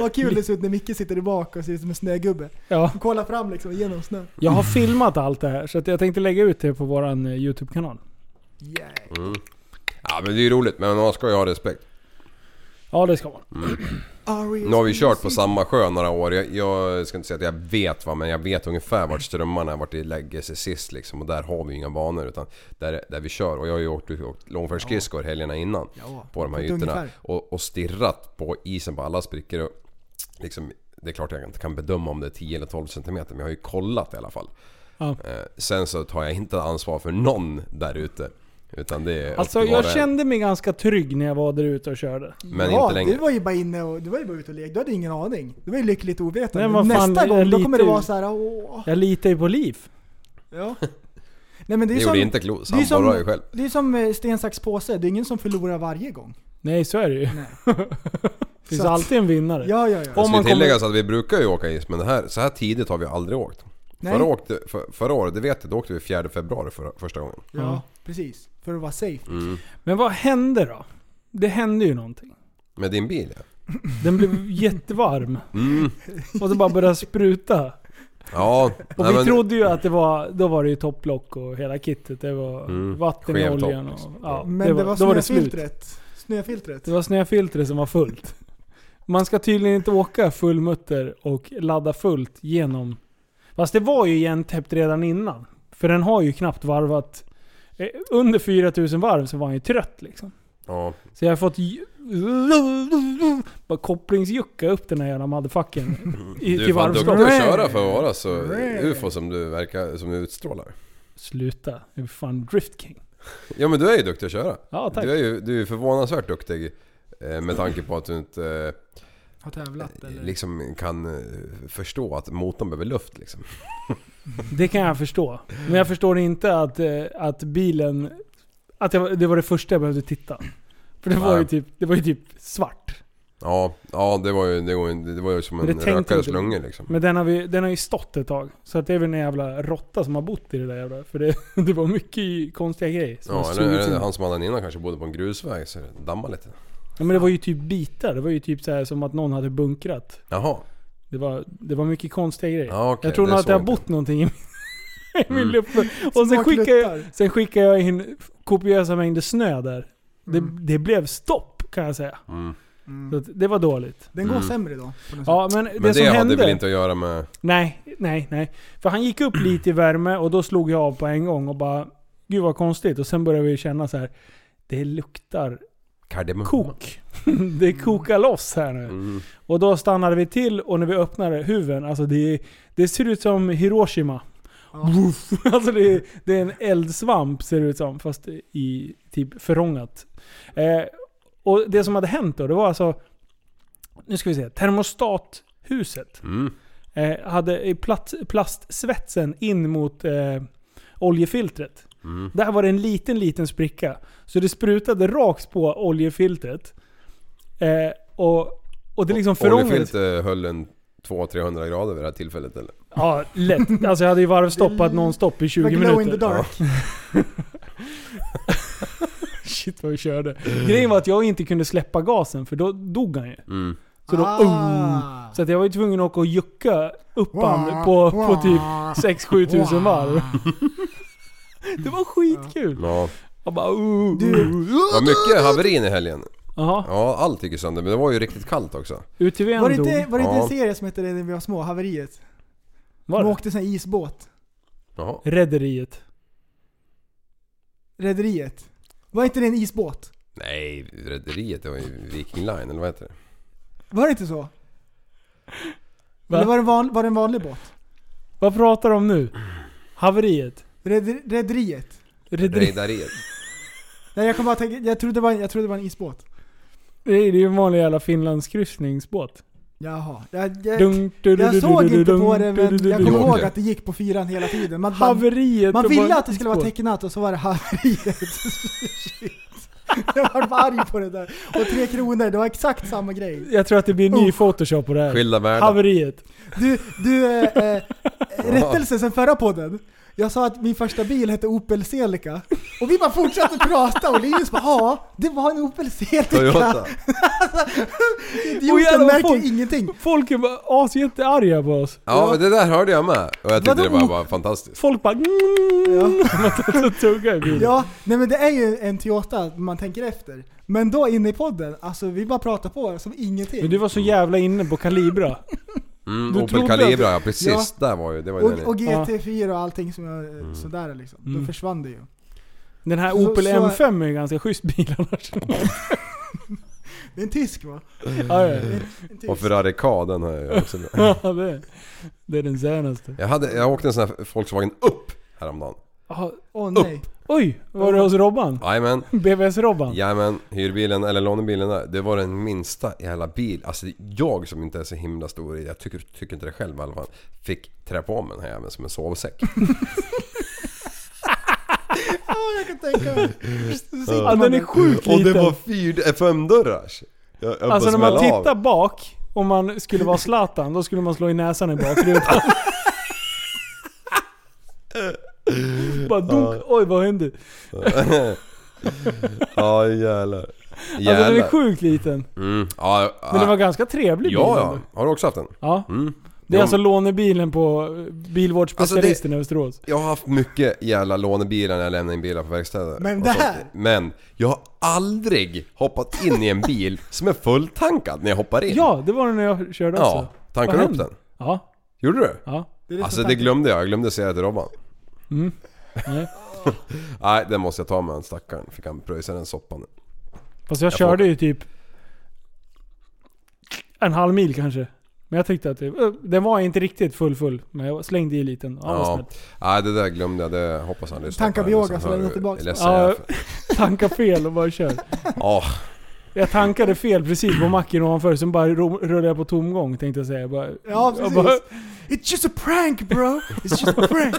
Speaker 3: Vad kul det ser ut när Micke sitter där bak och ser ut som en snögubbe.
Speaker 2: <laughs> ja.
Speaker 3: Han kollar fram liksom genom snön.
Speaker 2: Jag har filmat allt det här, så att jag tänkte lägga ut det på våran eh, YouTube-kanal.
Speaker 3: Yeah.
Speaker 4: Mm. Ja men det är ju roligt, men man ska ju ha respekt.
Speaker 2: Ja, det ska man.
Speaker 3: Arias
Speaker 4: Nu har vi kört på samma sjö några år. Jag, jag ska inte säga att jag vet va, men jag vet ungefär vart strömmarna, vart det lägger sig sist liksom. Och där har vi ju inga banor utan där, där vi kör. Och jag har ju åkt, åkt långfärdsskridskor helgerna innan.
Speaker 3: Ja,
Speaker 4: på de här
Speaker 3: på ett
Speaker 4: ytorna
Speaker 3: ungefär.
Speaker 4: och, och stirrat på isen på alla sprickor. Och liksom, det är klart jag inte kan bedöma om det är 10 eller 12 cm men jag har ju kollat i alla fall.
Speaker 2: Ja.
Speaker 4: Eh, sen så tar jag inte ansvar för någon där ute. Utan det är upp
Speaker 2: Alltså,
Speaker 4: till var
Speaker 2: jag
Speaker 4: och en.
Speaker 2: kände mig ganska trygg när jag var där ute och körde.
Speaker 4: Men
Speaker 3: ja,
Speaker 4: inte längre.
Speaker 3: du var ju bara inne och du var ju bara ute och lekte. Du hade ingen aning. Du var ju lyckligt
Speaker 2: Nej,
Speaker 3: ovetande.
Speaker 2: vad fan,
Speaker 3: Nästa
Speaker 2: jag
Speaker 3: gång då
Speaker 2: lite
Speaker 3: kommer det vara
Speaker 2: ut.
Speaker 3: så här. Åh.
Speaker 2: Jag litar ju på liv.
Speaker 3: Ja. <laughs> Nej, men det är
Speaker 4: Det
Speaker 3: ju
Speaker 4: gjorde
Speaker 3: som,
Speaker 4: inte Klo, så
Speaker 3: det är
Speaker 4: han
Speaker 3: som-
Speaker 4: borrade ju själv.
Speaker 3: det är som eh, sten, sax, påse. Det är ingen som förlorar varje gång.
Speaker 2: Nej, så är det ju. Det <laughs> finns
Speaker 3: Så att-
Speaker 2: alltid en vinnare.
Speaker 3: Ja, ja, ja.
Speaker 2: Om
Speaker 4: Om
Speaker 2: man
Speaker 4: man
Speaker 2: kommer-
Speaker 4: tillägga så att vi brukar ju åka is men det här, så här tidigt har vi aldrig åkt.
Speaker 3: Nej.
Speaker 4: Förra, åkte, för, förra året, det vet jag, då åkte vi 4 februari för, första gången.
Speaker 2: Ja.
Speaker 3: Ja, precis. För att vara safe.
Speaker 4: Mm.
Speaker 2: Men vad hände då? Det hände ju någonting.
Speaker 4: Med din bil ja.
Speaker 2: Den blev jättevarm.
Speaker 4: Mm.
Speaker 2: Och så bara började spruta.
Speaker 4: Ja,
Speaker 2: Och
Speaker 4: nej,
Speaker 2: vi
Speaker 4: men-
Speaker 2: trodde ju att det var, då var det ju topplock och hela kittet. Det var
Speaker 4: Mm,
Speaker 2: vatten i
Speaker 4: skev
Speaker 2: oljan och...
Speaker 4: topp, liksom.
Speaker 2: Ja,
Speaker 3: Men det var,
Speaker 2: då var det slut.
Speaker 3: snöfiltret. snöfiltret.
Speaker 2: Det var snöfiltret som var fullt. Man ska tydligen inte åka full mutter och ladda fullt genom... Fast det var ju igentäppt redan innan. För den har ju knappt varvat... eh, Under 4000 varv så var han ju trött liksom.
Speaker 4: Ja.
Speaker 2: Så jag har fått... ju- Bara kopplingsjucka upp den här jävla motherfuckern. I,
Speaker 4: Mm. Du är
Speaker 2: till
Speaker 4: fan duktig
Speaker 2: varvstopp.
Speaker 4: att köra för att vara så
Speaker 3: Nej.
Speaker 4: ufo som du verkar, som du utstrålar.
Speaker 2: Sluta. Jag är fan driftking.
Speaker 4: Ja men du är ju duktig att köra.
Speaker 2: Ja, tack.
Speaker 4: Du är ju du är ju förvånansvärt duktig. eh, Med tanke på att du inte
Speaker 3: Har tävlat
Speaker 4: eh,
Speaker 3: eller?
Speaker 4: liksom kan eh, förstå att motorn behöver luft liksom.
Speaker 2: Det kan jag förstå. Men jag förstår inte att, eh, att bilen... Att jag, var- det var det första jag behövde titta. För det var, ju
Speaker 4: Nej.
Speaker 2: typ, det var ju typ svart.
Speaker 4: Ja, ja det var ju, det var ju, det var ju som
Speaker 2: Men
Speaker 4: en
Speaker 2: det tänkte
Speaker 4: rökares
Speaker 2: inte du.
Speaker 4: lungor liksom.
Speaker 2: Men den har, vi, den har ju stått ett tag. Så att det är väl en jävla råtta som har bott i det där jävla... För det, <laughs> det var mycket konstiga grejer som
Speaker 4: Ja,
Speaker 2: har
Speaker 4: eller,
Speaker 2: sugits in.
Speaker 4: eller han som hade den innan kanske bodde på en grusväg så det dammade lite.
Speaker 2: Ja, men det var ju typ bitar. Det var ju typ så här som att någon hade bunkrat.
Speaker 4: Jaha.
Speaker 2: Det var, det var mycket konstiga grejer.
Speaker 4: Ja, okej,
Speaker 2: jag tror
Speaker 4: det
Speaker 2: nog att
Speaker 4: såg
Speaker 2: det har
Speaker 4: inte.
Speaker 2: bott någonting i min, i min <laughs>
Speaker 4: Mm.
Speaker 2: luftburk. Och sen
Speaker 3: Smakluttar.
Speaker 2: skickade, jag, sen skickade jag in kopiösa mängder snö där. Det,
Speaker 3: Mm.
Speaker 2: det blev stopp kan jag säga.
Speaker 4: Mm.
Speaker 3: Mm.
Speaker 2: Så att det var dåligt.
Speaker 3: Den går
Speaker 4: Mm.
Speaker 3: sämre idag. på något
Speaker 2: Ja, men det,
Speaker 4: Men det,
Speaker 2: som
Speaker 4: hade
Speaker 2: hände...
Speaker 4: väl inte att göra med...
Speaker 2: Nej, nej, nej. För han gick upp
Speaker 4: <clears throat>
Speaker 2: lite i värme och då slog jag av på en gång och bara... Gud vad konstigt. Och sen började vi känna så här. Det luktar
Speaker 4: Kardemumma.
Speaker 2: kok. <laughs> det kokar loss här nu.
Speaker 4: Mm.
Speaker 2: Och då stannade vi till och när vi öppnade huven, alltså det, det ser ut som Hiroshima.
Speaker 3: Ja.
Speaker 2: Woof. <laughs> Alltså det, det är en eldsvamp ser det ut som, fast i typ förångat. Eh, och det som hade hänt då, det var alltså... Nu ska vi se. Termostathuset
Speaker 4: Mm.
Speaker 2: eh, hade i plats, plastsvetsen in mot eh, oljefiltret.
Speaker 4: Mm.
Speaker 2: Där var det en liten, liten spricka. Så det sprutade rakt på oljefiltret. Eh, och, och det liksom förångades.
Speaker 4: Oljefilter eh, höll en 200-300 grader vid det här tillfället eller?
Speaker 2: Ja, lätt. Alltså jag hade ju varvstoppat nonstop i
Speaker 3: sätt. Det
Speaker 2: 20
Speaker 3: var glow in the
Speaker 2: minuter.
Speaker 3: dark.
Speaker 2: Shit vad vi körde. Grejen var att jag inte kunde släppa gasen för då dog han ju.
Speaker 4: Mm.
Speaker 2: Så då...
Speaker 3: Ah.
Speaker 2: Um, så att jag var ju tvungen att åka och jucka upp han
Speaker 3: Wah,
Speaker 2: på, på
Speaker 3: wah,
Speaker 2: typ 6-7 tusen
Speaker 3: wah. <laughs>
Speaker 2: varv. Det var skitkul.
Speaker 4: Ja.
Speaker 2: Jag bara... Uh,
Speaker 3: Du-
Speaker 4: Det var mycket haverin i helgen.
Speaker 2: Jaha.
Speaker 4: Ja, allt gick ju sönder men det var ju riktigt kallt också.
Speaker 2: UTVn
Speaker 3: Var det
Speaker 2: dog.
Speaker 3: inte, var det inte en
Speaker 4: Ja.
Speaker 3: serie som hette det när vi var små? Haveriet?
Speaker 2: Var
Speaker 3: De
Speaker 2: det?
Speaker 3: åkte sån här isbåt.
Speaker 4: Jaha.
Speaker 2: Rederiet.
Speaker 3: Rederiet. Var inte det en isbåt?
Speaker 4: Nej, Rederiet det var ju Viking Line eller vad heter det?
Speaker 3: Var det inte så?
Speaker 2: Va?
Speaker 3: Eller var det, en van, var det en vanlig båt?
Speaker 2: Vad pratar de om nu? Haveriet?
Speaker 3: Reder- Rederiet?
Speaker 2: Rederi-
Speaker 4: Rederiet.
Speaker 3: Nej jag kan bara tänka, jag trodde det var, en- jag trodde det var en isbåt.
Speaker 2: Det är ju en vanlig jävla finlandskryssningsbåt.
Speaker 3: Jaha. Jag, jag,
Speaker 2: Dun, du, du, du,
Speaker 3: jag
Speaker 2: du,
Speaker 3: såg
Speaker 2: du, du,
Speaker 3: inte på
Speaker 2: dun,
Speaker 3: det
Speaker 2: du, du,
Speaker 3: men
Speaker 2: du,
Speaker 3: jag
Speaker 2: du.
Speaker 3: kommer
Speaker 4: Jo,
Speaker 3: ihåg
Speaker 4: okej.
Speaker 3: att det gick på fyran hela tiden. Man, man,
Speaker 2: Haveriet.
Speaker 3: Man
Speaker 2: och
Speaker 3: ville
Speaker 2: bara-
Speaker 3: att det skulle vara tecknat och så var det
Speaker 2: <laughs>
Speaker 3: haveriet. <laughs> Shit. Jag var arg på det där. Och Tre Kronor, det var exakt samma grej.
Speaker 2: Jag tror att det blir en ny photoshop på det här.
Speaker 4: Skilda världar.
Speaker 2: Haveriet.
Speaker 3: Du, du eh, eh, rättelse sen förra podden. Jag sa att min första bil hette Opel Celica. Och vi bara fortsatte prata och Linus bara ja, det var en Opel Celica.
Speaker 4: Toyota.
Speaker 2: Och jävlar
Speaker 3: <laughs> Idioten
Speaker 2: vad
Speaker 3: märker
Speaker 2: folk-
Speaker 3: ingenting.
Speaker 2: Folk är bara asjättearga på oss.
Speaker 4: Ja, men det där hörde jag med. Och jag tyckte
Speaker 3: Vadå?
Speaker 4: det var bara fantastiskt.
Speaker 2: Folk bara... mm. <laughs> Ja. tugga i bilen.
Speaker 3: Ja, nej men det är ju en Toyota man tänker efter. Men då inne i podden, alltså vi bara pratar på som ingenting.
Speaker 2: Men du var så jävla inne på Calibra.
Speaker 4: Mm,
Speaker 2: Du
Speaker 4: Opel
Speaker 2: trodde att-
Speaker 4: Calibra, ja precis.
Speaker 3: Ja.
Speaker 4: Där var ju, det var ju
Speaker 3: och,
Speaker 4: den.
Speaker 3: och GT4 och allting som jag, sådär liksom. Då
Speaker 2: Mm.
Speaker 3: försvann det ju.
Speaker 2: Den här
Speaker 3: Så-
Speaker 2: Opel
Speaker 3: så-
Speaker 2: M5 är ju ganska schysst bil
Speaker 4: <laughs>
Speaker 2: annars.
Speaker 4: Mm.
Speaker 3: Det är en tysk va?
Speaker 2: Ja, ja.
Speaker 3: En
Speaker 4: Och
Speaker 3: tysk.
Speaker 4: Ferrari K, den har jag
Speaker 2: <laughs>
Speaker 4: också med.
Speaker 2: Ja, det, det är den senaste.
Speaker 4: Jag, hade, jag åkte en sån här Volkswagen upp häromdagen.
Speaker 2: Aha,
Speaker 3: Åh nej.
Speaker 2: oj, var du hos Robban?
Speaker 4: Jajamän,
Speaker 2: BVS-Robban?
Speaker 4: jajamän. Hyrbilen eller lånebilen där. Det var den minsta jävla bil. Alltså jag som inte är så himla stor, jag tycker, tycker inte det själv i alla fall. Fick trä på mig den här jäveln som en sovsäck.
Speaker 3: Ja, jag kan tänka mig. Så sitter
Speaker 2: Ja, den är
Speaker 3: där.
Speaker 2: <laughs> sjukt
Speaker 4: Och det
Speaker 2: liten.
Speaker 4: var fyr, femdörrars. Jag, jag
Speaker 2: Alltså
Speaker 4: bara
Speaker 2: när man
Speaker 4: smällde av.
Speaker 2: tittar bak, om man skulle vara Zlatan, då skulle man slå i näsan i
Speaker 4: <laughs>
Speaker 2: bakrutan. Bara dunk, oj vad Alltså, hände?
Speaker 4: <laughs> Ja jävlar.
Speaker 2: Alltså
Speaker 4: Jävlar.
Speaker 2: den är sjukt liten.
Speaker 4: Mm. Ja,
Speaker 2: Men den var
Speaker 4: ja,
Speaker 2: ganska trevlig bil
Speaker 4: ja.
Speaker 2: ändå.
Speaker 4: Har du också haft den?
Speaker 2: ja.
Speaker 4: Mm.
Speaker 2: Det är
Speaker 4: Jo,
Speaker 2: alltså lånebilen på bilvårdsspecialisten
Speaker 4: Alltså,
Speaker 2: i Västerås.
Speaker 4: Jag har haft mycket jävla lånebilar när jag lämnar in bilar på verkstäder.
Speaker 3: Men
Speaker 4: och
Speaker 3: det
Speaker 4: sånt.
Speaker 3: här?
Speaker 4: Men jag har aldrig hoppat in i en bil som är fulltankad när jag hoppar in.
Speaker 2: Ja, det var den när jag körde också.
Speaker 4: ja Tankade
Speaker 2: Vad
Speaker 4: du upp
Speaker 2: hände?
Speaker 4: den?
Speaker 2: Ja,
Speaker 4: Gjorde du?
Speaker 2: ja.
Speaker 3: är
Speaker 4: alltså
Speaker 3: som
Speaker 4: det
Speaker 3: tanken.
Speaker 4: glömde jag. Jag glömde säga det till Robban.
Speaker 2: Mm. Nej.
Speaker 4: <laughs> Nej, den måste jag ta med en stackaren. Fick han pröjsa den soppan.
Speaker 2: Fast jag,
Speaker 4: Jag
Speaker 2: körde ju typ en halv mil kanske. Men jag tyckte att det, ö, den var inte riktigt full full. Men jag slängde i lite. Ja, vad
Speaker 4: Ja.
Speaker 2: snällt.
Speaker 4: Nej, det där glömde jag. Det hoppas han lyssnar
Speaker 3: Tankar
Speaker 4: på
Speaker 3: vi
Speaker 4: den,
Speaker 3: yoga
Speaker 4: sen
Speaker 3: så
Speaker 4: hör
Speaker 3: lämnar
Speaker 4: du-
Speaker 3: tillbaka.
Speaker 4: ledsen jag är
Speaker 2: Ja.
Speaker 4: för-
Speaker 2: Tanka fel och bara kör.
Speaker 4: Ja,
Speaker 2: Jag tankade fel precis på macken ovanför. Sen bara ro- rullade jag på tomgång tänkte jag säga. Jag bara,
Speaker 3: Ja,
Speaker 2: jag
Speaker 3: precis.
Speaker 2: bara,
Speaker 3: It's just a prank bro! It's just a
Speaker 2: <laughs>
Speaker 3: prank!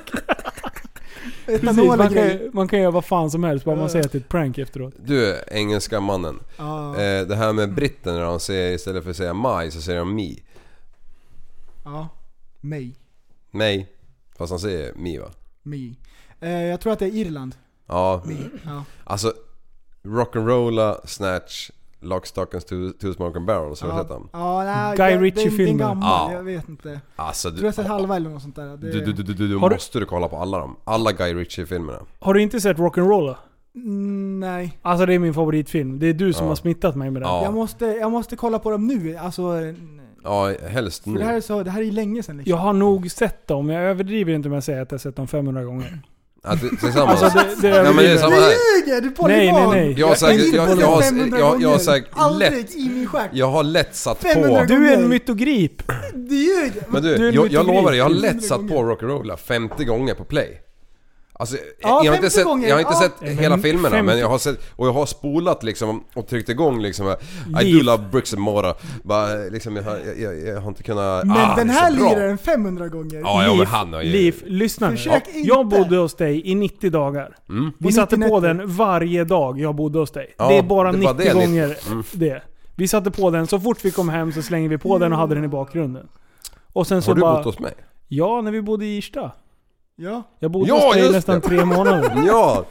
Speaker 2: precis
Speaker 3: Etanol
Speaker 2: man,
Speaker 3: och grejer.
Speaker 2: kan, man kan göra vad fan som helst bara
Speaker 3: Ja.
Speaker 2: man säger att det är ett prank efteråt.
Speaker 4: Du, engelska mannen.
Speaker 3: Ja,
Speaker 4: Eh, det här med britten när de säger istället för att säga my så säger de me.
Speaker 3: ja. Mig.
Speaker 4: Nej. Fast han säger me va?
Speaker 3: Me. Eh, jag tror att det är Irland.
Speaker 4: Ja.
Speaker 3: Ja.
Speaker 4: Alltså, rock'n'rolla, snatch, lockstock and two, two smoking barrels. Har du sett dem?
Speaker 3: Ja, nej,
Speaker 2: Guy
Speaker 3: den-
Speaker 2: Ritchie-filmen.
Speaker 3: Den, den gammal,
Speaker 4: Ja.
Speaker 3: jag vet inte. Jag
Speaker 4: Alltså
Speaker 3: tror
Speaker 4: du...
Speaker 3: jag sett halva eller något sånt där. Det,
Speaker 4: Ah. Du, du, du, du, du, du
Speaker 2: Har du-
Speaker 4: måste du kolla på alla dem. Alla Guy Ritchie-filmerna.
Speaker 2: Har du inte sett Rock'n'Roll?
Speaker 3: Mm, nej.
Speaker 2: Alltså det är min favoritfilm. Det är du som
Speaker 4: Ja.
Speaker 2: har smittat mig med den.
Speaker 4: Ja.
Speaker 3: Jag, måste, jag måste kolla på dem nu. Alltså, för
Speaker 4: Ja, helst nu.
Speaker 3: det här är, så, det här är ju länge sedan liksom.
Speaker 2: Jag har nog sett dem. Jag överdriver inte om jag säger att jag sett dem 500 gånger.
Speaker 4: Ja, det, tillsammans.
Speaker 2: Alltså det, det
Speaker 4: ja, men det är
Speaker 2: överdriver
Speaker 4: samma
Speaker 3: Du
Speaker 4: här.
Speaker 3: ljuger! Du är polyvan!
Speaker 2: Nej, nej, nej.
Speaker 4: Jag har säkert... Jag, jag, har- jag, jag, jag har säkert
Speaker 3: Aldrig
Speaker 4: lätt...
Speaker 3: i min stjärt.
Speaker 4: Jag har lätt satt på...
Speaker 3: 500
Speaker 2: Du är en mytogrip.
Speaker 3: Du ljuger!
Speaker 4: Men
Speaker 2: Du är
Speaker 4: du,
Speaker 2: en
Speaker 4: jag, jag
Speaker 2: mytolog.
Speaker 4: lovar dig, jag har
Speaker 2: Du är
Speaker 4: lätt
Speaker 3: hundra
Speaker 4: satt
Speaker 3: gånger.
Speaker 4: på Rock'n'Rolla 50 gånger på play. Alltså, jag-
Speaker 3: Ja,
Speaker 4: jag, har inte
Speaker 3: 50
Speaker 4: sett,
Speaker 3: gånger,
Speaker 4: jag har inte
Speaker 3: ja.
Speaker 4: sett
Speaker 2: Ja, men
Speaker 4: hela filmerna
Speaker 2: 50
Speaker 4: men jag har sett, och jag har spolat liksom och tryckt igång liksom I do
Speaker 2: Liv.
Speaker 4: love bricks and mortar. Bara, liksom, jag, har- jag, jag, jag har inte kunnat...
Speaker 3: Men
Speaker 4: ah,
Speaker 3: den
Speaker 4: det är
Speaker 3: här
Speaker 4: så bra.
Speaker 3: liraren 500 gånger.
Speaker 4: Ja, ja men han har ju...
Speaker 2: Liv, lyssna nu.
Speaker 3: Försök inte.
Speaker 2: Jag bodde hos dig i 90 dagar. Vi
Speaker 3: Och
Speaker 2: satte
Speaker 3: 90
Speaker 2: på
Speaker 3: nätter.
Speaker 2: den varje dag jag bodde hos dig.
Speaker 4: Mm. Ja,
Speaker 2: det är bara
Speaker 4: det
Speaker 2: 90
Speaker 4: var det, Mm. lite.
Speaker 2: gånger det. Vi satte på den, så fort vi kom hem så slängde vi på den och hade den i bakgrunden. Och sen så
Speaker 4: Har du
Speaker 2: bara...
Speaker 4: bott hos mig?
Speaker 2: Ja, när vi bodde i Irsta.
Speaker 3: Ja.
Speaker 2: Jag bodde
Speaker 4: Ja,
Speaker 2: hos dig
Speaker 4: just
Speaker 2: nästan
Speaker 4: det.
Speaker 2: tre månader.
Speaker 4: Ja!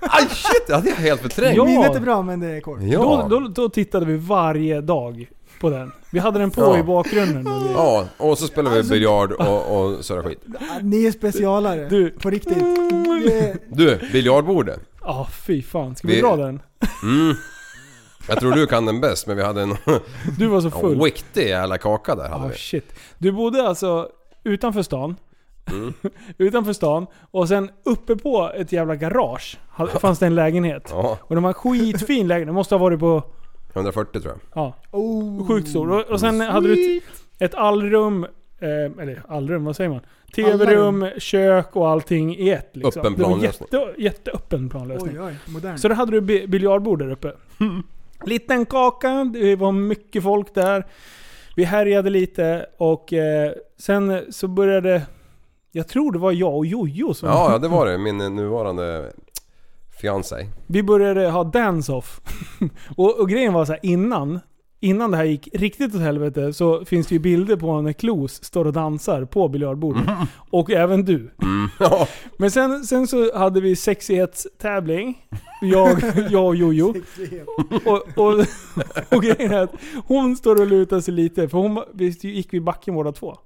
Speaker 4: Aj shit, det hade jag helt förträngt!
Speaker 2: Ja.
Speaker 3: Minnet är bra men det är kort.
Speaker 4: <laughs> Ja.
Speaker 2: Då, då, då tittade vi varje dag på den. Vi hade den på
Speaker 4: Ja.
Speaker 2: i bakgrunden. och grejer.
Speaker 4: ja, och så spelar
Speaker 2: Alltså-
Speaker 4: vi biljard och, och sådär skit.
Speaker 3: Ah, Ni är specialare.
Speaker 2: Du-
Speaker 3: På riktigt.
Speaker 4: Mm.
Speaker 3: Det-
Speaker 4: Du, biljardbordet.
Speaker 2: Ja, fy fan. Ska vi,
Speaker 4: Vi-
Speaker 2: dra den?
Speaker 4: Mm. Jag tror du kan den bäst men vi hade en
Speaker 2: Du var så
Speaker 4: en
Speaker 2: full.
Speaker 4: <laughs> riktig jävla kaka där hade
Speaker 2: Ah,
Speaker 4: vi.
Speaker 2: shit. Du bodde alltså utanför stan. <laughs>
Speaker 4: Mm.
Speaker 2: utanför stan. Och sen uppe på ett jävla garage hade- fanns det en lägenhet.
Speaker 4: Ja,
Speaker 2: Och de var en skitfin lägenhet. måste ha varit på...
Speaker 4: 140 tror jag.
Speaker 2: Ja,
Speaker 4: <laughs>
Speaker 3: Oh.
Speaker 2: sjukt stor. Och, och sen hade du ett, ett allrum. Eh, eller allrum, vad säger man? TV-rum, kök och allting i ett. Liksom.
Speaker 4: Öppen
Speaker 2: Det var
Speaker 4: planlösning.
Speaker 2: Jätte, jätteöppen planlösning.
Speaker 3: Oj, oj, modern.
Speaker 2: Så då hade du bi- biljardbord där uppe. Liten kaka, det var mycket folk där. Vi härjade lite och eh, sen så började... Jag tror det var jag och Jojo som...
Speaker 4: Ja, ja det var det. Min nuvarande fiancé.
Speaker 2: <laughs> Vi började ha dance-off. och, och grejen var så här innan, innan det här gick riktigt åt helvete så finns det ju bilder på när Klos står och dansar på biljardbordet. Och även du.
Speaker 4: Ja.
Speaker 2: Men sen, sen så hade vi sexighetstävling.
Speaker 3: <laughs>
Speaker 2: Jag, jag och Jojo. Och, och, och grejen är att hon står och lutar sig lite, för hon, vi gick vid backen båda två.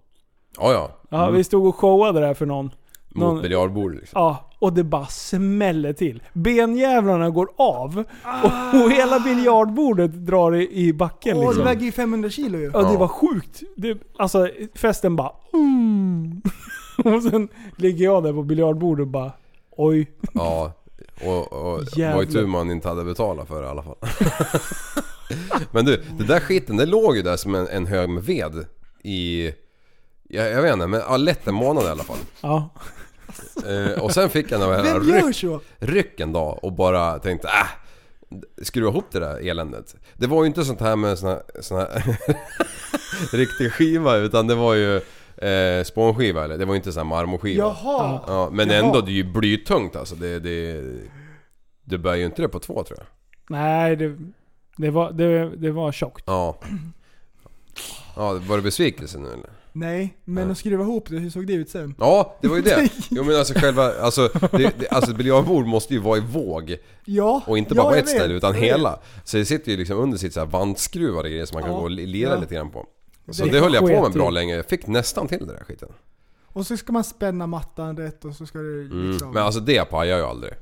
Speaker 4: ja, ja.
Speaker 2: Ja,
Speaker 3: Mm.
Speaker 2: Vi stod och showade där för någon.
Speaker 4: Mot
Speaker 2: någon-
Speaker 4: biljardbordet liksom.
Speaker 2: Ja, och det bara smäller till. Benjävlarna går av och, och hela biljardbordet drar i, i backen
Speaker 3: Ah. Åh, det
Speaker 2: liksom.
Speaker 3: väger ju 500 kilo ju.
Speaker 2: Ja, det
Speaker 4: Ja.
Speaker 2: var sjukt. Det, alltså festen bara mm. <laughs> Och sen ligger jag där på biljardbordet och bara oj.
Speaker 4: Ja. Och, och
Speaker 2: Jävlar.
Speaker 4: var ju tur man inte hade betalat för det i alla fall. <laughs> Men du, det där skiten det låg ju där som en, en hög med ved i... Jag, jag vet inte, men ja, lätt en månad i alla fall.
Speaker 2: Ja.
Speaker 4: Eh, och sen fick jag den här
Speaker 3: Vem gör
Speaker 4: ryck,
Speaker 3: så?
Speaker 4: ryck en dag och bara tänkte äh, skruva ihop det där eländet. Det var ju inte sånt här med sån här, sån här <laughs> riktig skiva utan det var ju eh, spånskiva eller det var ju inte sån här marmorskiva.
Speaker 3: Jaha.
Speaker 4: Ja, men
Speaker 3: Jaha.
Speaker 4: ändå, det är ju blytungt alltså. Det, det, du bär ju inte det på två tror jag.
Speaker 2: Nej, det, det, var, det, det var tjockt.
Speaker 4: Ja. Ja, var det besvikelse nu eller?
Speaker 3: Nej, men
Speaker 4: Nej.
Speaker 3: att skruva ihop det, hur såg det ut sen?
Speaker 4: Ja, det var
Speaker 3: <laughs>
Speaker 4: ju det. Jo men alltså själva, alltså, det, det, alltså ett biljardbord måste ju vara i våg.
Speaker 3: Ja,
Speaker 4: Och inte
Speaker 3: ja,
Speaker 4: bara på
Speaker 3: jag
Speaker 4: ett
Speaker 3: vet.
Speaker 4: ställe utan
Speaker 3: Jag vet.
Speaker 4: hela. Så det sitter ju liksom under sitt så här vantskruvar och grejer som man kan
Speaker 3: Ja.
Speaker 4: gå och lira
Speaker 3: Ja.
Speaker 4: lite grann på. Så
Speaker 2: Det
Speaker 4: det, höll jag på med
Speaker 2: sket
Speaker 4: bra
Speaker 2: i.
Speaker 4: länge. Jag fick nästan till det där skiten.
Speaker 3: Och så ska man spänna mattan rätt och så ska det
Speaker 4: Mm.
Speaker 3: liksom...
Speaker 4: Men alltså det pajade jag ju aldrig.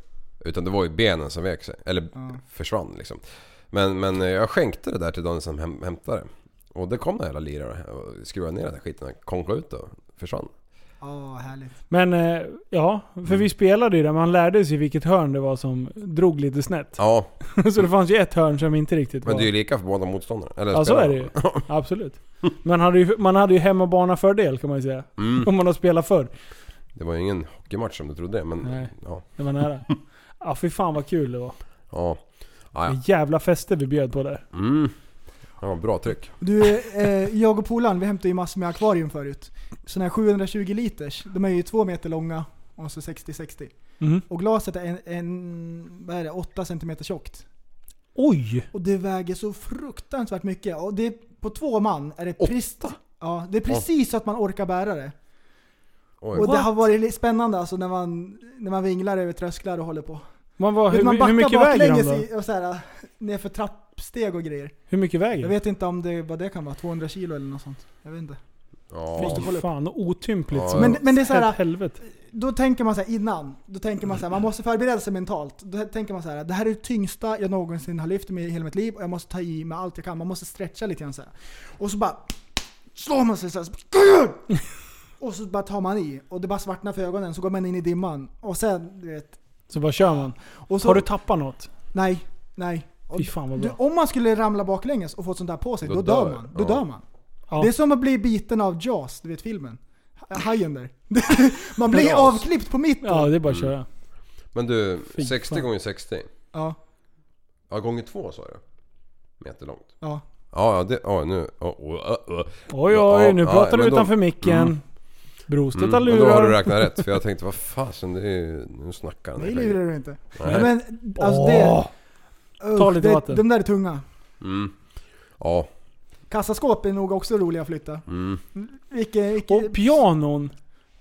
Speaker 4: Utan det var ju benen som vek sig. Eller
Speaker 3: Ja.
Speaker 4: försvann liksom. Men, men jag skänkte det där till de som häm- hämtade det. Och det kom den jävla liraren och skruvade ner den där skiten. Konkade ut och försvann.
Speaker 3: Ja, härligt.
Speaker 2: Men eh, ja, för
Speaker 4: Mm.
Speaker 2: vi spelade ju där. Man lärde sig vilket hörn det var som drog lite snett. <laughs>
Speaker 4: Ja,
Speaker 2: Så det fanns ju ett hörn som inte riktigt
Speaker 4: men
Speaker 2: var...
Speaker 4: det är ju lika för båda motståndarna. Eller
Speaker 2: Ja så är
Speaker 4: spelarna.
Speaker 2: det ju. Absolut. Man hade ju, man hade ju hemmabanafördel kan man ju säga.
Speaker 4: <laughs> Mm.
Speaker 2: Om man har spelat förr.
Speaker 4: Det var ju ingen hockeymatch som du trodde det, men
Speaker 2: Nej.
Speaker 4: ja.
Speaker 2: Det var
Speaker 4: <laughs>
Speaker 2: nära. Ja fy fan vad kul det var.
Speaker 4: Ja. Ah, ja.
Speaker 2: Vilka Jävla fester vi bjöd på där.
Speaker 4: Mm. Ja, bra tryck.
Speaker 3: Du, eh, jag och polaren vi hämtade ju massor med akvarium förut. Sådana här 720 liters, de är ju två meter långa och så 60-60.
Speaker 2: Mhm.
Speaker 3: Och glaset är en, en vad är det, 8 cm tjockt.
Speaker 2: Oj!
Speaker 3: Och det väger så fruktansvärt mycket. Och det, på två man är det, precis- ja, det är precis så att man orkar bära det.
Speaker 4: Oj.
Speaker 3: Och det har varit li- spännande alltså när man, när man vinglar över trösklar och håller på.
Speaker 2: Man var,
Speaker 3: Vet, man
Speaker 2: hur, hur mycket väger de då?
Speaker 3: i- och så här, nerför trappsteg och grejer.
Speaker 2: Hur mycket väger
Speaker 3: Jag
Speaker 2: de?
Speaker 3: vet inte om det, vad det kan vara, 200 kilo eller något sånt. Jag vet inte.
Speaker 4: Ja.
Speaker 3: Fy
Speaker 2: Fy fan, otympligt.
Speaker 4: Ja,
Speaker 2: som
Speaker 3: Men, men det är så här,
Speaker 2: helvete.
Speaker 3: då tänker man så här innan. Då tänker man så här, man måste förbereda sig mentalt. Då tänker man så här, det här är det tyngsta jag någonsin har lyft med i hela mitt liv och jag måste ta i med allt jag kan. Man måste stretcha lite grann så här. Och så bara slår man sig så här. så bara, Och så bara tar man i och det bara svartnar för ögonen så går man in i dimman. Och sen, du vet.
Speaker 2: Så bara kör man.
Speaker 3: Och så,
Speaker 2: Har du tappat något?
Speaker 3: Nej, nej. Och
Speaker 2: Fy fan vad
Speaker 3: Du,
Speaker 2: bra.
Speaker 3: om man skulle ramla baklänges och få sånt där på sig, då,
Speaker 4: Då
Speaker 3: dör
Speaker 4: dör.
Speaker 3: man. Då
Speaker 4: Ja.
Speaker 3: dör man.
Speaker 2: Ja.
Speaker 3: Det är som att bli biten av Jaws, du vet filmen. Ha- Hajen där. <laughs> man blir
Speaker 4: Jaws.
Speaker 3: avklippt på mitten.
Speaker 2: Ja,
Speaker 3: Ja.
Speaker 2: det är bara att köra.
Speaker 4: Men du,
Speaker 2: Fy
Speaker 4: 60
Speaker 2: fan.
Speaker 4: gånger 60.
Speaker 3: ja,
Speaker 4: Ja, gånger två sa jag. Meter långt. Ja, ja, det, ja nu... Oh, oh, oh.
Speaker 2: Oj
Speaker 4: Ja,
Speaker 2: oj, nu
Speaker 4: ja,
Speaker 2: pratar du
Speaker 4: men då-
Speaker 2: utanför micken.
Speaker 4: Mm.
Speaker 2: Brostedt har
Speaker 4: Mm, men då har du
Speaker 2: lurar.
Speaker 4: räknat rätt. För jag tänkte, vad fasen, det är ju... Nu snackar han.
Speaker 3: Nej, det lurar du inte.
Speaker 4: Nej.
Speaker 3: Men alltså
Speaker 2: Åh.
Speaker 3: det... Usch,
Speaker 2: Ta lite
Speaker 3: det,
Speaker 2: vatten.
Speaker 3: De där är tunga.
Speaker 4: Mm. Ja,
Speaker 3: Kassaskåp är nog också roliga att flytta.
Speaker 4: mm.
Speaker 3: Vilke, vilke,
Speaker 2: Och pianon.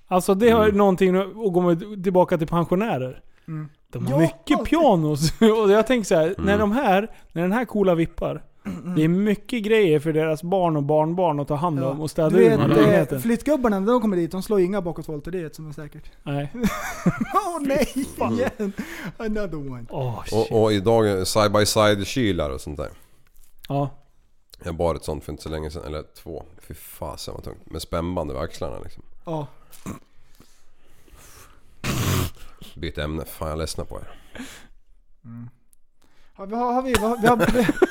Speaker 2: Alltså det har
Speaker 4: Mm.
Speaker 2: någonting att gå med- tillbaka till pensionärer.
Speaker 3: Mm.
Speaker 2: De har
Speaker 3: Ja.
Speaker 2: mycket pianos. <laughs> Och jag tänker så här, när
Speaker 4: Mm.
Speaker 2: de här, när den här coola vippar.
Speaker 3: Mm.
Speaker 2: Det är mycket grejer för deras barn och barnbarn att ta hand om och städa
Speaker 3: du
Speaker 2: ur den här
Speaker 4: Mm.
Speaker 3: vet, eh,
Speaker 2: lägenheten.
Speaker 3: flyttgubbarna när de kommer dit, de slår inga bakåtvolter, det är ett som är säkert. <laughs>
Speaker 2: Nej.
Speaker 3: Åh nej! Igen! Another one.
Speaker 2: Åh shit.
Speaker 4: Och, och idag side-by-side-kylar och sånt där.
Speaker 2: Ja.
Speaker 4: Jag bar ett sånt för inte så länge sedan, eller två. Fy fasen vad tungt. Med spännband över axlarna liksom.
Speaker 3: Ja.
Speaker 4: Byt ämne, fan jag ledsnar på er.
Speaker 3: Har vi, har, har vi, har, vi, har,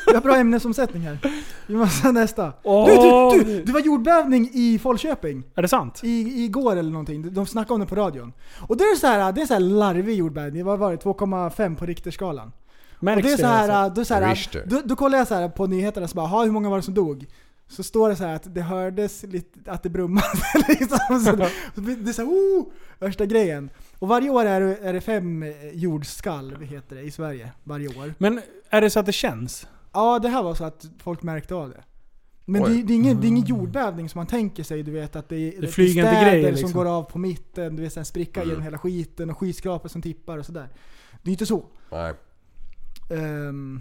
Speaker 3: vi har bra ämnesomsättning här. Vi måste ha nästa.
Speaker 2: Åh!
Speaker 3: Du, du, du! Det var jordbävning i Falköping.
Speaker 2: Är det sant?
Speaker 3: I, igår eller någonting. De snackade om det på radion. Och det är så här, det är så här larvig jordbävning. Vad var det? 2,5 på Richterskalan. Och
Speaker 2: Märks
Speaker 3: det är så
Speaker 2: alltså?
Speaker 3: här, äh, då, så här
Speaker 4: Richter.
Speaker 3: då, då kollar jag så här på nyheterna så bara, "Ha, hur många var det som dog? Så står det så här att det hördes lite, att det brummade <laughs> liksom. Så, så blir det är så här, oh, värsta grejen. Och varje år är det, är det fem eh, jordskalv, heter det, i Sverige. Varje år.
Speaker 2: Men är det så att det känns?
Speaker 3: Ja, Ja, det här var så att folk märkte av det. Men
Speaker 4: Oj.
Speaker 3: det, det, är ingen, det är ingen jordbävning som man tänker sig, du vet att det är, det är
Speaker 2: Mm. flyger inte
Speaker 3: städer
Speaker 2: grejer,
Speaker 3: som
Speaker 2: liksom.
Speaker 3: går av på mitten, du vet sen spricka
Speaker 4: Mm.
Speaker 3: genom hela skiten och skyskrapor som tippar och sådär. Det är inte så.
Speaker 4: Nej.
Speaker 3: Ehm,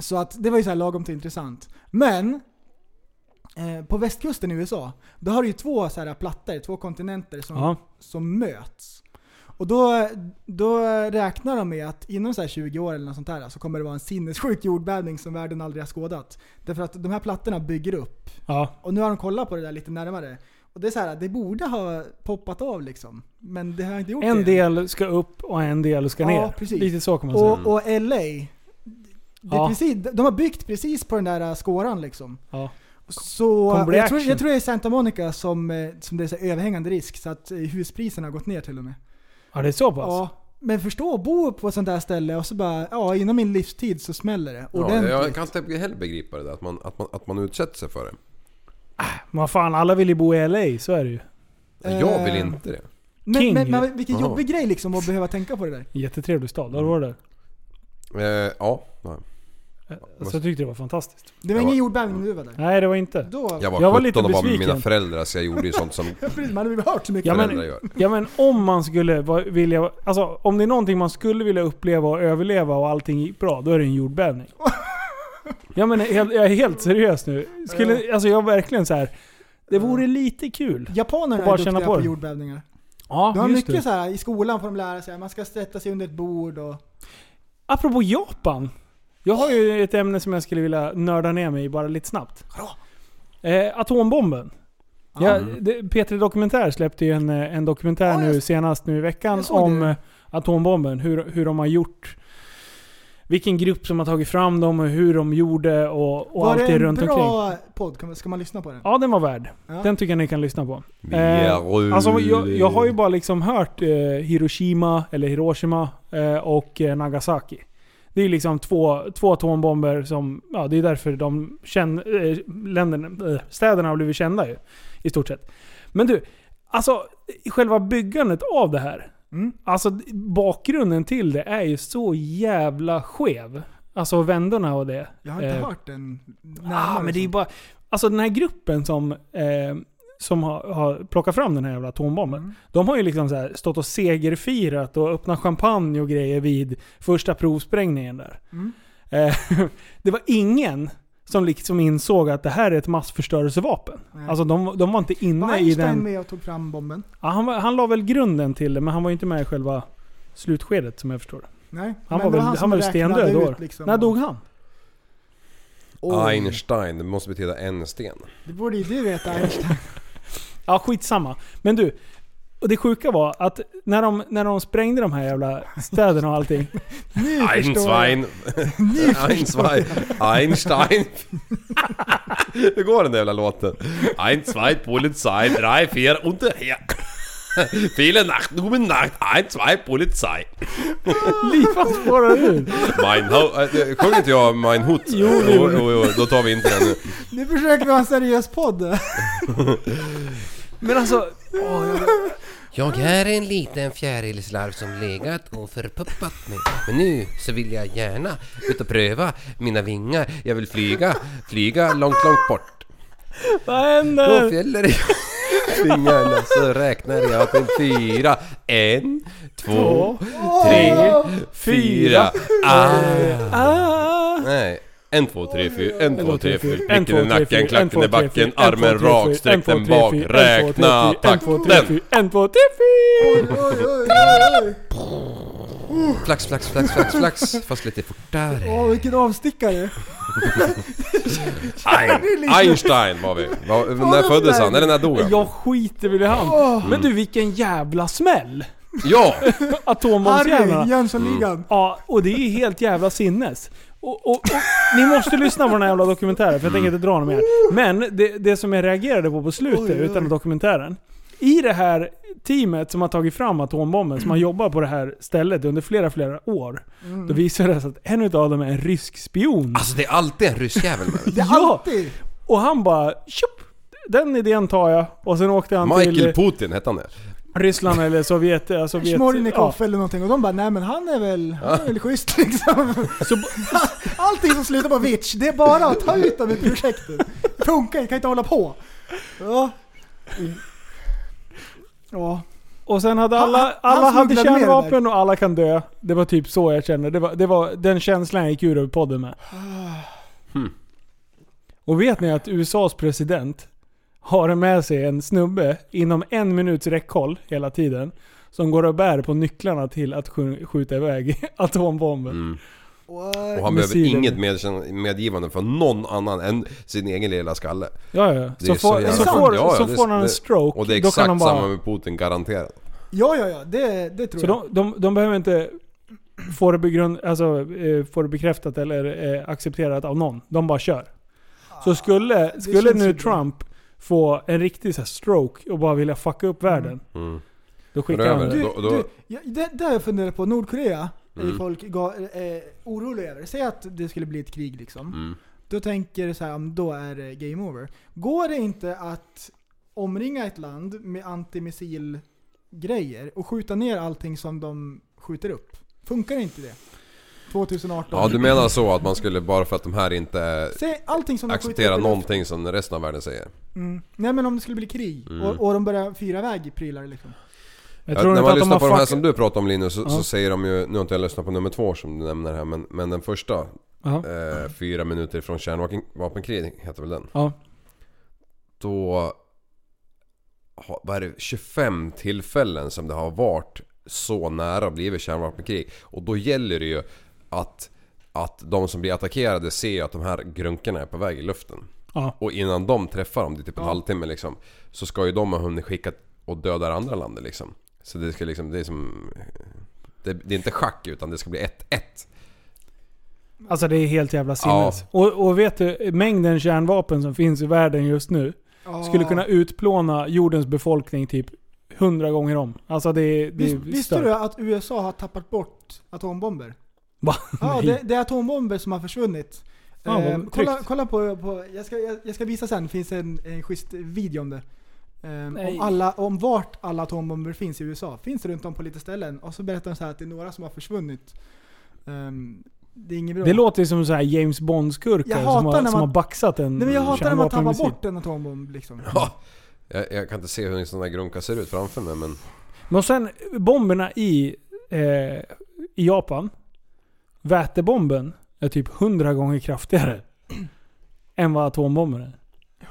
Speaker 3: så att det var ju så här lagom till intressant. Men eh, på västkusten i USA, då har du ju två så här plattor, två kontinenter som,
Speaker 2: Ja.
Speaker 3: som möts. Och då, då räknar de med att inom så här 20 år eller något sånt där så kommer det vara en sinnessjuk jordbävning som världen aldrig har skådat. Därför att de här plattorna bygger upp.
Speaker 2: Ja.
Speaker 3: Och nu har de kollat på det där lite närmare. Och det är så här, det borde ha poppat av liksom. Men det har inte gjort det.
Speaker 2: En
Speaker 3: än.
Speaker 2: del ska upp och en del ska
Speaker 3: Ja,
Speaker 2: ner.
Speaker 3: precis.
Speaker 2: Lite så kan man säga.
Speaker 3: Och, och LA. Det är
Speaker 2: Ja.
Speaker 3: precis, de har byggt precis på den där äh, skåran liksom.
Speaker 2: Ja.
Speaker 3: Så äh,
Speaker 2: Kommer bli
Speaker 3: jag tror,
Speaker 2: action.
Speaker 3: jag tror det är Santa Monica som, eh, som det är så här överhängande risk så att eh, huspriserna har gått ner till och med.
Speaker 2: ja, det är så pass?
Speaker 3: Ja, men förstå att bo på ett sånt där ställe och så bara, ja inom min livstid så smäller det
Speaker 4: Ja,
Speaker 3: ordentligt.
Speaker 4: jag kan inte heller begripa det där att man, att man, att man utsätter sig för det.
Speaker 2: Men vad fan, alla vill ju bo i LA, så är det ju.
Speaker 4: Jag vill
Speaker 3: Eh,
Speaker 4: inte det.
Speaker 3: men,
Speaker 2: King
Speaker 3: men,
Speaker 2: ju.
Speaker 3: men vilken
Speaker 4: Jaha.
Speaker 3: jobbig grej liksom att behöva tänka på det där.
Speaker 2: Jättetrevlig stad, har du varit där? Eh,
Speaker 4: Eh, ja, nej.
Speaker 2: Så jag tyckte det var fantastiskt.
Speaker 3: Det var
Speaker 4: Jag
Speaker 3: ingen
Speaker 4: var-
Speaker 3: jordbävning när du var där.
Speaker 2: Nej, det var inte.
Speaker 3: Då,
Speaker 4: Jag var,
Speaker 2: Jag var
Speaker 4: 17
Speaker 2: lite
Speaker 4: och var med mina
Speaker 2: besviken.
Speaker 4: föräldrar så jag gjorde ju sånt som
Speaker 3: man hade väl hört så mycket.
Speaker 2: <laughs> Ja, men-
Speaker 4: föräldrar gör.
Speaker 2: Ja men om man skulle va- vilja... Alltså om det är någonting man skulle vilja uppleva och överleva och allting gick bra, då är det en
Speaker 3: <laughs>
Speaker 2: jordbävning. Ja men helt- jag är helt seriös nu. Skulle, alltså jag är verkligen så här. det vore lite kul.
Speaker 3: Japanerna
Speaker 2: Och bara
Speaker 3: är
Speaker 2: känna
Speaker 3: duktiga
Speaker 2: på
Speaker 3: på
Speaker 2: det.
Speaker 3: jordbävningar.
Speaker 2: Ja,
Speaker 3: Du har
Speaker 2: just
Speaker 3: mycket
Speaker 2: det.
Speaker 3: så här, i skolan får de lära sig, man ska sätta sig under ett bord och...
Speaker 2: Apropå Japan. Jag har ju ett ämne som jag skulle vilja nörda ner mig i bara lite snabbt. Eh, atombomben. Ja, det, P3 Dokumentär släppte ju en, eh, en dokumentär
Speaker 3: Ja,
Speaker 2: nu
Speaker 3: jag-
Speaker 2: senast nu i veckan
Speaker 3: jag såg
Speaker 2: om
Speaker 3: det.
Speaker 2: eh, atombomben. Hur, hur de har gjort. Vilken grupp som har tagit fram dem och hur de gjorde och, och
Speaker 3: var
Speaker 2: allt
Speaker 3: det
Speaker 2: det
Speaker 3: en
Speaker 2: runt omkring.
Speaker 3: bra podd? Kan man- Ska man lyssna på den?
Speaker 2: Ja, den var värd.
Speaker 3: Ja.
Speaker 2: Den tycker jag ni kan lyssna på.
Speaker 4: Vi
Speaker 2: Eh,
Speaker 4: är
Speaker 2: Alltså, jag, jag har ju bara liksom hört eh, Hiroshima, eller Hiroshima, eh, och eh, Nagasaki. Det är ju liksom två, två atombomber som, ja det är därför de känn, eh, länderna, eh, städerna har blivit kända ju. I stort sett. Men du, alltså själva byggandet av det här.
Speaker 3: Mm.
Speaker 2: Alltså d- bakgrunden till det är ju så jävla skev. Alltså vändorna och det.
Speaker 3: Jag har inte
Speaker 2: Eh,
Speaker 3: hört den
Speaker 2: Ja, men det
Speaker 3: liksom.
Speaker 2: är ju bara... Alltså den här gruppen som, eh, som har, har plockat fram den här jävla atombomben.
Speaker 3: Mm.
Speaker 2: De har ju liksom så här stått och segerfirat och öppnat champagne och grejer vid första provsprängningen där.
Speaker 3: Mm.
Speaker 2: Eh, <laughs> det var ingen som liksom insåg att det här är ett massförstörelsevapen.
Speaker 3: Nej.
Speaker 2: Alltså de, de var inte inne
Speaker 3: Var
Speaker 2: i
Speaker 3: Einstein
Speaker 2: den...
Speaker 3: med och tog fram bomben?
Speaker 2: Ja, han, var, han la väl grunden till det, men han var ju inte med i själva slutskedet som jag förstår det.
Speaker 3: Nej.
Speaker 2: Han
Speaker 3: men
Speaker 2: var
Speaker 3: det
Speaker 2: väl,
Speaker 3: han
Speaker 2: han
Speaker 3: som
Speaker 2: var väl
Speaker 3: räknade
Speaker 2: stendöd
Speaker 3: ut
Speaker 2: då.
Speaker 3: Liksom.
Speaker 2: När dog han?
Speaker 3: Oj.
Speaker 4: Einstein, det måste betyda en sten.
Speaker 3: Det borde ju du veta Einstein.
Speaker 2: Ja, skitsamma. Men du. Och det sjuka var att när de, när de sprängde de här jävla städerna och allting. <laughs>
Speaker 3: Nu förstår jag.
Speaker 4: <laughs> Einstein, Einstein, Einstein. Hur går den där jävla låten? Einstein, Polizei, drei, vier, unter her. Viele Nacht, guten Nacht, ein, zwei, Polizei.
Speaker 2: Livan spårar ur.
Speaker 4: Mein Ho- äh, Sjöng inte jag Mein Hut? Jo, jo, jo, jo, då tar vi inte den nu.
Speaker 3: Nu försöker vi ha en
Speaker 2: <laughs>
Speaker 3: seriös podd.
Speaker 2: Men alltså. åh, jag-
Speaker 5: Jag är en liten fjärilslarv som legat och förpuppat mig. Men nu så vill jag gärna ut och pröva mina vingar. Jag vill flyga, flyga långt, långt bort.
Speaker 2: vad händer?
Speaker 5: Då fäller <laughs> jag
Speaker 4: Fingrarna så räknar jag till fyra. En, två, tre, fyra. Ah.
Speaker 2: Ah.
Speaker 4: Nej. En, två, tre, fyra. En, två, tre, fyra.
Speaker 2: En, två,
Speaker 4: Knicken
Speaker 2: tre,
Speaker 4: i
Speaker 2: fyra.
Speaker 4: nacken,
Speaker 2: En,
Speaker 4: klacken
Speaker 2: två,
Speaker 4: i
Speaker 2: tre, fyra.
Speaker 4: backen,
Speaker 2: En, två, tre,
Speaker 4: armen
Speaker 2: fyra.
Speaker 4: rak,
Speaker 2: En,
Speaker 4: sträck
Speaker 2: två,
Speaker 4: den
Speaker 2: tre,
Speaker 4: bak.
Speaker 2: fyra. En, två, tre,
Speaker 4: Räkna
Speaker 2: fyra. En, två, tre,
Speaker 4: takten.
Speaker 2: fyra. En, två, tre, fyra.
Speaker 3: Oj, oj, oj.
Speaker 5: flax, flax, flax, flax, flax. Fast lite fortare.
Speaker 3: Åh, vilken avstickare.
Speaker 2: <laughs>
Speaker 4: Ein-
Speaker 2: liksom-
Speaker 4: Einstein var vi. Var, när föddes han? Eller när dog Ah. han?
Speaker 2: Jag skiter väl i han. Men du vilken jävla smäll!
Speaker 4: Ja!
Speaker 2: Atombombsjävlarna.
Speaker 3: Harry, Jönssonligan.
Speaker 2: Ja, och det är ju helt jävla sinnes. Och, och, och, ni måste lyssna på den här jävla dokumentären, för jag tänker inte dra den mer. Men det, det som jag reagerade på på slutet,
Speaker 3: Oj, oj.
Speaker 2: utan dokumentären. I det här teamet som har tagit fram atombomben, som har jobbat på det här stället under flera, flera år.
Speaker 3: Mm.
Speaker 2: Då visar det sig att en av dem är en rysk spion.
Speaker 5: Alltså det är alltid en rysk jävel med mig.
Speaker 3: Det är
Speaker 2: Ja.
Speaker 3: alltid.
Speaker 2: Och han bara tjopp! Den idén tar jag. Och sen åkte han
Speaker 4: Michael
Speaker 2: till
Speaker 4: Putin hette han det.
Speaker 2: Ryssland eller Sovjet... eh, Sovjet
Speaker 3: Smornikov
Speaker 2: ja.
Speaker 3: eller någonting och de bara nej men han är väl, han är väl schysst liksom.
Speaker 2: <laughs> Så,
Speaker 3: Han <laughs> allting som slutar på vitch, det är bara att ta ut dem ur projektet. Det funkar inte, kan inte hålla på. Ja. Ja.
Speaker 2: Och sen hade
Speaker 3: Han-
Speaker 2: alla,
Speaker 3: han- han
Speaker 2: alla hade
Speaker 3: smugglade med det
Speaker 2: kärnvapen och alla kan dö. Det var typ så jag kände. Det var, det var den känslan jag gick ur över podden med.
Speaker 4: Hmm.
Speaker 2: Och vet ni att USAs president har med sig en snubbe inom en minuts räckhåll hela tiden. Som går och bär på nycklarna till att skj- skjuta iväg <laughs> atombomben.
Speaker 4: Mm. Och han behöver
Speaker 2: Missiler.
Speaker 4: inget medkän- medgivande från någon annan än sin egen lilla skalle.
Speaker 2: Ja, ja.
Speaker 4: Det
Speaker 2: Så
Speaker 4: är så
Speaker 2: får,
Speaker 4: jävla
Speaker 2: så
Speaker 4: sant.
Speaker 2: får,
Speaker 4: Ja, ja,
Speaker 2: så
Speaker 4: det-
Speaker 2: får han en
Speaker 4: det-
Speaker 2: stroke.
Speaker 4: Och det är
Speaker 2: då kan
Speaker 4: exakt
Speaker 2: han bara,
Speaker 4: samma med Putin garanterat.
Speaker 3: Ja, ja, ja. Det, det tror
Speaker 2: Så
Speaker 3: jag.
Speaker 2: de, de, de behöver inte få det, begrund, alltså, eh, få det bekräftat eller eh, accepterat av någon. De bara kör. Så skulle, skulle
Speaker 3: Ah, känns ju
Speaker 2: nu
Speaker 3: bra.
Speaker 2: Trump få en riktig så här, stroke och bara vilja fucka upp världen.
Speaker 4: Mm.
Speaker 2: Då skickar han
Speaker 4: Röver.
Speaker 2: det.
Speaker 3: Du,
Speaker 4: Då- då-
Speaker 3: du, ja, det där har jag funderat på. Nordkorea är
Speaker 4: Mm.
Speaker 3: folk ga, eh, oroliga över. Säg att det skulle bli ett krig liksom.
Speaker 4: Mm.
Speaker 3: Då tänker du så här, ja, men då är det game over. Går det inte att omringa ett land med antimissilgrejer och skjuta ner allting som de skjuter upp? Funkar inte det? 2018?
Speaker 4: Ja du menar så att man skulle bara för att de här inte eh,
Speaker 3: Se, allting som de skjuter upp
Speaker 4: accepterar
Speaker 3: i luften.
Speaker 4: någonting som resten av världen säger.
Speaker 3: Mm. Nej men om det skulle bli krig
Speaker 4: Mm.
Speaker 3: och, och de börjar fyra väg prylar liksom.
Speaker 2: Jag tror
Speaker 4: när
Speaker 2: inte
Speaker 4: man
Speaker 2: att de
Speaker 4: lyssnar
Speaker 2: har
Speaker 4: på de här
Speaker 2: fuckat...
Speaker 4: som du pratar om Linus så,
Speaker 2: Ja.
Speaker 4: så säger de ju, nu har inte jag lyssnat på nummer två som du nämner här men, men den första,
Speaker 2: Jaha.
Speaker 4: eh, fyra minuter från kärnvapenkrig heter väl den?
Speaker 2: Ja.
Speaker 4: Då, ha- vad är det, 25 tillfällen som det har varit så nära att blivit kärnvapenkrig. Och då gäller det ju att, att de som blir attackerade ser ju att de här grunkarna är på väg i luften.
Speaker 2: Ja.
Speaker 4: Och innan de träffar dem, det är typ en halvtimme liksom, så ska ju de ha hunnit skicka och döda det andra landet liksom. Så det ska liksom, det är som... Det, det är inte schack utan det ska bli 1-1.
Speaker 2: Alltså det är helt jävla sinnes. Och, och vet du, mängden kärnvapen som finns i världen just nu
Speaker 3: Ah.
Speaker 2: skulle kunna utplåna jordens befolkning typ hundra gånger om. Alltså det, är- det är
Speaker 3: Visst, visste
Speaker 2: stört.
Speaker 3: du att USA har tappat bort atombomber?
Speaker 2: Va?
Speaker 3: Ja,
Speaker 2: Nej.
Speaker 3: det, det är atombomber som har försvunnit.
Speaker 2: Ja, vad
Speaker 3: Ehm, kolla
Speaker 2: tryggt.
Speaker 3: kolla på, på jag, ska, jag, jag ska visa sen, det finns en, en schysst video om det. Ehm,
Speaker 2: Nej.
Speaker 3: om, alla, om vart alla atombomber finns i USA. Finns runt om på lite ställen. Och så berättar de så här att det är några som har försvunnit. Ehm, det är inget bra.
Speaker 2: Det låter ju som så här James
Speaker 3: Jag
Speaker 2: Bond-skurkar som,
Speaker 3: hatar
Speaker 2: har-
Speaker 3: när
Speaker 2: som
Speaker 3: man-
Speaker 2: har baxat en
Speaker 3: Nej men jag hatar när man tappar
Speaker 2: kärnvapenmissil.
Speaker 3: bort en atombomb liksom.
Speaker 4: Ja, jag, jag kan inte se hur en sån där grunka ser ut framför mig men...
Speaker 2: Men och sen bomberna i, eh, i Japan. Vätebomben är typ hundra gånger kraftigare <clears throat> än vad atombomben är.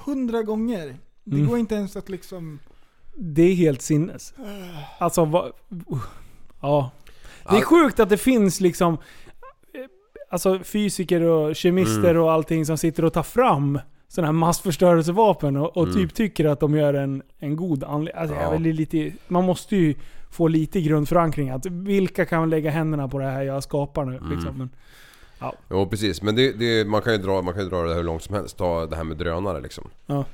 Speaker 3: Hundra gånger. Det
Speaker 2: Mm.
Speaker 3: går inte ens att liksom...
Speaker 2: Det är helt sinnes. Alltså vad... Ja. Det är
Speaker 4: Ja.
Speaker 2: sjukt att det finns liksom... eh, Alltså fysiker och kemister och allting som sitter och tar fram sådana här massförstörelsevapen och, och typ tycker att de gör en, en god anledning. Alltså,
Speaker 4: Ja.
Speaker 2: jag vill ju lite, man måste ju få lite grundförankring. Att vilka kan lägga händerna på det här jag skapar nu? Liksom. Men,
Speaker 4: Jo precis, men det, det, man, kan ju dra, man kan ju dra det hur långt som helst. Ta det här med drönare liksom.
Speaker 2: ja.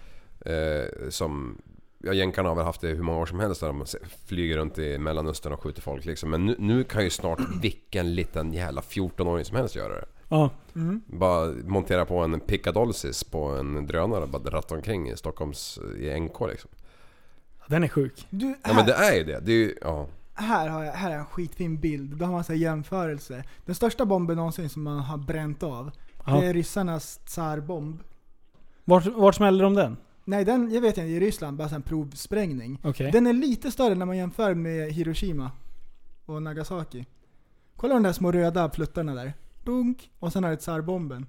Speaker 4: Eh, som... Ja, jänkarna har väl haft det hur många år som helst där de se- flyger runt i Mellanöstern och skjuter folk liksom. Men nu, nu kan ju snart vilken liten jävla 14-åring som helst göra det.
Speaker 2: Ja.
Speaker 4: Bara montera på en pickadolsis på en drönare och bara ratta omkring i Stockholms... i NK liksom.
Speaker 2: Den är sjuk.
Speaker 3: Du, här,
Speaker 4: Ja men det är ju det. Det är ju... Ja.
Speaker 3: här, har jag, här är en skitfin bild. Då har man så här jämförelse. Den största bomben någonsin som man har bränt av.
Speaker 2: Ja.
Speaker 3: Det är ryssarnas tsarbomb.
Speaker 2: Vart, vart smällde de den?
Speaker 3: Nej, den, jag vet inte, i Ryssland, bara så här en provsprängning.
Speaker 2: Okej.
Speaker 3: Den är lite större när man jämför med Hiroshima och Nagasaki. Kolla de där små röda pluttarna där. Dunk. Och sen har du tsarbomben.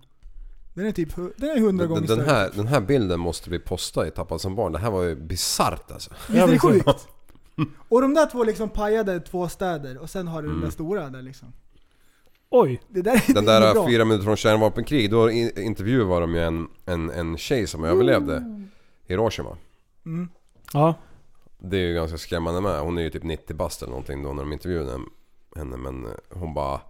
Speaker 3: Den är typ hu- den är 100
Speaker 4: Den,
Speaker 3: gånger
Speaker 4: den,
Speaker 3: större.
Speaker 4: här, den här bilden måste vi posta i Tappad som barn. Det här var ju bisarrt alltså.
Speaker 3: Visst är det
Speaker 2: visst.
Speaker 3: sjukt? Och de där två liksom pajade två städer och sen har du den där stora där liksom.
Speaker 2: Oj.
Speaker 3: Det där är
Speaker 4: Mm. Den
Speaker 3: det är
Speaker 4: där
Speaker 3: bra.
Speaker 4: fyra minuter från kärnvapenkrig, då in- intervjuade de ju en, en, en tjej som överlevde Hiroshima.
Speaker 2: Ja.
Speaker 4: Det är ju ganska skrämmande med. Hon är ju typ 90 bast eller någonting då när de intervjuade henne. Men eh, hon bara...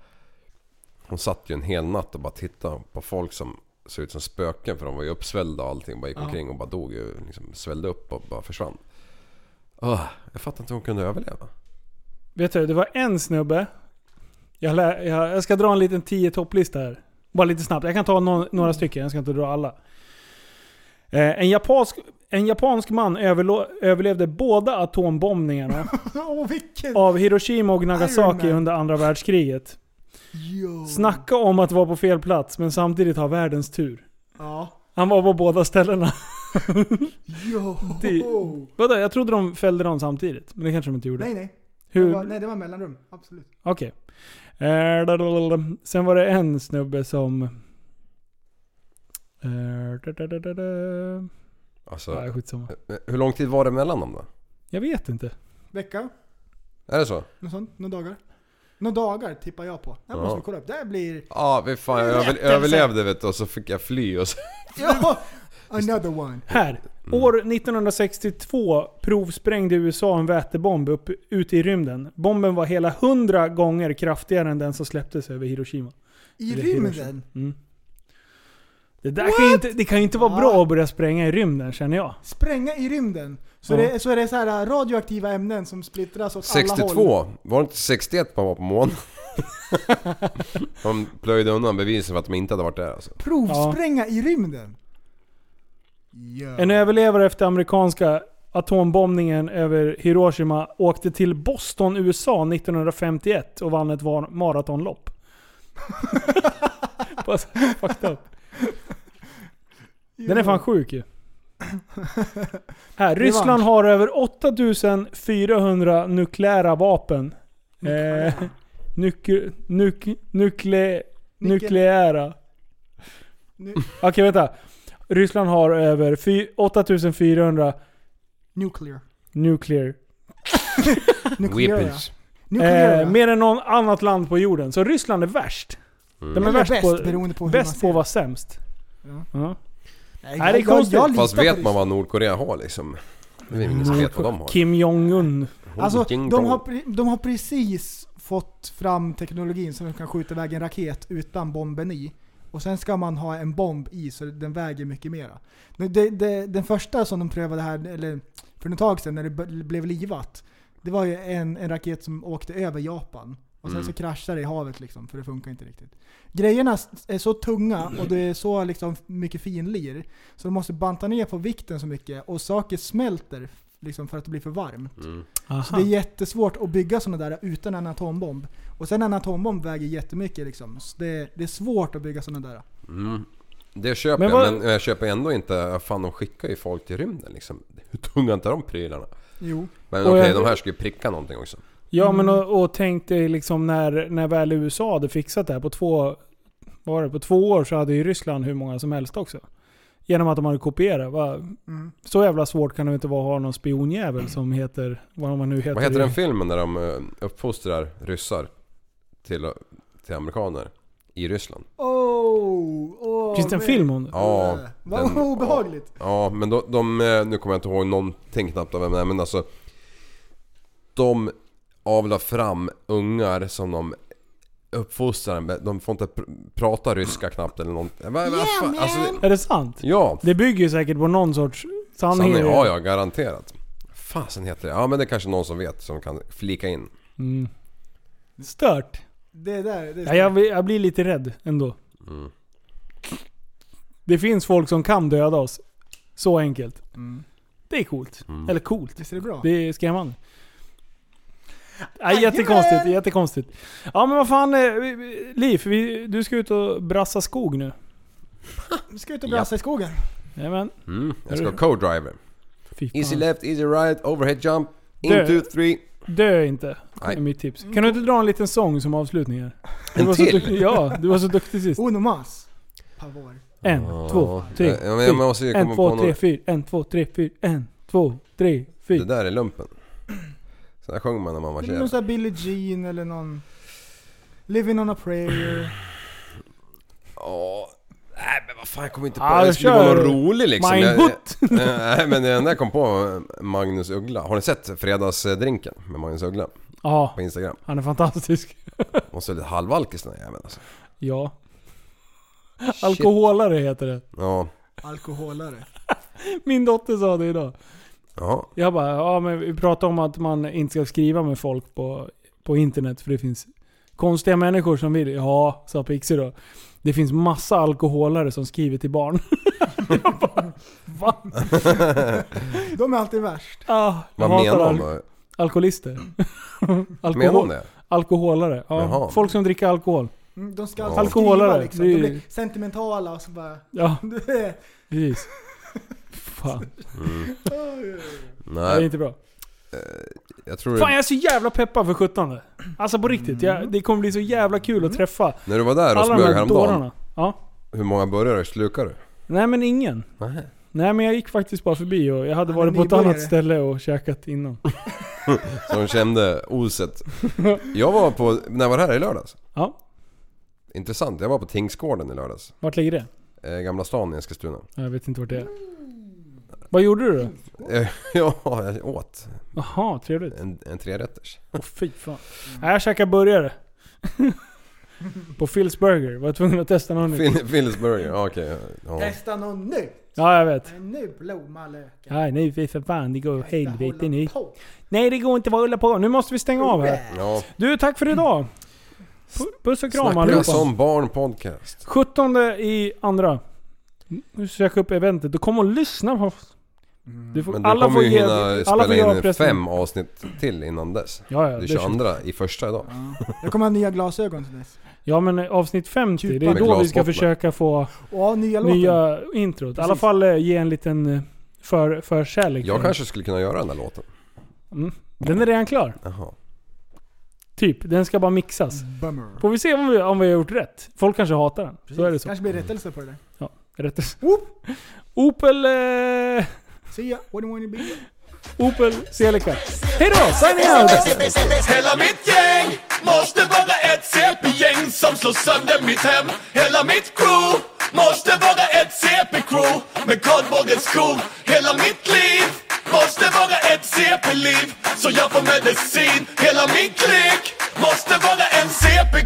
Speaker 4: Hon satt ju en hel natt och bara tittade på folk som såg ut som spöken för de var ju uppsvällda och allting. Bara gick omkring och bara dog ju. Liksom svällde upp och bara försvann. Ah, jag fattar inte hur hon kunde överleva.
Speaker 2: Vet du, det var en snubbe. Jag, lä- jag, jag ska dra en liten 10 topplista här. Bara lite snabbt. Jag kan ta nå-
Speaker 3: Mm.
Speaker 2: några stycken, jag ska inte dra alla. Eh, en, japansk, en japansk man överlo- överlevde båda
Speaker 3: <laughs>
Speaker 2: atombombningarna
Speaker 3: Åh vilken!
Speaker 2: av Hiroshima och
Speaker 3: Iron
Speaker 2: Nagasaki
Speaker 3: Man. Mm.
Speaker 2: under andra världskriget.
Speaker 3: Jo.
Speaker 2: Snacka om att vara på fel plats men samtidigt ha världens tur.
Speaker 3: Ja.
Speaker 2: Han var på båda ställena. <laughs>
Speaker 3: Jo.
Speaker 2: Det- Vadå, jag trodde de fällde dem samtidigt. Men det kanske de inte gjorde.
Speaker 3: Nej nej. Det
Speaker 2: Hur?
Speaker 3: var, nej det var mellanrum. Absolut.
Speaker 2: Okej. Eh, dadadadada. Sen var det en snubbe som... Eh, dadadadada.
Speaker 4: Alltså, eh,
Speaker 2: Nej, skitsamma.
Speaker 4: hur lång tid var det mellan dem då?
Speaker 2: Jag vet inte.
Speaker 3: Vecka?
Speaker 4: Är det så?
Speaker 3: Något sånt? Några dagar? Några dagar tippar jag på. Det här
Speaker 4: Ja.
Speaker 3: måste vi kolla upp. Det här blir...
Speaker 4: Ja, vi fan, jag över,
Speaker 3: Jättelse.
Speaker 4: överlevde vet du och så fick jag fly och så...
Speaker 3: Ja! <laughs> Another one.
Speaker 2: Här. År 1962 provsprängde USA en vätebomb upp, ut i rymden. Bomben var hela 100 gånger kraftigare än den som släpptes över Hiroshima.
Speaker 3: I
Speaker 2: Eller
Speaker 3: rymden?
Speaker 2: Hiroshima. Mm. Det där kan ju inte, det kan ju inte vara bra att börja spränga i rymden känner jag.
Speaker 3: Spränga i rymden? Så,
Speaker 2: Ja.
Speaker 3: det, så är det så här äh, radioaktiva ämnen som splittras åt alla håll?
Speaker 4: 62? Var det inte 61 man var på månen? de plöjde undan bevisen för att de inte hade varit där alltså.
Speaker 3: Provspränga i rymden? Ja.
Speaker 2: En överlevare efter amerikanska atombombningen över Hiroshima åkte till Boston, USA 1951 och vann ett var- maratonlopp. Bara så- Fucked up. Den är fan sjuk ju. Här, Ryssland har över 8400 nukleära vapen. Eh, nuk, nuk, nukle, nukleära.
Speaker 3: Nu-
Speaker 2: Okej, vänta. Ryssland har över fy- 8400
Speaker 3: Nuclear.
Speaker 2: nuclear.
Speaker 3: Nuclear.
Speaker 4: Weapons.
Speaker 3: Nuclear.
Speaker 2: Eh, mer än någon annat land på jorden. Så Ryssland är värst.
Speaker 4: Mm.
Speaker 2: De är
Speaker 3: Eller
Speaker 2: värst
Speaker 3: bäst,
Speaker 2: på,
Speaker 3: beroende på hur man
Speaker 2: bäst
Speaker 3: ser
Speaker 2: på
Speaker 3: det.
Speaker 2: att vara sämst.
Speaker 3: Ja.
Speaker 2: Ja.
Speaker 3: Nej,
Speaker 2: det är konstigt.
Speaker 3: litar
Speaker 4: Fast
Speaker 3: på
Speaker 4: vet
Speaker 3: det.
Speaker 4: man vad Nordkorea har liksom? Det är väl ingen som vet vad de har.
Speaker 2: Kim Jong-Un.
Speaker 3: Alltså,
Speaker 4: Ding
Speaker 3: de
Speaker 4: dong.
Speaker 3: har, pre- de har precis fått fram teknologin som kan skjuta iväg en raket utan bomben i. Och sen ska man ha en bomb i så den väger mycket mera. Nu, det- det- den första som de prövade här, eller för ett tag sedan när det b- blev livat. Det var ju en, en raket som åkte över Japan. Och sen så kraschade det i havet liksom, för det funkar inte riktigt. Grejerna s- är så tunga och det är så liksom mycket finlir. Så de måste banta ner på vikten så mycket och saker smälter liksom för att det blir för varmt.
Speaker 4: Mm.
Speaker 3: Så
Speaker 2: Aha.
Speaker 3: det är jättesvårt att bygga sådana där utan en atombomb. Och sen en atombomb väger jättemycket liksom. Så det, det är svårt att bygga sådana där.
Speaker 4: Mm. Det köper
Speaker 2: Men
Speaker 4: jag,
Speaker 2: vad-
Speaker 4: men jag köper ändå inte... Fan, de skickar ju folk till rymden liksom. <laughs> Hur tunga är inte de prylarna?
Speaker 3: Jo.
Speaker 4: Men
Speaker 2: Och
Speaker 4: okej,
Speaker 2: jag-
Speaker 4: de här ska ju pricka någonting också.
Speaker 2: Ja men och, och tänk dig liksom när, när väl USA hade fixat det här på två, vad var det, på två år så hade ju Ryssland hur många som helst också. Genom att de hade kopierat. Va?
Speaker 3: Mm.
Speaker 2: Så jävla svårt kan det inte vara att ha någon spionjävel som heter, vad man nu heter.
Speaker 4: Vad heter den filmen där de eh, uppfostrar ryssar till, till amerikaner i Ryssland?
Speaker 3: Oh, oh,
Speaker 2: Finns det en film om det?
Speaker 4: Ja,
Speaker 3: Vad
Speaker 4: den-
Speaker 3: obehagligt.
Speaker 4: Ja, men de, de... eh, Nu kommer jag inte ihåg någonting knappt av vem det är, men alltså... De avlar fram ungar som de uppfostrar med. De får inte pr- prata ryska knappt eller någonting. Vad- vad fan, alltså, det-
Speaker 2: Är det sant?
Speaker 4: ja,
Speaker 2: Det bygger ju säkert på någon sorts sanning.
Speaker 4: sanning. Ja, ja, garanterat. Fasen heter det? Ja, men det är kanske någon som vet som kan flika in.
Speaker 2: Mm. Stört.
Speaker 3: Det där, det
Speaker 2: Ja, jag, blir- jag blir lite rädd ändå.
Speaker 4: Mm.
Speaker 2: Det finns folk som kan döda oss. Så enkelt.
Speaker 3: Mm.
Speaker 2: Det är coolt.
Speaker 4: Mm.
Speaker 2: Eller coolt.
Speaker 3: Visst är det bra?
Speaker 2: Det är skrämmande. Nej, jättekonstigt, jättekonstigt. Ja men vad fan, eh, vi- vi- Liv, vi, du ska ut och brassa skog nu.
Speaker 3: Vi ska ut och brassa i skogen.
Speaker 2: Jajamän.
Speaker 4: Mm. Jag ska co-driver.
Speaker 2: Fy fan.
Speaker 4: Easy left, easy right, overhead jump.
Speaker 2: Dö.
Speaker 4: In, two, three.
Speaker 2: Dö inte,
Speaker 4: Nej.
Speaker 2: är mitt tips. Kan du inte dra en liten sång som avslutning här? Du
Speaker 4: En
Speaker 2: var så
Speaker 4: till?
Speaker 2: duktig, ja, du var så duktig sist.
Speaker 3: Onomas. Pavor.
Speaker 2: En,
Speaker 4: Ja.
Speaker 2: två, tre,
Speaker 4: Ja, men jag
Speaker 2: fyra.
Speaker 4: måste ju komma
Speaker 2: En, två,
Speaker 4: på
Speaker 2: tre,
Speaker 4: någon...
Speaker 2: fyra. En, två, tre, fyra. En, två, tre,
Speaker 4: Det
Speaker 2: fyra.
Speaker 4: där är lumpen. Så där sjöng man när man var
Speaker 3: Det är någon
Speaker 4: tjej.
Speaker 3: sån här Billie Jean eller någon... Living on a prayer.
Speaker 4: Ja. Nej men vad fan jag kommer inte på
Speaker 2: Ja,
Speaker 4: det. skulle vara
Speaker 2: kör.
Speaker 4: någon rolig liksom. Jag-
Speaker 2: Mindhut!
Speaker 4: jag- <laughs> Nej men det enda jag kom på var Magnus Uggla. Har ni sett Fredagsdrinken med Magnus Uggla
Speaker 2: Ja,
Speaker 4: på Instagram?
Speaker 2: han är fantastisk. <laughs>
Speaker 4: Måste vara lite halvalkis den här jäveln alltså.
Speaker 2: Ja. Alkoholare heter det.
Speaker 4: Ja.
Speaker 3: Alkoholare.
Speaker 2: Min dotter sa det idag.
Speaker 4: Ja.
Speaker 2: Jag bara, ja men vi pratar om att man inte ska skriva med folk på, på internet för det finns konstiga människor som vill. Ja, sa Pixie då. Det finns massa alkoholare som skriver till barn. <laughs> jag bara, va?
Speaker 3: De är alltid värst.
Speaker 2: Ah, jag
Speaker 4: Vad
Speaker 2: hatar
Speaker 4: menar hon
Speaker 2: al-
Speaker 4: då?
Speaker 2: Alkoholister. <laughs>
Speaker 4: Menar hon
Speaker 2: Alkohol,
Speaker 4: det?
Speaker 2: alkoholare. Ja.
Speaker 4: Jaha.
Speaker 2: Folk som dricker alkohol.
Speaker 3: Mm, De ska alltså
Speaker 2: Alkoholare,
Speaker 3: skriva liksom.
Speaker 2: det är
Speaker 3: De
Speaker 2: ju-
Speaker 3: blir sentimentala och så bara... <laughs>
Speaker 2: Ja,
Speaker 3: Det är-
Speaker 2: precis. Fan, det är
Speaker 4: Nej,
Speaker 2: inte bra.
Speaker 4: jag tror
Speaker 2: Fan jag är så jävla peppad för 17 Alltså på riktigt,
Speaker 4: Mm.
Speaker 2: jag, det kommer bli så jävla kul att träffa
Speaker 4: när du var där och
Speaker 2: alla de
Speaker 4: Mm. smög
Speaker 2: här
Speaker 4: häromdagen,
Speaker 2: dårarna. Ja.
Speaker 4: hur många burgare slukade du?
Speaker 2: Nej men ingen.
Speaker 4: Nej.
Speaker 2: Nej men jag gick faktiskt bara förbi och jag hade
Speaker 3: Ja,
Speaker 2: varit
Speaker 3: men
Speaker 2: på ett
Speaker 3: nybörjare.
Speaker 2: annat ställe och käkat innan.
Speaker 4: Så de kände oset. Jag var på, när jag var här i lördags.
Speaker 2: Ja,
Speaker 4: Intressant, jag var på Tingsgården i lördags.
Speaker 2: vart ligger det?
Speaker 4: Eh, Gamla stan i Eskilstuna.
Speaker 2: Jag vet inte vart det är. Vad gjorde du då?
Speaker 4: Eh, <laughs> Ja, jag åt
Speaker 2: Jaha, trevligt.
Speaker 4: en, en trerätters.
Speaker 2: Åh fy fan. Nej, jag käkade burgare. <laughs> på Phil's Burger. Var tvungen att testa någon nytt.
Speaker 4: Phil- Phil's burger, ja, okej. Ja.
Speaker 3: Testa någon nu!
Speaker 2: Ja jag vet.
Speaker 3: Nu blommar löken.
Speaker 2: Nej nej fy för fan, det går åt
Speaker 3: Testa
Speaker 2: helvete
Speaker 3: hålla
Speaker 2: nu.
Speaker 3: på.
Speaker 2: Nej det går inte att rulla på. Nu måste vi stänga av här.
Speaker 4: ja.
Speaker 2: Du, tack för idag. Pu- Puss och kram
Speaker 4: Snacka
Speaker 2: allihopa.
Speaker 4: som barn podcast.
Speaker 2: 17 i andra. Nu sök upp eventet. Du kommer och lyssna på oss. Du får,
Speaker 4: Men du
Speaker 2: alla
Speaker 4: kommer
Speaker 2: får
Speaker 4: ju
Speaker 2: ge...
Speaker 4: hinna
Speaker 2: alla får göra
Speaker 4: spela in
Speaker 2: pressen.
Speaker 4: fem avsnitt till innan dess.
Speaker 2: Ja, ja,
Speaker 4: Det är
Speaker 2: det känns-
Speaker 4: 22 i första idag.
Speaker 3: Jag kommer ha nya glasögon till dess.
Speaker 2: ja, men eh, avsnitt 50, det är
Speaker 4: Med
Speaker 2: då vi ska
Speaker 4: glasbottnar.
Speaker 2: försöka få
Speaker 3: Och ha nya låten.
Speaker 2: nya introt. I alla
Speaker 3: Precis.
Speaker 2: fall eh, ge en liten eh, för, förkärlek.
Speaker 4: Jag kanske skulle kunna göra den där låten.
Speaker 2: Mm. Den är redan klar.
Speaker 4: Jaha.
Speaker 2: Typ. Den ska bara mixas.
Speaker 3: Bummer.
Speaker 2: Får vi se om vi, om vi har gjort rätt. Folk kanske hatar den. Så är det så.
Speaker 3: Kanske blir rättelse på det där.
Speaker 2: Rätt. Opel... Eh,
Speaker 3: See ya, what do you wanna be?
Speaker 2: Opel Celica. Hejdå! Signing out!
Speaker 1: Hela mitt gäng måste vara ett CP-gäng som slår sönder mitt hem Hela mitt crew måste vara ett CP-crew med kardborrens skor Hela mitt liv måste vara ett CP-liv så jag får medicin Hela min klick måste vara en CP